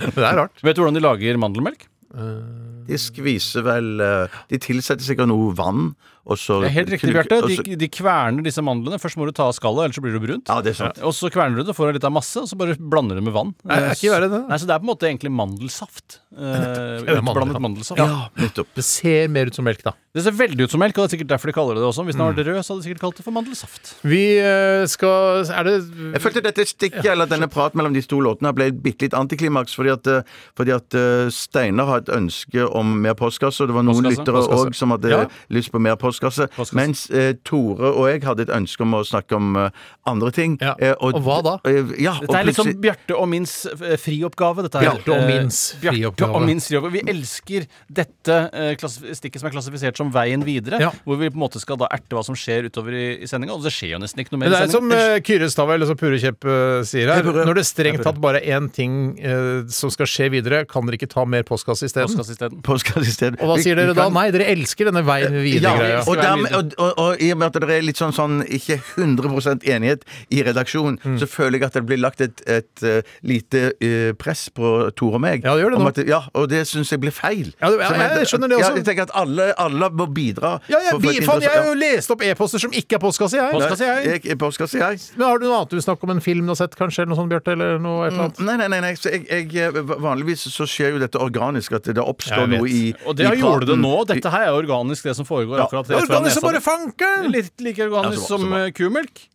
S4: Men det er rart.
S5: Vet du hvordan de lager mandelmelk?
S4: Eh,
S6: De skviser vel eh, De tilsetter sikkert noe vann, og så
S5: Det er helt riktig,
S6: knuk-
S5: Bjarte.
S6: og så-
S5: De, de kverner disse mandlene. Først må du ta av skallet, ellers så blir det brunt.
S6: Ja, det er sant.
S5: Og så kverner du det, får litt av masse, og så bare blander du det med vann.
S4: det er ikke verre, det.
S5: Nei, Så det er på en måte egentlig mandelsaft. Eh,
S4: mandelsaft.
S5: Utblandet mandelsaft.
S6: Ja, nettopp.
S4: Det ser mer ut som melk, da.
S5: Det ser veldig ut som melk, og det er sikkert derfor de kaller det det også. Hvis den
S4: Mm.
S5: hadde vært rød, så hadde de sikkert kalt det for mandelsaft.
S4: Vi eh, skal Er det
S6: Jeg følte dette stikket, eller denne praten mellom de to låtene, ble et bitte litt antiklimaks, fordi at, eh, fordi at eh, Steinar har et ønske om mer postkasse, og det var noen
S5: Postkasse,
S6: lyttere
S5: postkasse.
S6: òg som hadde
S5: Ja.
S6: lyst på mer postkasse,
S5: Postkasse.
S6: mens eh, Tore og jeg hadde et ønske om å snakke om eh, andre ting.
S4: Ja.
S6: Eh,
S4: Og hva da?
S6: eh, ja, og
S5: Dette er litt sånn som
S6: plutselig-
S5: Bjarte og mins eh, frioppgave. Dette er,
S4: Bjarte og
S5: eh,
S4: mins
S5: Bjarte
S4: frioppgave.
S5: og mins frioppgave. Vi elsker dette eh, klass- stikket som er klassifisert som Veien videre,
S4: Ja.
S5: hvor vi på en måte skal da erte hva som skjer utover i, i sendinga. Og det skjer jo nesten ikke noe
S4: Men
S5: mer
S4: det
S5: i
S4: er som
S5: sendinga.
S4: eh, Kyrre Stavell eller som Pure Kjepp eh, sier her. Når det strengt tatt bare er én ting eh, som skal skje videre, kan dere ikke ta mer postkasse isteden?
S5: Postkasse isteden.
S6: Postkasse i stedet.
S4: Og hva
S6: Vi-
S4: sier
S6: vi
S4: dere da?
S6: kan-
S4: Nei, dere elsker denne veien videre-greia.
S6: og,
S5: elsker
S6: dermed,
S5: veien
S6: og, og, og i og med at det er litt sånn, sånn ikke 100 enighet i redaksjonen,
S4: Mm.
S6: så føler jeg at det blir lagt et, et, eh, lite eh, press på Tore og meg.
S4: Ja, det gjør det
S6: om
S4: nå.
S6: at, ja, og det syns jeg blir feil.
S4: Ja, det- ja,
S6: Så
S4: jeg skjønner det også.
S6: Ja, jeg tenker at alle, alle må bidra.
S4: Ja, jeg,
S6: for- for et
S4: bi- faen, jeg har jo
S6: interessant-
S4: lest opp e-poster som ikke er postkasse, jeg.
S6: ja.
S5: Postkasse, jeg.
S6: Jeg- Postkasse, jeg.
S4: Men har du noe annet du snakker om en film du har sett, kanskje, eller noe sånt, Bjarte? Eller noe et eller annet?
S6: Mm, Nei, nei, nei. nei. Så jeg, jeg, eh, vanligvis så skjer jo dette organisk, at det
S4: Jeg
S6: oppstår
S4: vet.
S6: noe i
S5: Og det
S6: i
S5: gjorde det
S6: praten.
S5: nå. Dette her er organisk, det som foregår
S6: Ja.
S5: akkurat
S4: Det
S5: rett
S4: er
S5: før
S4: Organisk som
S5: nesa.
S4: bare fanker'n!
S5: Litt like organisk
S6: Ja, så bra, så
S5: som
S6: bra.
S5: eh, kumelk.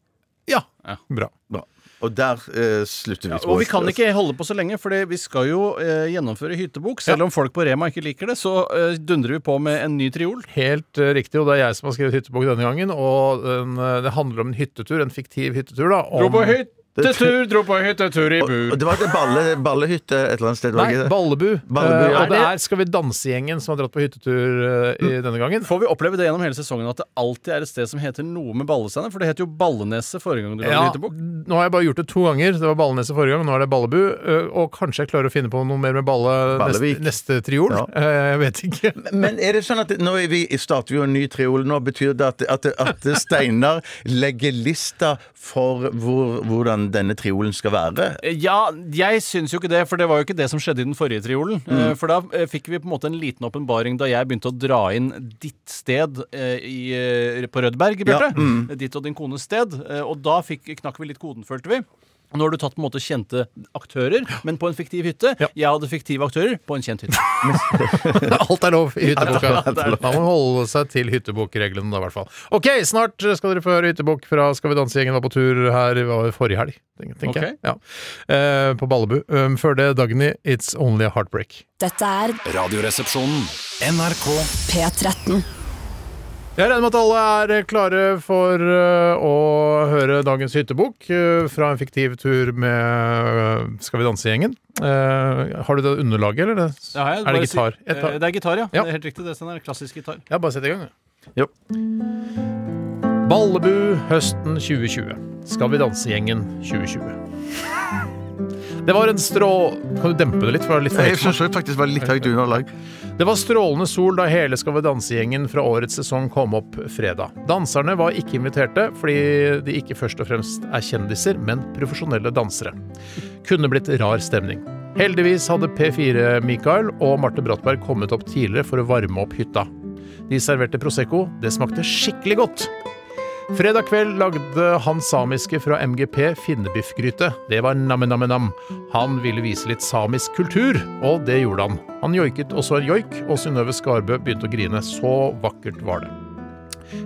S4: Ja.
S5: Ja.
S4: Bra.
S6: Bra. Og der eh, slutter vi.
S5: Og vi kan ikke holde på så lenge, for vi skal jo eh, gjennomføre hyttebok. Selv om folk på Rema ikke liker det, så eh, dundrer vi på med en ny triol.
S4: Helt eh, riktig, og det er jeg som har skrevet hyttebok denne gangen. Og den, eh, det handler om en hyttetur, en fiktiv hyttetur, da. Om,
S5: Dro på hyttetur, dro på hyttetur i bu.
S6: Og det var ikke balle, ballehytte et eller annet sted? var
S4: Nei,
S6: det ikke det?
S4: Ballebu.
S6: Ballebu,
S4: Eh,
S6: ja. Mm.
S4: og det er Skal vi danse-gjengen som har dratt på hyttetur eh, i denne gangen.
S5: Får vi oppleve det gjennom hele sesongen at det alltid er et sted som heter noe med Ballesteinen? For det het jo Balleneset forrige gang du lagde
S4: Ja,
S5: hyttebok.
S4: nå har jeg bare gjort det to ganger. Det var Balleneset forrige gang, nå er det Ballebu. eh, Og kanskje jeg klarer å finne på noe mer med balle neste,
S6: Ballevik.
S4: neste triol.
S6: Ja.
S4: Eh, Jeg vet ikke.
S6: Men er det sånn at nå er vi, starter vi jo en ny triol nå? Betyr det at, at, at Steinar legger lista for hvor, hvordan denne triolen skal være?
S5: Ja, jeg syns jo ikke det, for det var jo ikke det som skjedde i den forrige triolen.
S4: Mm.
S5: Eh, For da eh, fikk vi på en måte en liten åpenbaring da jeg begynte å dra inn ditt sted eh, i, eh, på Rødberg, Bjarte.
S4: mm.
S5: Ditt og din kones sted. Eh, Og da fikk, knakk vi litt koden, følte vi. Nå har du tatt på en måte kjente aktører, men på en fiktiv hytte. Jeg hadde fiktive aktører på en kjent hytte.
S4: Alt er lov i hytteboka.
S6: Alt er lov.
S4: Man må holde seg til hyttebokreglene, da, i hvert fall. Ok, snart skal dere få høre hyttebok fra Skal vi danse-gjengen var på tur her det var forrige helg, tenker tenker jeg. Ja. Eh, på Ballebu. Um, før det, Dagny, It's Only a Heartbreak.
S7: Dette er
S2: Radioresepsjonen.
S7: P13.
S4: Jeg regner med at alle er eh, klare for eh, å høre dagens hyttebok eh, fra en fiktiv tur med eh, Skal vi danse-gjengen. Eh, har du det underlaget, eller? Det? er det gitar? Et,
S5: Eh, Det er gitar, ja.
S4: Ja.
S5: Det er helt riktig. Det Steinar. Klassisk gitar.
S4: Ja, bare sett i gang, du. Ballebu høsten 2020. Skal vi danse-gjengen 2020. Det var en strå... Kan du dempe det litt? For det, er litt for
S6: Jeg
S4: høyt.
S6: syns faktisk var litt høyt underlag.
S4: det var strålende sol da hele Skal vi danse-gjengen fra årets sesong kom opp fredag. Danserne var ikke inviterte fordi de ikke først og fremst er kjendiser, men profesjonelle dansere. Kunne blitt rar stemning. Heldigvis hadde P4-Mikael og Marte Brattberg kommet opp tidligere for å varme opp hytta. De serverte Prosecco. Det smakte skikkelig godt. Fredag kveld lagde han samiske fra MGP finnebiffgryte. Det var namme-namme-nam. Han ville vise litt samisk kultur, og det gjorde han. Han joiket også en joik, og Synnøve Skarbø begynte å grine. Så vakkert var det.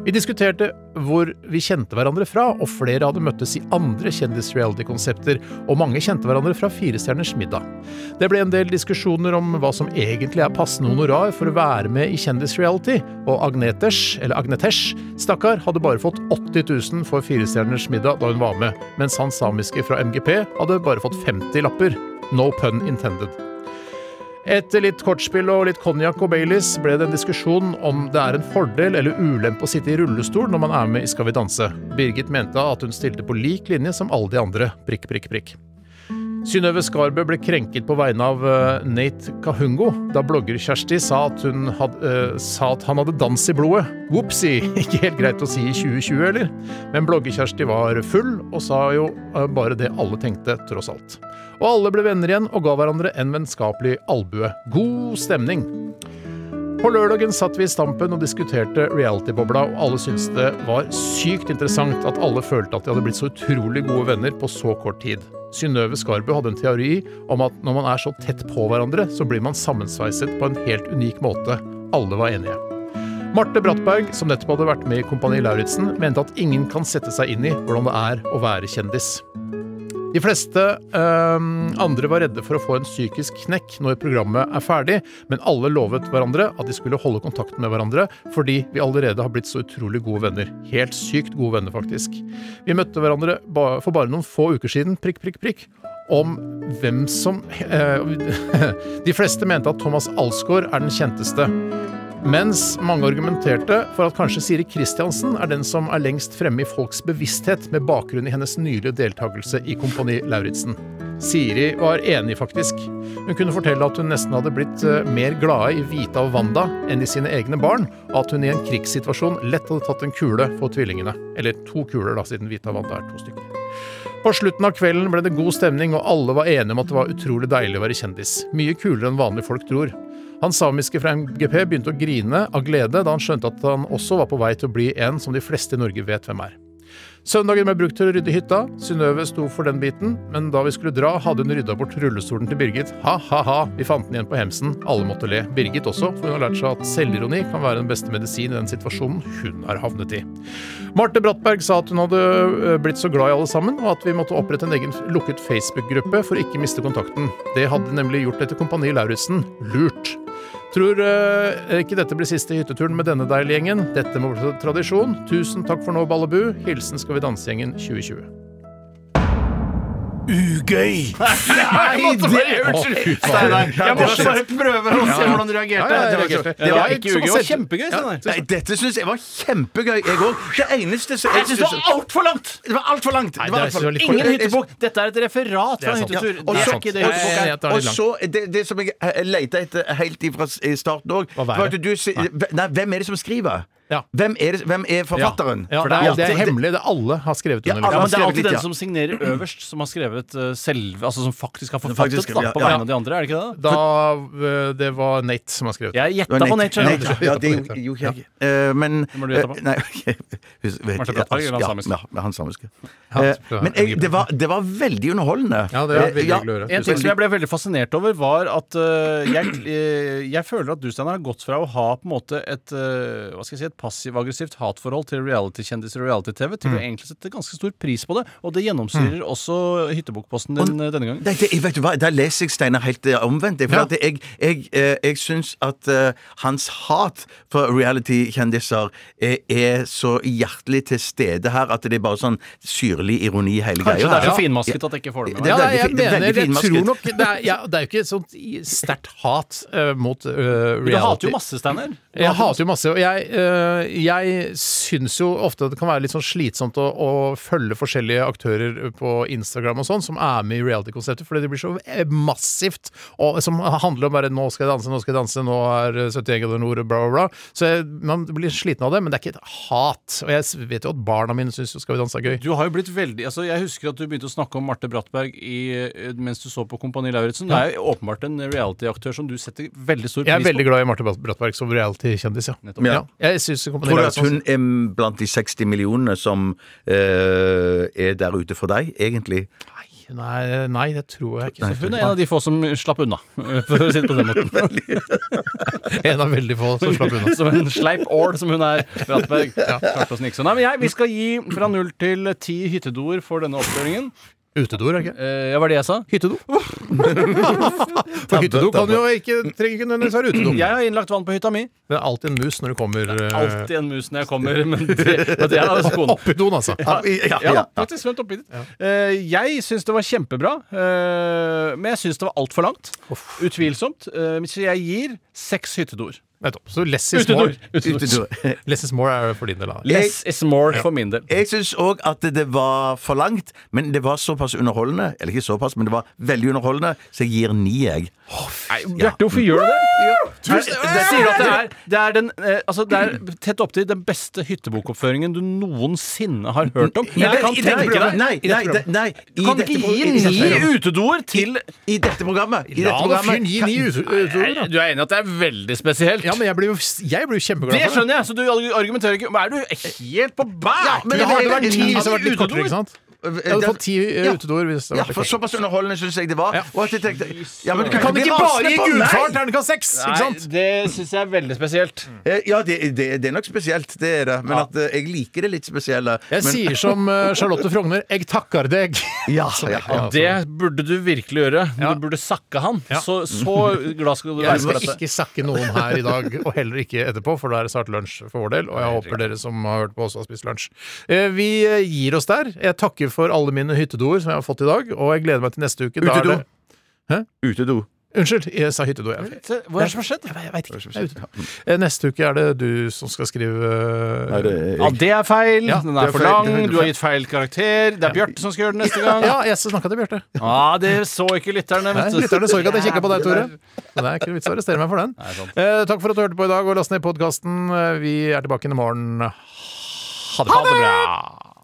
S4: Vi diskuterte hvor vi kjente hverandre fra, og flere hadde møttes i andre kjendis-reality-konsepter, og mange kjente hverandre fra Firestjerners middag. Det ble en del diskusjoner om hva som egentlig er passende honorar for å være med i kjendis-reality, og Agneters, eller Agnetesh, stakkar, hadde bare fått 80 000 for Firestjerners middag da hun var med, mens han samiske fra MGP hadde bare fått 50 lapper. No pun intended. Etter litt kortspill og litt konjakk og Baileys ble det en diskusjon om det er en fordel eller ulempe å sitte i rullestol når man er med i Skal vi danse. Birgit mente at hun stilte på lik linje som alle de andre. Prikk, prikk, prikk. Synnøve Skarbø ble krenket på vegne av eh, Nate Kahungo da blogger Kjersti sa at, hun had, eh, sa at han hadde dans i blodet. Whoopsie! Ikke helt greit å si i 2020, eller? Men blogger-Kjersti var full og sa jo eh, bare det alle tenkte, tross alt. Og alle ble venner igjen og ga hverandre en vennskapelig albue. God stemning. På lørdagen satt vi i Stampen og diskuterte reality-bobla, og alle syntes det var sykt interessant at alle følte at de hadde blitt så utrolig gode venner på så kort tid. Synnøve Skarbø hadde en teori om at når man er så tett på hverandre, så blir man sammensveiset på en helt unik måte. Alle var enige. Marte Brattberg, som nettopp hadde vært med i Kompani Lauritzen, mente at ingen kan sette seg inn i hvordan det er å være kjendis. De fleste øhm, andre var redde for å få en psykisk knekk når programmet er ferdig, men alle lovet hverandre at de skulle holde kontakten med hverandre, fordi vi allerede har blitt så utrolig gode venner. Helt sykt gode venner, faktisk. Vi møtte hverandre ba for bare noen få uker siden, prikk, prikk, prikk, om hvem som eh, De fleste mente at Thomas Alsgaard er den kjenteste. Mens mange argumenterte for at kanskje Siri Kristiansen er den som er lengst fremme i folks bevissthet med bakgrunn i hennes nylige deltakelse i Kompani Lauritzen. Siri var enig, faktisk. Hun kunne fortelle at hun nesten hadde blitt eh, mer glade i Vita og Wanda enn i sine egne barn, og at hun i en krigssituasjon lett hadde tatt en kule for tvillingene. Eller to kuler, da, siden Vita og Wanda er to stykker. På slutten av kvelden ble det god stemning, og alle var enige om at det var utrolig deilig å være kjendis. Mye kulere enn vanlige folk tror. Han samiske fra MGP begynte å grine av glede da han skjønte at han også var på vei til å bli en som de fleste i Norge vet hvem er. Søndagen ble brukt til å rydde hytta. Synnøve sto for den biten, men da vi skulle dra, hadde hun rydda bort rullestolen til Birgit. Ha-ha-ha, vi fant den igjen på hemsen. Alle måtte le. Birgit også, for hun har lært seg at selvironi kan være den beste medisin i den situasjonen hun har havnet i. Marte Brattberg sa at hun hadde ø, blitt så glad i alle sammen, og at vi måtte opprette en egen lukket Facebook-gruppe for å ikke miste kontakten. Det hadde nemlig gjort dette Kompani Lauritzen lurt. Tror eh, ikke dette blir siste hytteturen med denne deilige gjengen. Dette må bli tradisjon. Tusen takk for nå, Ballebu. Hilsen Skal vi danse-gjengen 2020.
S6: Ugøy!
S4: Nei, det
S6: Steinar, jeg måtte bare
S5: prøve å se hvordan du
S4: Ja, ja, jeg reagerte.
S5: Det var
S4: Jeg
S5: ikke
S4: som har
S5: ugøy. Det var
S4: sett-
S5: kjempegøy. sånn Steinar.
S6: Nei, dette syns jeg var kjempegøy, jeg òg. Det eneste som jeg
S5: Jeg syns det var altfor langt!
S6: Det var altfor langt!
S4: Nei, det er
S6: var alt for
S4: så
S6: langt.
S4: litt-
S5: Ingen hyttebukk. Dette er et
S4: Det
S5: referat
S4: er
S5: fra en
S4: sant.
S5: hyttetur.
S4: Ja,
S5: Det
S6: Og
S4: er
S5: er
S6: så-
S4: sant.
S5: ikke
S4: Jeg er
S5: det
S4: enig i at det er
S6: og
S4: litt langt.
S6: så det, det som jeg eh, leter etter helt ifra s- i starten òg
S4: Hva var det?
S6: Nei. nei, hvem er det som skriver?
S4: Ja.
S6: Hvem, er det, hvem er forfatteren?
S4: Ja,
S5: For
S4: det, er,
S5: det
S4: det er
S6: alltid-
S4: hemmelig. Det er alle har skrevet
S6: Ja,
S4: under. liksom.
S5: Ja, men det er
S6: alle-
S5: alltid
S6: skrevet litt,
S5: den
S6: ja.
S5: som signerer øverst, som har skrevet eh, selve Altså som faktisk har forfattet
S6: faktisk
S5: da,
S6: skriver,
S5: på
S6: ja, ja.
S5: vegne av de andre, er det ikke det?
S4: Da, ø, det var Nate som har skrevet.
S5: Jeg
S6: Det
S5: gjetta
S6: var
S5: på
S6: Nate-
S5: nature.
S6: Nate, ja. Ja, det gjorde- gjorde jeg ikke. Eh, Men
S5: må du gjette på.
S6: eh, Nei, ok. Hus- vet
S5: Martin
S6: ikke.
S5: Brattberg eller han
S6: Ja,
S5: samiske?
S6: Ja, men han samiske.
S4: Ja,
S6: Eh,
S4: det var-
S6: Men jeg, det, var, det var veldig underholdende.
S4: Ja, det er
S6: Eh,
S4: veldig hyggelig å høre.
S5: En ting som jeg ble veldig fascinert over, var at eh, jeg, eh, jeg føler at du, Steinar, har gått fra å ha på en måte et, eh, hva skal jeg si, et passiv-aggressivt hatforhold til reality-kjendiser og reality-TV til å
S6: Mm.
S5: egentlig sette ganske stor pris på det. Og det gjennomsyrer også Hyttebukk-posten din eh, denne gangen.
S6: Nei, Mm. det, jeg vet du hva, Der leser jeg Steinar helt eh, omvendt. For
S4: Ja.
S6: at jeg, jeg, eh, jeg syns at eh, hans hat for reality-kjendiser eh, er så hjertelig til stede her at det er bare sånn syrlig ironi i
S5: Kanskje
S6: hele greia.
S5: det er så
S6: her.
S5: finmasket at jeg ikke får det med
S6: Det
S5: meg.
S4: Ja, nei,
S6: er
S4: jeg
S6: veldig fi- det er
S4: mener,
S6: veldig
S4: jeg
S6: finmasket.
S4: tror nok Det er, ja, det er jo ikke et sånt i- sterkt hat ø, mot ø,
S5: Du hater
S4: reality.
S5: jo masse, Steinar. Du
S4: Jeg
S5: hater
S4: hater jo masse, og jeg, øh, jeg syns jo ofte at det kan være litt sånn slitsomt å, å følge forskjellige aktører på Instagram og sånn, som er med i reality-konseptet, fordi det blir så eh, massivt, og som handler om bare 'nå skal jeg danse, nå skal jeg danse', 'nå er eh, 71 grader nord', og bla, bla, bla. Så jeg, man blir sliten av det, men det er ikke et hat. Og jeg s- vet jo at barna mine syns 'Skal vi danse' er gøy.
S5: Du har jo blitt veldig, altså Jeg husker at du begynte å snakke om Marte Brattberg i, eh, mens du så på Kompani Lauritzen. Du er jo åpenbart en reality-aktør som du setter veldig stor
S4: Jeg er
S5: pris
S4: veldig glad i Marte Bratt- Brattberg som reality-kjendis, ja.
S5: Nettopp.
S4: ja. Jeg synes
S6: Tror du at hun er blant de 60 millionene som eh, er der ute for deg, egentlig?
S4: Sånn Nei, nei, det tror jeg ikke.
S5: på. Hun er en av de få som slapp unna, for å si det på den måten.
S4: En av veldig få som slapp unna.
S5: Som en sleip ål som hun er. Brattberg. Klarte å snike seg. Nei, men jeg, Vi skal gi fra null til ti hyttedoer for denne oppkjøringen.
S4: Utedoer, er ikke?
S5: Eh, ja, hva var det jeg sa?
S4: Hyttedo. For hyttedo kan jo ikke trenger ikke nødvendigvis være utedo.
S5: Jeg har innlagt vann på hytta mi.
S4: Det er alltid en mus når du kommer eh,
S5: Alltid en mus når jeg kommer. Men det, men det er altså kona.
S4: opp i doen, altså.
S5: Ja,
S6: Ja,
S5: ja,
S6: ja, ja.
S5: faktisk. Svømt oppi dit. Eh, jeg syns det var kjempebra, eh, men jeg syns det var altfor langt. Utvilsomt. Eh, så jeg gir seks hyttedoer.
S4: Nettopp. Så less is more.
S6: Utedoer.
S4: Less is more er for din del. da.
S5: Less is more for min del.
S6: Jeg syns òg at det var for langt, men det var såpass underholdende. Eller ikke såpass, men det var veldig underholdende, så jeg gir ni, jeg.
S5: Nei, Bjarte, hvorfor gjør du det? Tusen, det sier at det er, det er den eh, altså det er tett opptil den beste hyttebokoppføringen du noensinne har hørt om.
S6: Nei,
S5: Eller kan
S6: i dette
S5: tenke
S6: programmet.
S5: deg-
S6: Nei,
S5: i dette
S6: nei,
S5: programmet.
S6: det- nei, i
S5: Kan du
S6: dette pro- i
S5: ikke
S6: dette
S5: gi ni
S6: programmet.
S5: utedoer til
S6: I dette programmet. I dette
S4: La da
S6: programmet
S4: fyren gi ni ut- utover, da.
S5: Du er enig i at det er veldig spesielt?
S4: Ja, men jeg blir jo, jeg blir jo kjempeglad
S5: Det
S4: for
S5: skjønner jeg, så du argumenterer ikke Men Er du helt på bæ?
S6: Ja, men
S4: Men det hadde
S6: det er-
S4: vært ti hvis det hadde vært litt
S5: utedoer.
S4: kortere, ikke sant?
S6: Det-
S4: Jeg hadde fått ti eh,
S6: Ja.
S4: utedoer hvis det
S6: Ja,
S4: hadde vært
S6: for
S4: litt kortere.
S6: såpass underholdende syns jeg det var. Og at jeg tenkte, ja, men du
S4: Kan
S6: bli
S4: ikke
S6: rasende
S4: bare gi
S6: på-
S4: gudfar
S6: Nei.
S4: terningkast seks, ikke sant?
S5: det syns jeg er veldig spesielt.
S6: Eh, Ja, det, det, det er nok spesielt, det er det. Men at eh, jeg liker det litt spesielle.
S4: Jeg
S6: men,
S4: sier som eh, Charlotte Frogner, jeg takker deg.
S6: ja, ja, ja.
S5: Det burde du virkelig gjøre. men
S4: Ja.
S5: Du burde sakke han.
S4: Ja.
S5: Så, så glad skal du være
S4: Jeg
S5: for
S4: skal
S5: dette.
S4: ikke sakke noen her i dag, og heller ikke etterpå, for da er det snart lunsj for vår del. Og jeg håper dere som har hørt på, også har spist lunsj. Eh, Vi eh, gir oss der. Jeg takker for alle mine hyttedoer som jeg har fått i dag, og jeg gleder meg til neste uke. Da er
S6: Utedo.
S4: det-
S6: Utedo.
S4: Unnskyld, jeg sa hyttedo. Jeg.
S5: Hva er det som har skjedd? Jeg vet ikke.
S4: Eh, Neste uke er det du som skal skrive
S6: Nei, det er-
S5: Ja, det er feil.
S4: Ja,
S5: Den
S6: det
S5: er
S6: er
S5: for
S6: feil.
S5: lang.
S6: Det er
S5: Du har gitt feil karakter. Det er Bjarte som skal gjøre det neste gang.
S4: Ja, jeg snakka til Bjarte.
S5: Ah, det så ikke lytterne.
S4: Nei,
S5: Vet du.
S4: Lytterne så ikke at jeg kikka på deg, Tore. Men Det er ikke noe vits å arrestere meg for den. Eh, takk for at du hørte på i dag, og last ned podkasten. Vi er tilbake inn i morgen. Ha det! Ha det bra!